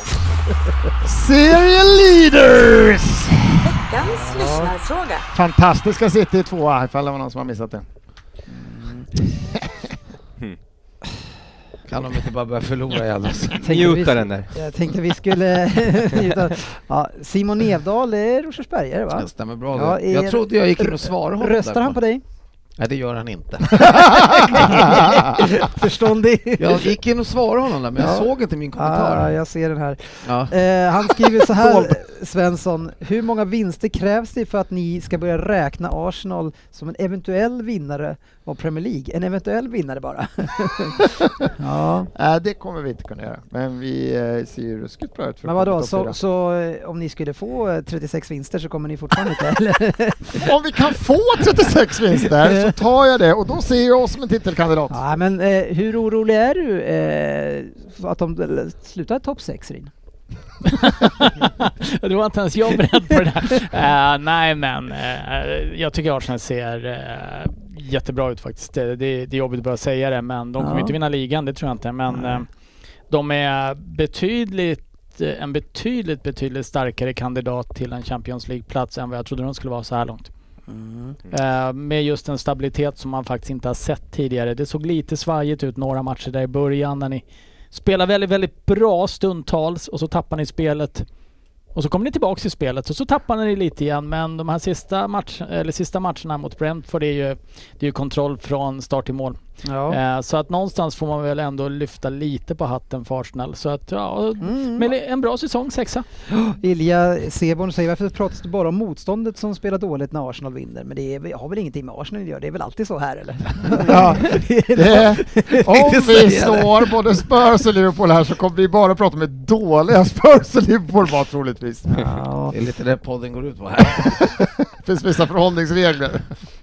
Speaker 5: Serial leaders!
Speaker 7: Veckans lyssnarfråga.
Speaker 5: Fantastiska City tvåa, ifall det var någon som har missat det.
Speaker 3: Kan de inte bara börja förlora igen? alltså?
Speaker 1: Jag tänkte vi-
Speaker 2: Njuta den där.
Speaker 1: Jag tänkte vi skulle... njuta. ja, Simon Nevdal är Rosersbergare va?
Speaker 3: Det stämmer bra.
Speaker 1: Ja,
Speaker 3: det.
Speaker 1: är-
Speaker 3: jag trodde jag gick in och svarade honom.
Speaker 1: Röstar
Speaker 3: där.
Speaker 1: han på dig?
Speaker 3: Nej, det gör han inte.
Speaker 1: Förståndig.
Speaker 3: Jag gick in och svarade honom där, men jag såg inte min
Speaker 1: Ah,
Speaker 3: kommentar.
Speaker 1: jag ser den här.
Speaker 3: Ja.
Speaker 1: Eh, han skriver så här, Svensson. Hur många vinster krävs det för att ni ska börja räkna Arsenal som en eventuell vinnare av Premier League? En eventuell vinnare bara. ja.
Speaker 5: Eh, det kommer vi inte kunna göra, men vi eh, ser ju ruskigt bra ut. För
Speaker 1: Men
Speaker 5: att komma
Speaker 1: vadå,
Speaker 5: i topp
Speaker 1: så,
Speaker 5: fyra.
Speaker 1: så eh, om ni skulle få eh, 36 vinster så kommer ni fortfarande inte? Eller?
Speaker 5: Om vi kan få 36 vinster så tar jag det och då ser jag oss som en titelkandidat.
Speaker 1: Nej, men eh, hur orolig är du eh, för att de eh, slutar topp 6, Rin?
Speaker 4: det var inte ens jag beredd på det där. Eh, nej men eh, jag tycker Arsenal ser eh, jättebra ut faktiskt. Det, det, det är jobbigt att bara säga det men de kommer
Speaker 1: Ja.
Speaker 4: inte vinna ligan, det tror jag inte. Men
Speaker 1: Nej.
Speaker 4: eh, de är betydligt, eh, en betydligt, betydligt starkare kandidat till en Champions League-plats än vad jag trodde de skulle vara så här långt. Eh, med just en stabilitet som man faktiskt inte har sett tidigare. Det såg lite svajigt ut några matcher där i början när ni spelar väldigt, väldigt bra stundtals och så tappar ni spelet. Och så kommer ni tillbaks i spelet och så tappar ni lite igen men de här sista, match, eller sista matcherna mot Brentford är ju, det är ju kontroll från start till mål.
Speaker 1: Ja.
Speaker 4: Eh, så att någonstans får man väl ändå lyfta lite på hatten för Arsenal. Så att ja,
Speaker 1: Mm.
Speaker 4: men det är en bra säsong, sexa.
Speaker 1: Ilja Seborn säger varför pratas det bara om motståndet som spelar dåligt när Arsenal vinner? Men det är, har väl ingenting med Arsenal att göra? Det är väl alltid så här eller?
Speaker 5: Ja, det, om
Speaker 3: tänkte
Speaker 5: vi
Speaker 3: säga det.
Speaker 5: slår både Spurs och Liverpool här så kommer vi bara prata med dåliga Spurs och Liverpool var troligtvis.
Speaker 1: Ja,
Speaker 3: Det är lite det podden går ut på här.
Speaker 5: Det finns vissa förhållningsregler.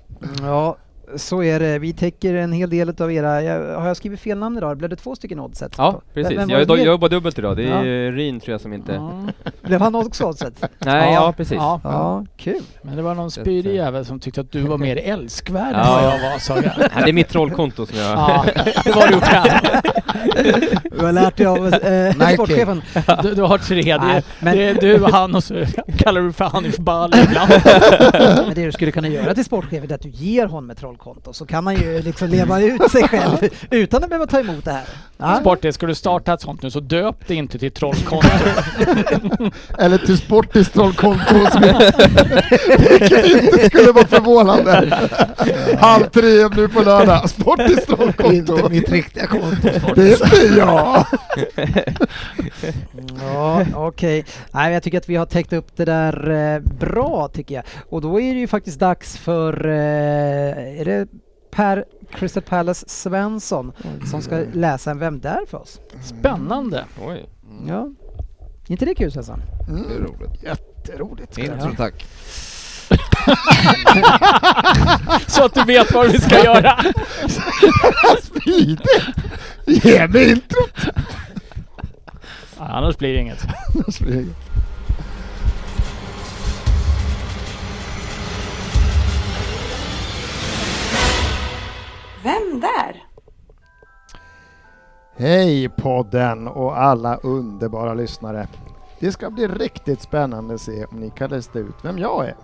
Speaker 1: ja, så är det. Vi täcker en hel del av era... Jag, har jag skrivit fel namn idag? Blev det två stycken oddset?
Speaker 2: Ja, precis.
Speaker 1: Vem var
Speaker 2: Jag,
Speaker 1: det
Speaker 2: jag
Speaker 1: mer?
Speaker 2: jobbar dubbelt idag. Det är
Speaker 1: Ja.
Speaker 2: Rin tror jag som inte...
Speaker 4: Ja.
Speaker 1: Blev han också oddset?
Speaker 2: Nej,
Speaker 4: Ja.
Speaker 2: ja, precis.
Speaker 4: Ja.
Speaker 1: Ja, kul.
Speaker 4: Men det var någon
Speaker 2: Så att,
Speaker 4: spydig
Speaker 2: eh,
Speaker 4: jävel som tyckte att du var mer älskvärd än
Speaker 2: Ja.
Speaker 4: vad jag var, sa jag.
Speaker 2: Nej, det är mitt trollkonto som jag...
Speaker 4: Ja, det var du själv.
Speaker 1: Du har lärt dig av eh,
Speaker 3: Nike.
Speaker 1: sportchefen.
Speaker 4: Du, du har tre. Det,
Speaker 1: Nej, men-
Speaker 4: det är du, han och så kallar du för Hanif Bali ibland.
Speaker 1: Men det du skulle kunna göra till sportchefen är att du ger honom ett trollkonto så kan han ju liksom leva ut sig själv utan att behöva ta emot det här. Ja.
Speaker 4: Sport, det, ska du starta ett sånt nu så döp det inte till trollkonto.
Speaker 5: Eller till Sportis trollkonto som vilket inte skulle vara förvånande. Halv tre nu på lördag. Sportis trollkonto.
Speaker 3: inte mitt riktiga konto.
Speaker 5: Det är inte jag.
Speaker 1: mm, Ja, okej. Nej, men jag tycker att vi har täckt upp det där eh, bra tycker jag. Och då är det ju faktiskt dags för, eh, är det Per Crystal Palace Svensson som ska läsa en Vem där för oss?
Speaker 4: Spännande.
Speaker 2: Oj.
Speaker 1: Ja. Är inte det kul Svensson?
Speaker 3: Det är Mm, roligt. Jätteroligt. Intro tack.
Speaker 4: Så att du vet vad vi ska göra.
Speaker 5: Smidigt! Ge mig introt!
Speaker 4: Annars blir det inget.
Speaker 7: Vem där?
Speaker 5: Hej podden och alla underbara lyssnare. Det ska bli riktigt spännande att se om ni kan lista ut vem jag är.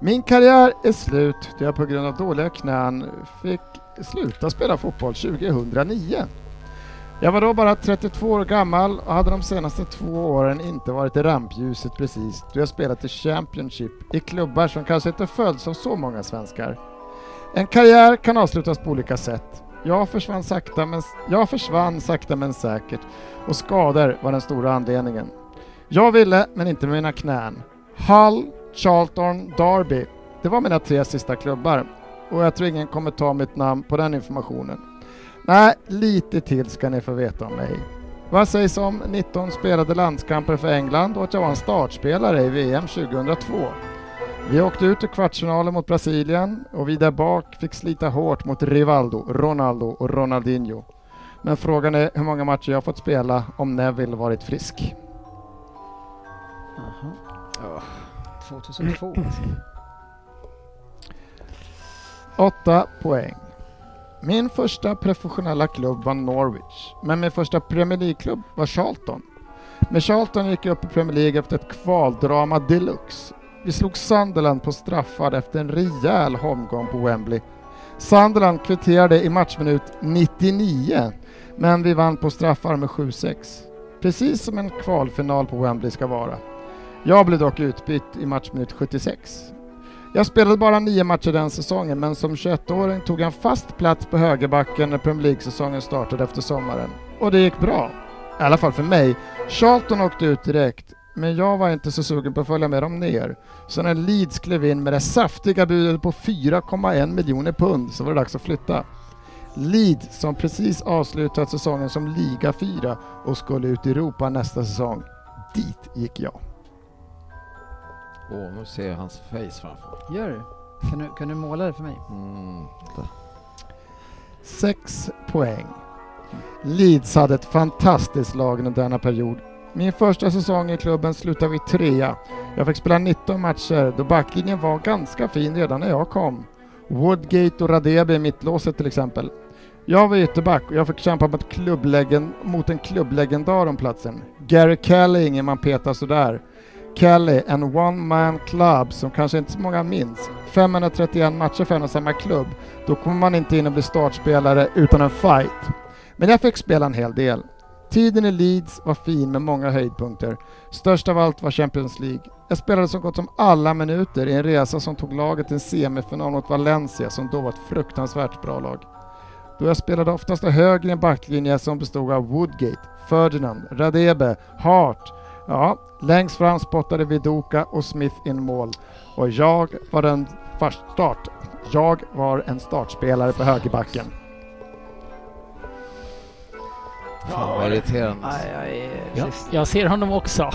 Speaker 5: Min karriär är slut då jag på grund av dåliga knän fick sluta spela fotboll 2009. Jag var då bara 32 år gammal och hade de senaste två åren inte varit i rampljuset precis då jag spelat i Championship i klubbar som kanske inte följs av så många svenskar. En karriär kan avslutas på olika sätt. Jag försvann sakta men, jag försvann sakta men säkert och skador var den stora anledningen. Jag ville, men inte mina knän. Hull, Charlton, Derby. Det var mina tre sista klubbar och jag tror ingen kommer ta mitt namn på den informationen. Nej, lite till ska ni få veta om mig. Vad sägs om 19 spelade landskamper för England och att jag var en startspelare i VM 2002? Vi åkte ut i kvartsfinalen mot Brasilien och vi där bak fick slita hårt mot Rivaldo, Ronaldo och Ronaldinho. Men frågan är hur många matcher jag fått spela om Neville varit frisk.
Speaker 1: 2002.
Speaker 5: 8 poäng. Min första professionella klubb var Norwich, men min första Premier League-klubb var Charlton. Med Charlton gick jag upp i Premier League efter ett kvaldrama deluxe. Vi slog Sunderland på straffar efter en rejäl omgång på Wembley. Sunderland kvitterade i matchminut 99, men vi vann på straffar med 7-6. Precis som en kvalfinal på Wembley ska vara. Jag blev dock utbytt i matchminut 76. Jag spelade bara nio matcher den säsongen, men som 21-åring tog jag en fast plats på högerbacken när Premier League-säsongen startade efter sommaren. Och det gick bra. I alla fall för mig. Charlton åkte ut direkt, men jag var inte så sugen på att följa med dem ner. Så när Leeds klev in med det saftiga budet på 4,1 miljoner pund så var det dags att flytta. Leeds som precis avslutat säsongen som liga 4 och skulle ut i Europa nästa säsong. Dit gick jag.
Speaker 3: Åh, nu ser jag hans face framför mig.
Speaker 1: Gör du? Kan du, kan du måla det för mig?
Speaker 3: Mm.
Speaker 5: 6 poäng. Leeds hade ett fantastiskt lag under denna period. Min första säsong i klubben slutade vi trea. Jag fick spela 19 matcher då backlinjen var ganska fin redan när jag kom. Woodgate och Radebe i mittlåset till exempel. Jag var ytterback och jag fick kämpa mot, klubblegend- mot en klubblegendar om platsen. Gary Kelly är ingen man petar sådär. Kelly, en one man club som kanske inte så många minns. 531 matcher för en och samma klubb. Då kommer man inte in och blir startspelare utan en fight. Men jag fick spela en hel del. Tiden i Leeds var fin med många höjdpunkter. Störst av allt var Champions League. Jag spelade så gott som alla minuter i en resa som tog laget till en semifinal mot Valencia som då var ett fruktansvärt bra lag. Då jag spelade oftast höger i en backlinje som bestod av Woodgate, Ferdinand, Radebe, Hart. Ja, längst fram spottade Viduka och Smith in mål. Och jag var en fast start. Jag var en startspelare på högerbacken.
Speaker 3: Fan vad irriterande.
Speaker 1: Aj, aj,
Speaker 4: Ja.
Speaker 1: ja.
Speaker 4: Jag ser honom också.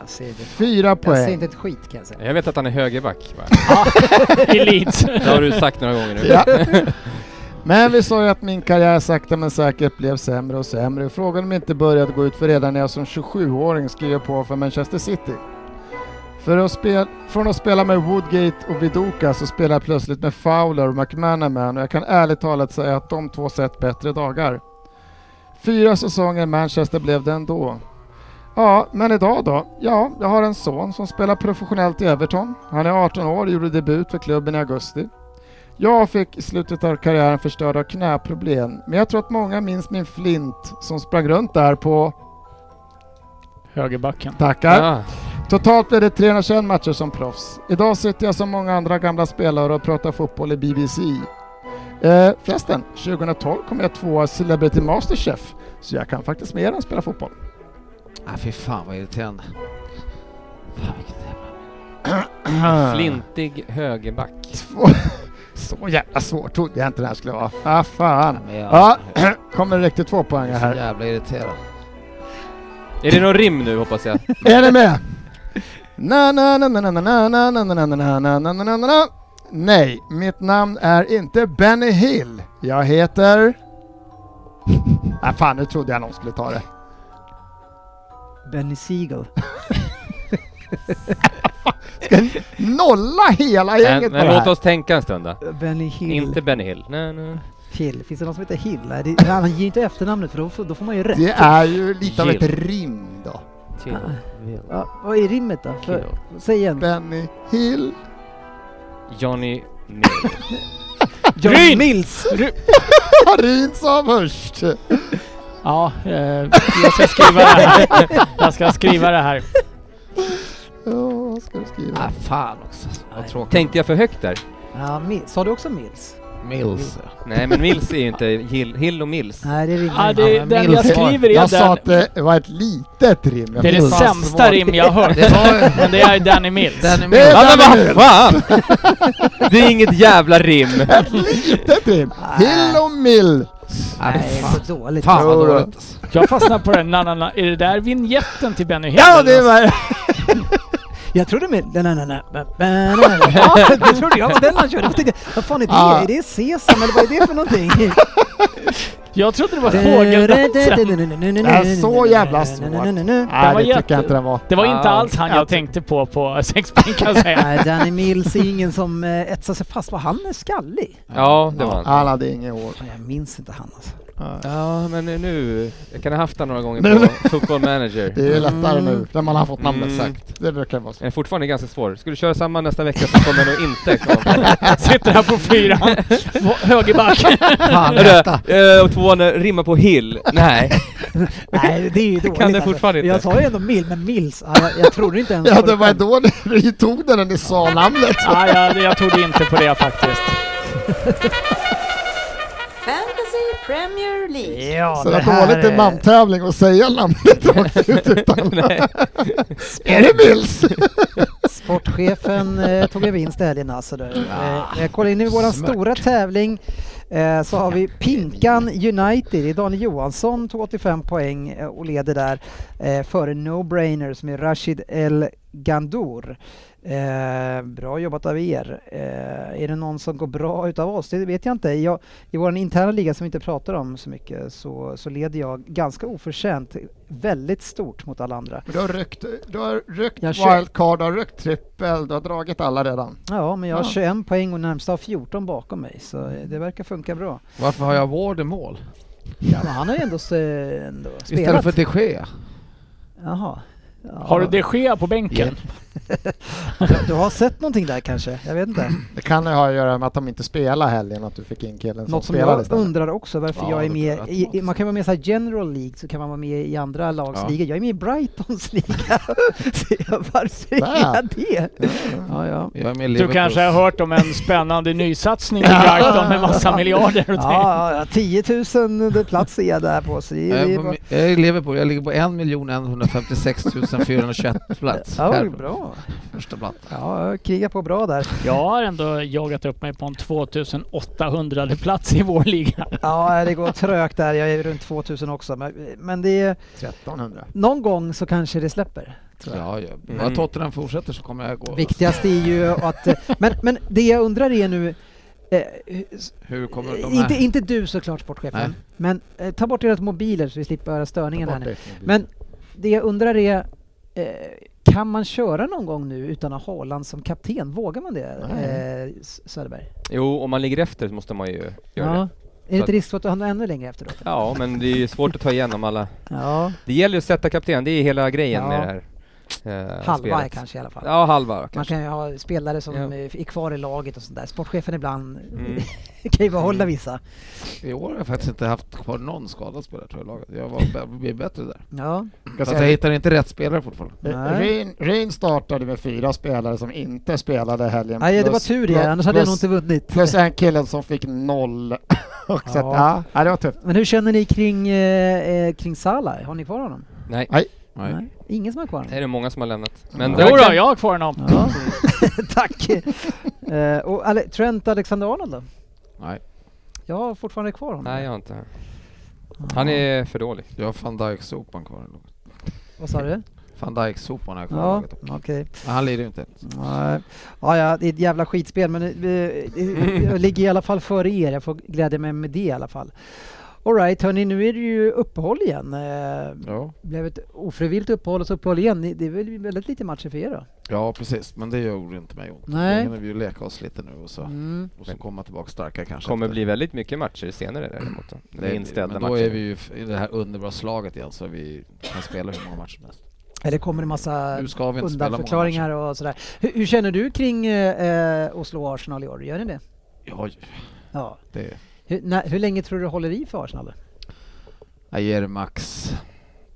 Speaker 1: jag, ser det.
Speaker 5: Fyra
Speaker 1: jag ser
Speaker 5: poäng.
Speaker 1: inte ett skit kan jag säga.
Speaker 2: Jag vet att han är högerback. va?
Speaker 4: I Leeds.
Speaker 2: Det har du sagt några gånger nu.
Speaker 5: Ja. Men vi sa ju att min karriär sakta men säkert blev sämre och sämre. Frågan om inte började gå ut för redan när jag som 27-åring skrev på för Manchester City. För att spel- från att spela med Woodgate och Viduka så spelar jag plötsligt med Fowler och McManaman och jag kan ärligt talat säga att de två sett bättre dagar. Fyra säsonger i Manchester blev det ändå. Ja, men idag då? Ja, jag har en son som spelar professionellt i Everton. Han är 18 år och gjorde debut för klubben i augusti. Jag fick i slutet av karriären förstörd av knäproblem, men jag tror att många minns min flint som sprang runt där på...
Speaker 4: Högerbacken.
Speaker 5: Tackar!
Speaker 2: Ja.
Speaker 5: Totalt blev det 321 matcher som proffs. Idag sitter jag som många andra gamla spelare och pratar fotboll i BBC. Eh, förresten, 2012 kom jag tvåa i Celebrity Masterchef, så jag kan faktiskt mer än spela fotboll.
Speaker 3: Ah, fy fan vad irriterande. Fan, vilket jävla-
Speaker 2: Ah. Flintig högerback.
Speaker 5: Två. Så jävla svårt trodde jag inte det här skulle vara. Ah, fan.
Speaker 3: Men jag-
Speaker 5: Ja, kommer det riktigt två poäng
Speaker 3: jag är så
Speaker 5: här.
Speaker 3: jävla irriterad.
Speaker 2: Är det någon rim nu hoppas jag?
Speaker 5: Är ni med? Na, na, na, na, na, na, na, na, na, na, na, na, na, na, na, na. Nej, mitt namn är inte Benny Hill. Jag heter... Ah, fan, nu trodde jag någon skulle ta det.
Speaker 1: Benny Siegel.
Speaker 5: Nolla hela gänget
Speaker 2: Men, men
Speaker 5: på det
Speaker 2: låt
Speaker 5: här.
Speaker 2: oss tänka en stund då.
Speaker 1: Benny Hill.
Speaker 2: Inte Benny Hill. Nej, nej.
Speaker 1: Hill. Finns det någon som heter Hill? Nej, det, han ger ju inte efternamnet för då, får- då får man ju rätt.
Speaker 5: Det är ju lite av ett
Speaker 2: Jill.
Speaker 5: rim då.
Speaker 2: Chill.
Speaker 1: Ja, vad är rimmet då? För, säg igen.
Speaker 5: Benny Hill.
Speaker 2: Johnny Mill.
Speaker 1: John Mills!
Speaker 5: Harin sa först.
Speaker 4: Ja, eh, jag ska skriva det här. Jag ska skriva det här.
Speaker 5: Ja, vad ska du skriva?
Speaker 3: Ah, fan också. Vad
Speaker 1: Nej.
Speaker 3: tråkigt.
Speaker 2: Tänkte jag för högt där?
Speaker 1: Ja, Mil- sa du också Mills?
Speaker 3: Mills.
Speaker 2: Nej men Mills är ju inte Hill, Hill och Mills.
Speaker 1: Nej, det är rimligt.
Speaker 4: Ja, det, den jag
Speaker 3: Mills.
Speaker 4: skriver
Speaker 5: jag
Speaker 4: är
Speaker 5: sa
Speaker 4: den.
Speaker 5: att det var ett litet rim. Jag
Speaker 4: Det är det
Speaker 5: minns.
Speaker 4: sämsta rim jag har hört.
Speaker 3: Det var
Speaker 4: Men det är Danny Mills.
Speaker 3: den är
Speaker 5: Det är
Speaker 3: med.
Speaker 2: Ja, men
Speaker 5: Benny Hill.
Speaker 2: vad fan! Det är inget jävla rim.
Speaker 5: Ett litet rim. Hill och Mill.
Speaker 3: Ah,
Speaker 1: Nej, det
Speaker 3: fan.
Speaker 1: är så dåligt.
Speaker 3: Fan vad
Speaker 5: Jo då.
Speaker 3: dåligt alltså.
Speaker 4: Jag fastnar på den. Na, na, na. Är det där vignetten till Benny Hill?
Speaker 1: Ja, det
Speaker 4: eller något?
Speaker 1: var... jag trodde med... Nej, nej, nej, nej. nej, nej, nej. Ja, det trodde jag var den han körde. Jag tänkte, vad fan är det?
Speaker 5: Ah.
Speaker 1: Är det Sesam eller vad är det för någonting?
Speaker 4: Alltså, Jag trodde det var fågeldansen.
Speaker 5: Det är så jävla svårt. Nej,
Speaker 4: var
Speaker 5: det tycker
Speaker 4: jätte-
Speaker 5: jag inte den var.
Speaker 4: Det var inte
Speaker 2: Ah,
Speaker 4: alls han jag tänkte på på sexpoäng kan jag säga.
Speaker 1: Nej, Danny Mills är ingen som eh, etsar sig fast. Vad han är skallig.
Speaker 2: Ja, det var han.
Speaker 5: Han hade inget hår.
Speaker 1: Fan, Jag minns inte han alltså.
Speaker 2: Ja, men nu... Jag kan ha haft han några gånger
Speaker 5: Nu-
Speaker 2: på Football Manager.
Speaker 5: Det är lättare nu när man har fått namnet.
Speaker 2: Mm.
Speaker 5: Exakt. Det brukar vara så.
Speaker 2: Den är fortfarande ganska svår. Ska du köra samma nästa vecka så kommer jag nog inte komma på
Speaker 4: Sitter här på fyra. Högerback.
Speaker 1: Fan, detta.
Speaker 2: det. Eh, Och tvåan eh, rimmar på hill. Nej.
Speaker 1: Nej, det är ju dåligt. alltså.
Speaker 2: det fortfarande inte.
Speaker 1: Jag sa ju ändå Mill, men Mills, ja, jag, jag trodde inte ens
Speaker 5: Ja,
Speaker 1: på
Speaker 5: det var
Speaker 1: själv.
Speaker 5: då ni tog den när ni sa namnet.
Speaker 4: ah, jag, jag trodde inte på det faktiskt.
Speaker 7: Fantasy Premier League.
Speaker 1: Ja,
Speaker 5: Så
Speaker 1: det
Speaker 5: det
Speaker 1: här
Speaker 5: var dåligt
Speaker 1: är-
Speaker 5: en namntävling och säga namnet rakt ut utan... Är det Mills?
Speaker 1: Sportchefen eh, tog en vinst i helgen alltså. Där. Eh, jag kollar in i vår
Speaker 3: smart.
Speaker 1: stora tävling eh, så har vi Pinkan United. Det är Daniel Johansson tog 85 poäng eh, och leder där eh, före No Brainer som är Rashid El Gandour. Eh, bra jobbat av er. Eh, är det någon som går bra utav oss? Det vet jag inte. Jag, I vår interna liga som vi inte pratar om så mycket så, så leder jag ganska oförtjänt väldigt stort mot alla andra.
Speaker 5: Du har rökt, du har rökt
Speaker 1: Jag kör.
Speaker 5: wildcard, du har rökt trippel, du har dragit alla redan.
Speaker 1: Ja, men jag har
Speaker 5: Ja.
Speaker 1: 21 poäng och närmsta har 14 bakom mig, så eh, det verkar funka bra.
Speaker 3: Varför har jag Ward i mål?
Speaker 1: Ja, men han har ju ändå, se- ändå
Speaker 3: Istället
Speaker 1: spelat.
Speaker 3: för de Gea.
Speaker 1: Jaha. Ja.
Speaker 4: Har du det ske på bänken?
Speaker 1: Du- Du har sett någonting där kanske? Jag vet inte.
Speaker 5: Det kan ju ha att göra med att de inte spelar helgen, att du fick in killen som
Speaker 1: Något som
Speaker 5: spelade
Speaker 1: jag
Speaker 5: istället.
Speaker 1: undrar också varför
Speaker 3: Ja,
Speaker 1: jag är
Speaker 3: det
Speaker 1: med
Speaker 3: blir
Speaker 1: i, i,
Speaker 3: automatiskt.
Speaker 1: man kan vara med i så här general League så kan man vara med i andra lags
Speaker 3: Ja.
Speaker 1: ligor. Jag är med i Brightons liga. Så jag- varför är
Speaker 5: Där.
Speaker 1: jag det? Ja, ja.
Speaker 3: Jag är med i
Speaker 4: Du
Speaker 3: Liverpool.
Speaker 4: kanske har hört om en spännande nysatsning i Brighton med massa miljarder och det.
Speaker 1: Ja, ja, 10 000 plats är jag där på. Så det,
Speaker 3: Jag
Speaker 1: det
Speaker 3: är,
Speaker 1: är
Speaker 3: på,
Speaker 1: bara,
Speaker 3: mi- jag är i Liverpool, jag ligger på 1 156 421 plats.
Speaker 1: ja, det
Speaker 3: Här,
Speaker 1: är bra.
Speaker 3: Första plats.
Speaker 1: Ja, jag krigar på bra där.
Speaker 4: Jag har ändå jagat upp mig på en 2800 plats i vår liga.
Speaker 1: Ja, det går trögt där. Jag är runt 2000 också. Men, men det är,
Speaker 5: 1300.
Speaker 1: någon gång så kanske det släpper. Tror jag.
Speaker 3: Ja, ja. Bara
Speaker 2: Mm.
Speaker 3: Tottenham fortsätter så kommer jag gå.
Speaker 1: Viktigast är ju att... eh, Men, men det jag undrar är nu... Eh, hu-
Speaker 3: Hur kommer de här?
Speaker 1: inte, inte du såklart sportchefen,
Speaker 3: Nej.
Speaker 1: men eh, ta bort era mobiler så vi slipper höra störningen här nu.
Speaker 5: Men
Speaker 1: Men det jag undrar är, eh, kan man köra någon gång nu utan att ha Haaland som kapten? Vågar man det,
Speaker 5: Nej.
Speaker 1: eh, S- Söderberg?
Speaker 2: Jo, om man ligger efter så måste man ju göra
Speaker 1: Är det
Speaker 2: det. Så att-
Speaker 1: inte risk för att han är ännu längre efter då?
Speaker 2: Ja, men det är ju svårt att ta igenom alla.
Speaker 1: Ja,
Speaker 2: Det gäller ju att sätta kapten, det är hela grejen
Speaker 1: Ja.
Speaker 2: med det här. eh,
Speaker 1: halva
Speaker 2: spelet.
Speaker 1: kanske i alla fall.
Speaker 2: Ja, halva
Speaker 1: Man
Speaker 2: kanske.
Speaker 1: kan ju ha spelare som
Speaker 2: Ja.
Speaker 1: eh, är kvar i laget och sånt där. Sportchefen ibland
Speaker 2: Mm.
Speaker 1: kan ju behålla vissa.
Speaker 3: I år har jag faktiskt inte haft kvar någon skadad spelare tror jag i laget. Jag var b- blir bättre där.
Speaker 1: Ja.
Speaker 3: Fast jag hittar inte rätt spelare fortfarande.
Speaker 1: Nej.
Speaker 5: Eh, Rain, Rain startade med fyra spelare som inte spelade helgen.
Speaker 1: Nej, det var
Speaker 5: plus-
Speaker 1: tur det, annars hade jag nog inte vunnit.
Speaker 5: Plus en killen som fick noll. Och så att,
Speaker 1: Ja.
Speaker 5: ja. ja, det var tufft.
Speaker 1: Men hur känner ni kring, eh, eh, kring Salah? Har ni kvar honom?
Speaker 2: Nej.
Speaker 3: Nej.
Speaker 1: Ingen som har kvar honom?
Speaker 2: Det är det många som har lämnat. Men
Speaker 4: Jo
Speaker 2: där
Speaker 4: då,
Speaker 2: kan-
Speaker 4: jag har kvar honom.
Speaker 1: Ja. Tack! Eh, och Ale- Trent Alexander-Arnold då?
Speaker 3: Nej.
Speaker 1: Jag har fortfarande kvar honom.
Speaker 2: Nej, jag har inte. Han är för dålig.
Speaker 3: Jag har van Dijk-sopan kvar i laget.
Speaker 1: Vad sa du?
Speaker 3: Van Dijk-sopan har jag kvar i
Speaker 1: Ja,
Speaker 3: laget.
Speaker 1: okej.
Speaker 3: Men han lirar ju inte.
Speaker 1: Nej. Ja, ja, det är ett jävla skitspel, men eh, eh, jag ligger i alla fall före er. Jag får glädja mig med det i alla fall. Alright, hörni, nu är det ju uppehåll igen. Eh,
Speaker 3: Ja.
Speaker 1: blev ett ofrivilligt uppehåll och så uppehåll igen. Ni- Det är väl väldigt lite matcher för er då?
Speaker 3: ja, precis. Men det gjorde inte mig ont.
Speaker 1: Nej.
Speaker 3: Nu hinner vi ju leka oss lite nu och så,
Speaker 1: Mm.
Speaker 3: och så komma tillbaka starka kanske.
Speaker 2: kommer
Speaker 3: efter.
Speaker 2: bli väldigt mycket matcher senare däremot. då. Det är
Speaker 3: Nej,
Speaker 2: inställda
Speaker 3: men då
Speaker 2: matcher.
Speaker 3: är vi ju f- i det här underbara slaget igen så vi kan spela hur många matcher som helst.
Speaker 1: Eller kommer det massa
Speaker 3: Nu ska vi inte spela många matcher.
Speaker 1: undanförklaringar och sådär. Hur, hur känner du kring eh, eh, Oslo och Arsenal i år? Gör ni det?
Speaker 3: Ja,
Speaker 1: Ja.
Speaker 3: det
Speaker 1: Hur, när, hur länge tror du det håller i för Arsenal? då?
Speaker 3: jag ger max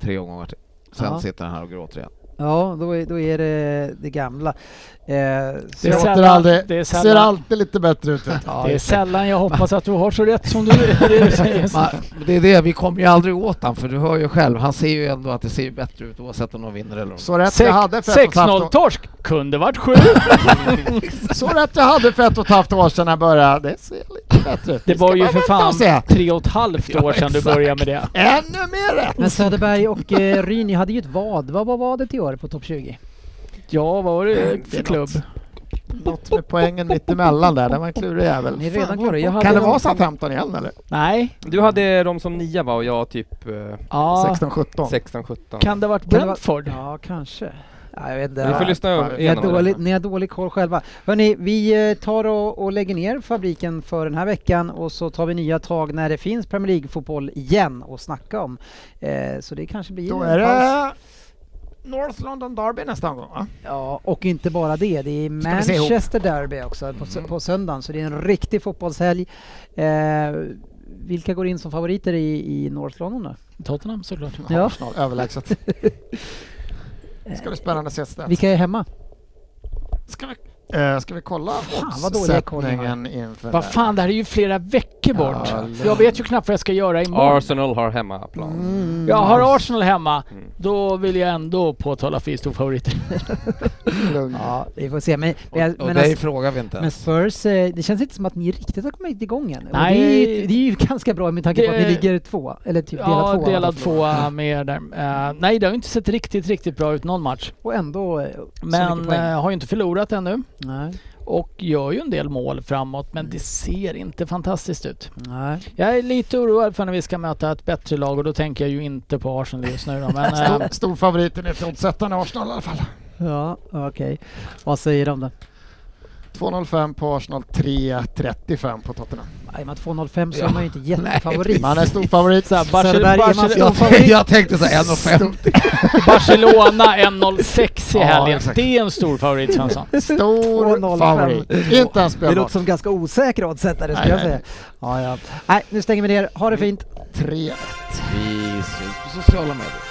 Speaker 3: tre omgångar till. Sen
Speaker 1: Ja.
Speaker 3: sitter han här och gråter igen.
Speaker 1: Ja, då är, då är det det gamla. Eh, så-
Speaker 4: Det är
Speaker 5: Låter
Speaker 4: sällan-
Speaker 5: aldrig,
Speaker 4: det är
Speaker 5: ser
Speaker 4: sällan-
Speaker 5: alltid lite bättre ut.
Speaker 4: Det är sällan jag hoppas att du har så rätt som du du säger.
Speaker 3: Men det är det, vi kommer ju aldrig åt han för du hör ju själv, han ser ju ändå att det ser ju bättre ut oavsett om de vinner eller inte.
Speaker 5: Så rätt jag hade för ett och ett halvt
Speaker 4: 6-0
Speaker 5: år-
Speaker 4: torsk. Kunde varit 7.
Speaker 5: Så rätt jag hade för ett och ett halvt år sedan jag började. Det ser lite bättre ut.
Speaker 4: Det
Speaker 5: Vi
Speaker 4: var
Speaker 5: ska
Speaker 4: ju
Speaker 5: bara
Speaker 4: för
Speaker 5: vänta och
Speaker 4: fan
Speaker 5: se.
Speaker 4: tre och ett halvt år sedan du började med det.
Speaker 5: Ännu mer rätt!
Speaker 1: Men Söderberg och eh, Ryn, ni hade ju ett vad. Vad var vadet i år på topp 20?
Speaker 4: Ja, vad var det
Speaker 5: Det är
Speaker 4: för klubb?
Speaker 5: Något med poängen mittemellan där, den var en klurig jävel.
Speaker 1: Ni är redan
Speaker 2: Fan, var det? Jag
Speaker 1: glömt bort.
Speaker 2: hade
Speaker 5: Kan det vara
Speaker 2: någonting-
Speaker 5: så 15 igen eller?
Speaker 4: Nej.
Speaker 2: Du hade dem som nia va och jag typ eh,
Speaker 4: Ja.
Speaker 5: 16-17?
Speaker 2: 16-17.
Speaker 4: Kan det ha varit
Speaker 1: Kan det vara-
Speaker 4: Brentford?
Speaker 1: Ja, kanske. Ja, jag vet inte.
Speaker 2: Vi får
Speaker 1: Ja.
Speaker 2: lyssna
Speaker 5: fan.
Speaker 1: Ni har,
Speaker 2: igenom det.
Speaker 1: dålig, ni har dålig koll själva. Hörni, vi eh, tar och, och lägger ner fabriken för den här veckan och så tar vi nya tag när det finns Premier League-fotboll igen att snacka om. Eh, så det kanske blir
Speaker 5: Då
Speaker 1: en
Speaker 5: är
Speaker 1: paus.
Speaker 5: det North London Derby nästa gång va?
Speaker 1: Ja, och inte bara det. Det är
Speaker 5: Ska vi se ihop?
Speaker 1: Manchester Derby också på, sö- på söndagen, så det är en riktig fotbollshelg. Eh, vilka går in som favoriter i, i North London då?
Speaker 4: Alltså. Tottenham såklart.
Speaker 1: Ja.
Speaker 5: Arsenal, överlägset. Det ska bli spännande att ses där.
Speaker 1: Vilka är hemma?
Speaker 5: Ska vi, eh, ska vi kolla
Speaker 1: vad dåliga koll jag har.
Speaker 5: uppsättningen inför
Speaker 4: Vad fan, det här är ju flera veckor
Speaker 5: Ja,
Speaker 4: bort.
Speaker 5: eller-
Speaker 4: jag vet ju knappt vad jag ska göra imorgon.
Speaker 2: Arsenal har hemmaplan.
Speaker 1: Mm.
Speaker 4: Jag har Arsenal hemma.
Speaker 2: Mm.
Speaker 4: Då vill jag ändå påtala för storfavoriter.
Speaker 5: Lugn.
Speaker 1: Ja, vi får se. Men,
Speaker 3: Och,
Speaker 1: men,
Speaker 3: och
Speaker 1: men
Speaker 3: dig
Speaker 1: alltså-
Speaker 3: frågar vi inte
Speaker 1: Men
Speaker 3: ens.
Speaker 1: Spurs, eh, det känns inte som att ni riktigt har kommit igång än. Och
Speaker 4: Nej.
Speaker 1: Det, är ju, det är ju ganska bra med tanke på att ni
Speaker 4: Det-
Speaker 1: ligger två, eller typ delat
Speaker 4: ja,
Speaker 1: två.
Speaker 4: delad tvåa alltså. med er där. Eh, nej, det har ju inte sett riktigt, riktigt bra ut någon match.
Speaker 1: Och ändå eh, så
Speaker 4: Men
Speaker 1: mycket poäng.
Speaker 4: eh, har ju inte förlorat ännu
Speaker 1: Nej.
Speaker 4: och gör ju en del mål framåt, men det ser inte fantastiskt ut.
Speaker 1: Nej.
Speaker 4: Jag är lite oroad för när vi ska möta ett bättre lag och då tänker jag ju inte på Arsenal just nu då, men eh,
Speaker 5: Stor, storfavoriten är fjolsättaren Arsenal i alla fall.
Speaker 1: Ja, okej. Vad säger de då?
Speaker 5: 2.05 på Arsenal, 3.35 på Tottenham.
Speaker 1: Nej, med 2.05 så är man ju inte jättefavorit.
Speaker 5: Man är storfavorit.
Speaker 4: så här, Barcel-
Speaker 1: Söderberg, är man
Speaker 4: Barcel-
Speaker 1: stor
Speaker 3: Jag,
Speaker 1: favorit?
Speaker 3: jag tänkte såhär 1,50.
Speaker 4: Barcelona 1.06 i
Speaker 5: Ja,
Speaker 4: helgen.
Speaker 5: exakt.
Speaker 4: det är en stor favorit Svensson.
Speaker 5: Stor
Speaker 1: 2,05.
Speaker 5: favorit. Inte ens
Speaker 1: Det låter
Speaker 5: spelbart.
Speaker 1: som ganska osäker oddsättare skulle
Speaker 5: Nej,
Speaker 1: jag
Speaker 5: nej,
Speaker 1: säga.
Speaker 4: Mm.
Speaker 1: Ja, ja. Nej, nu stänger vi ner. Ha det fint.
Speaker 5: 3
Speaker 3: Vi syns på sociala medier.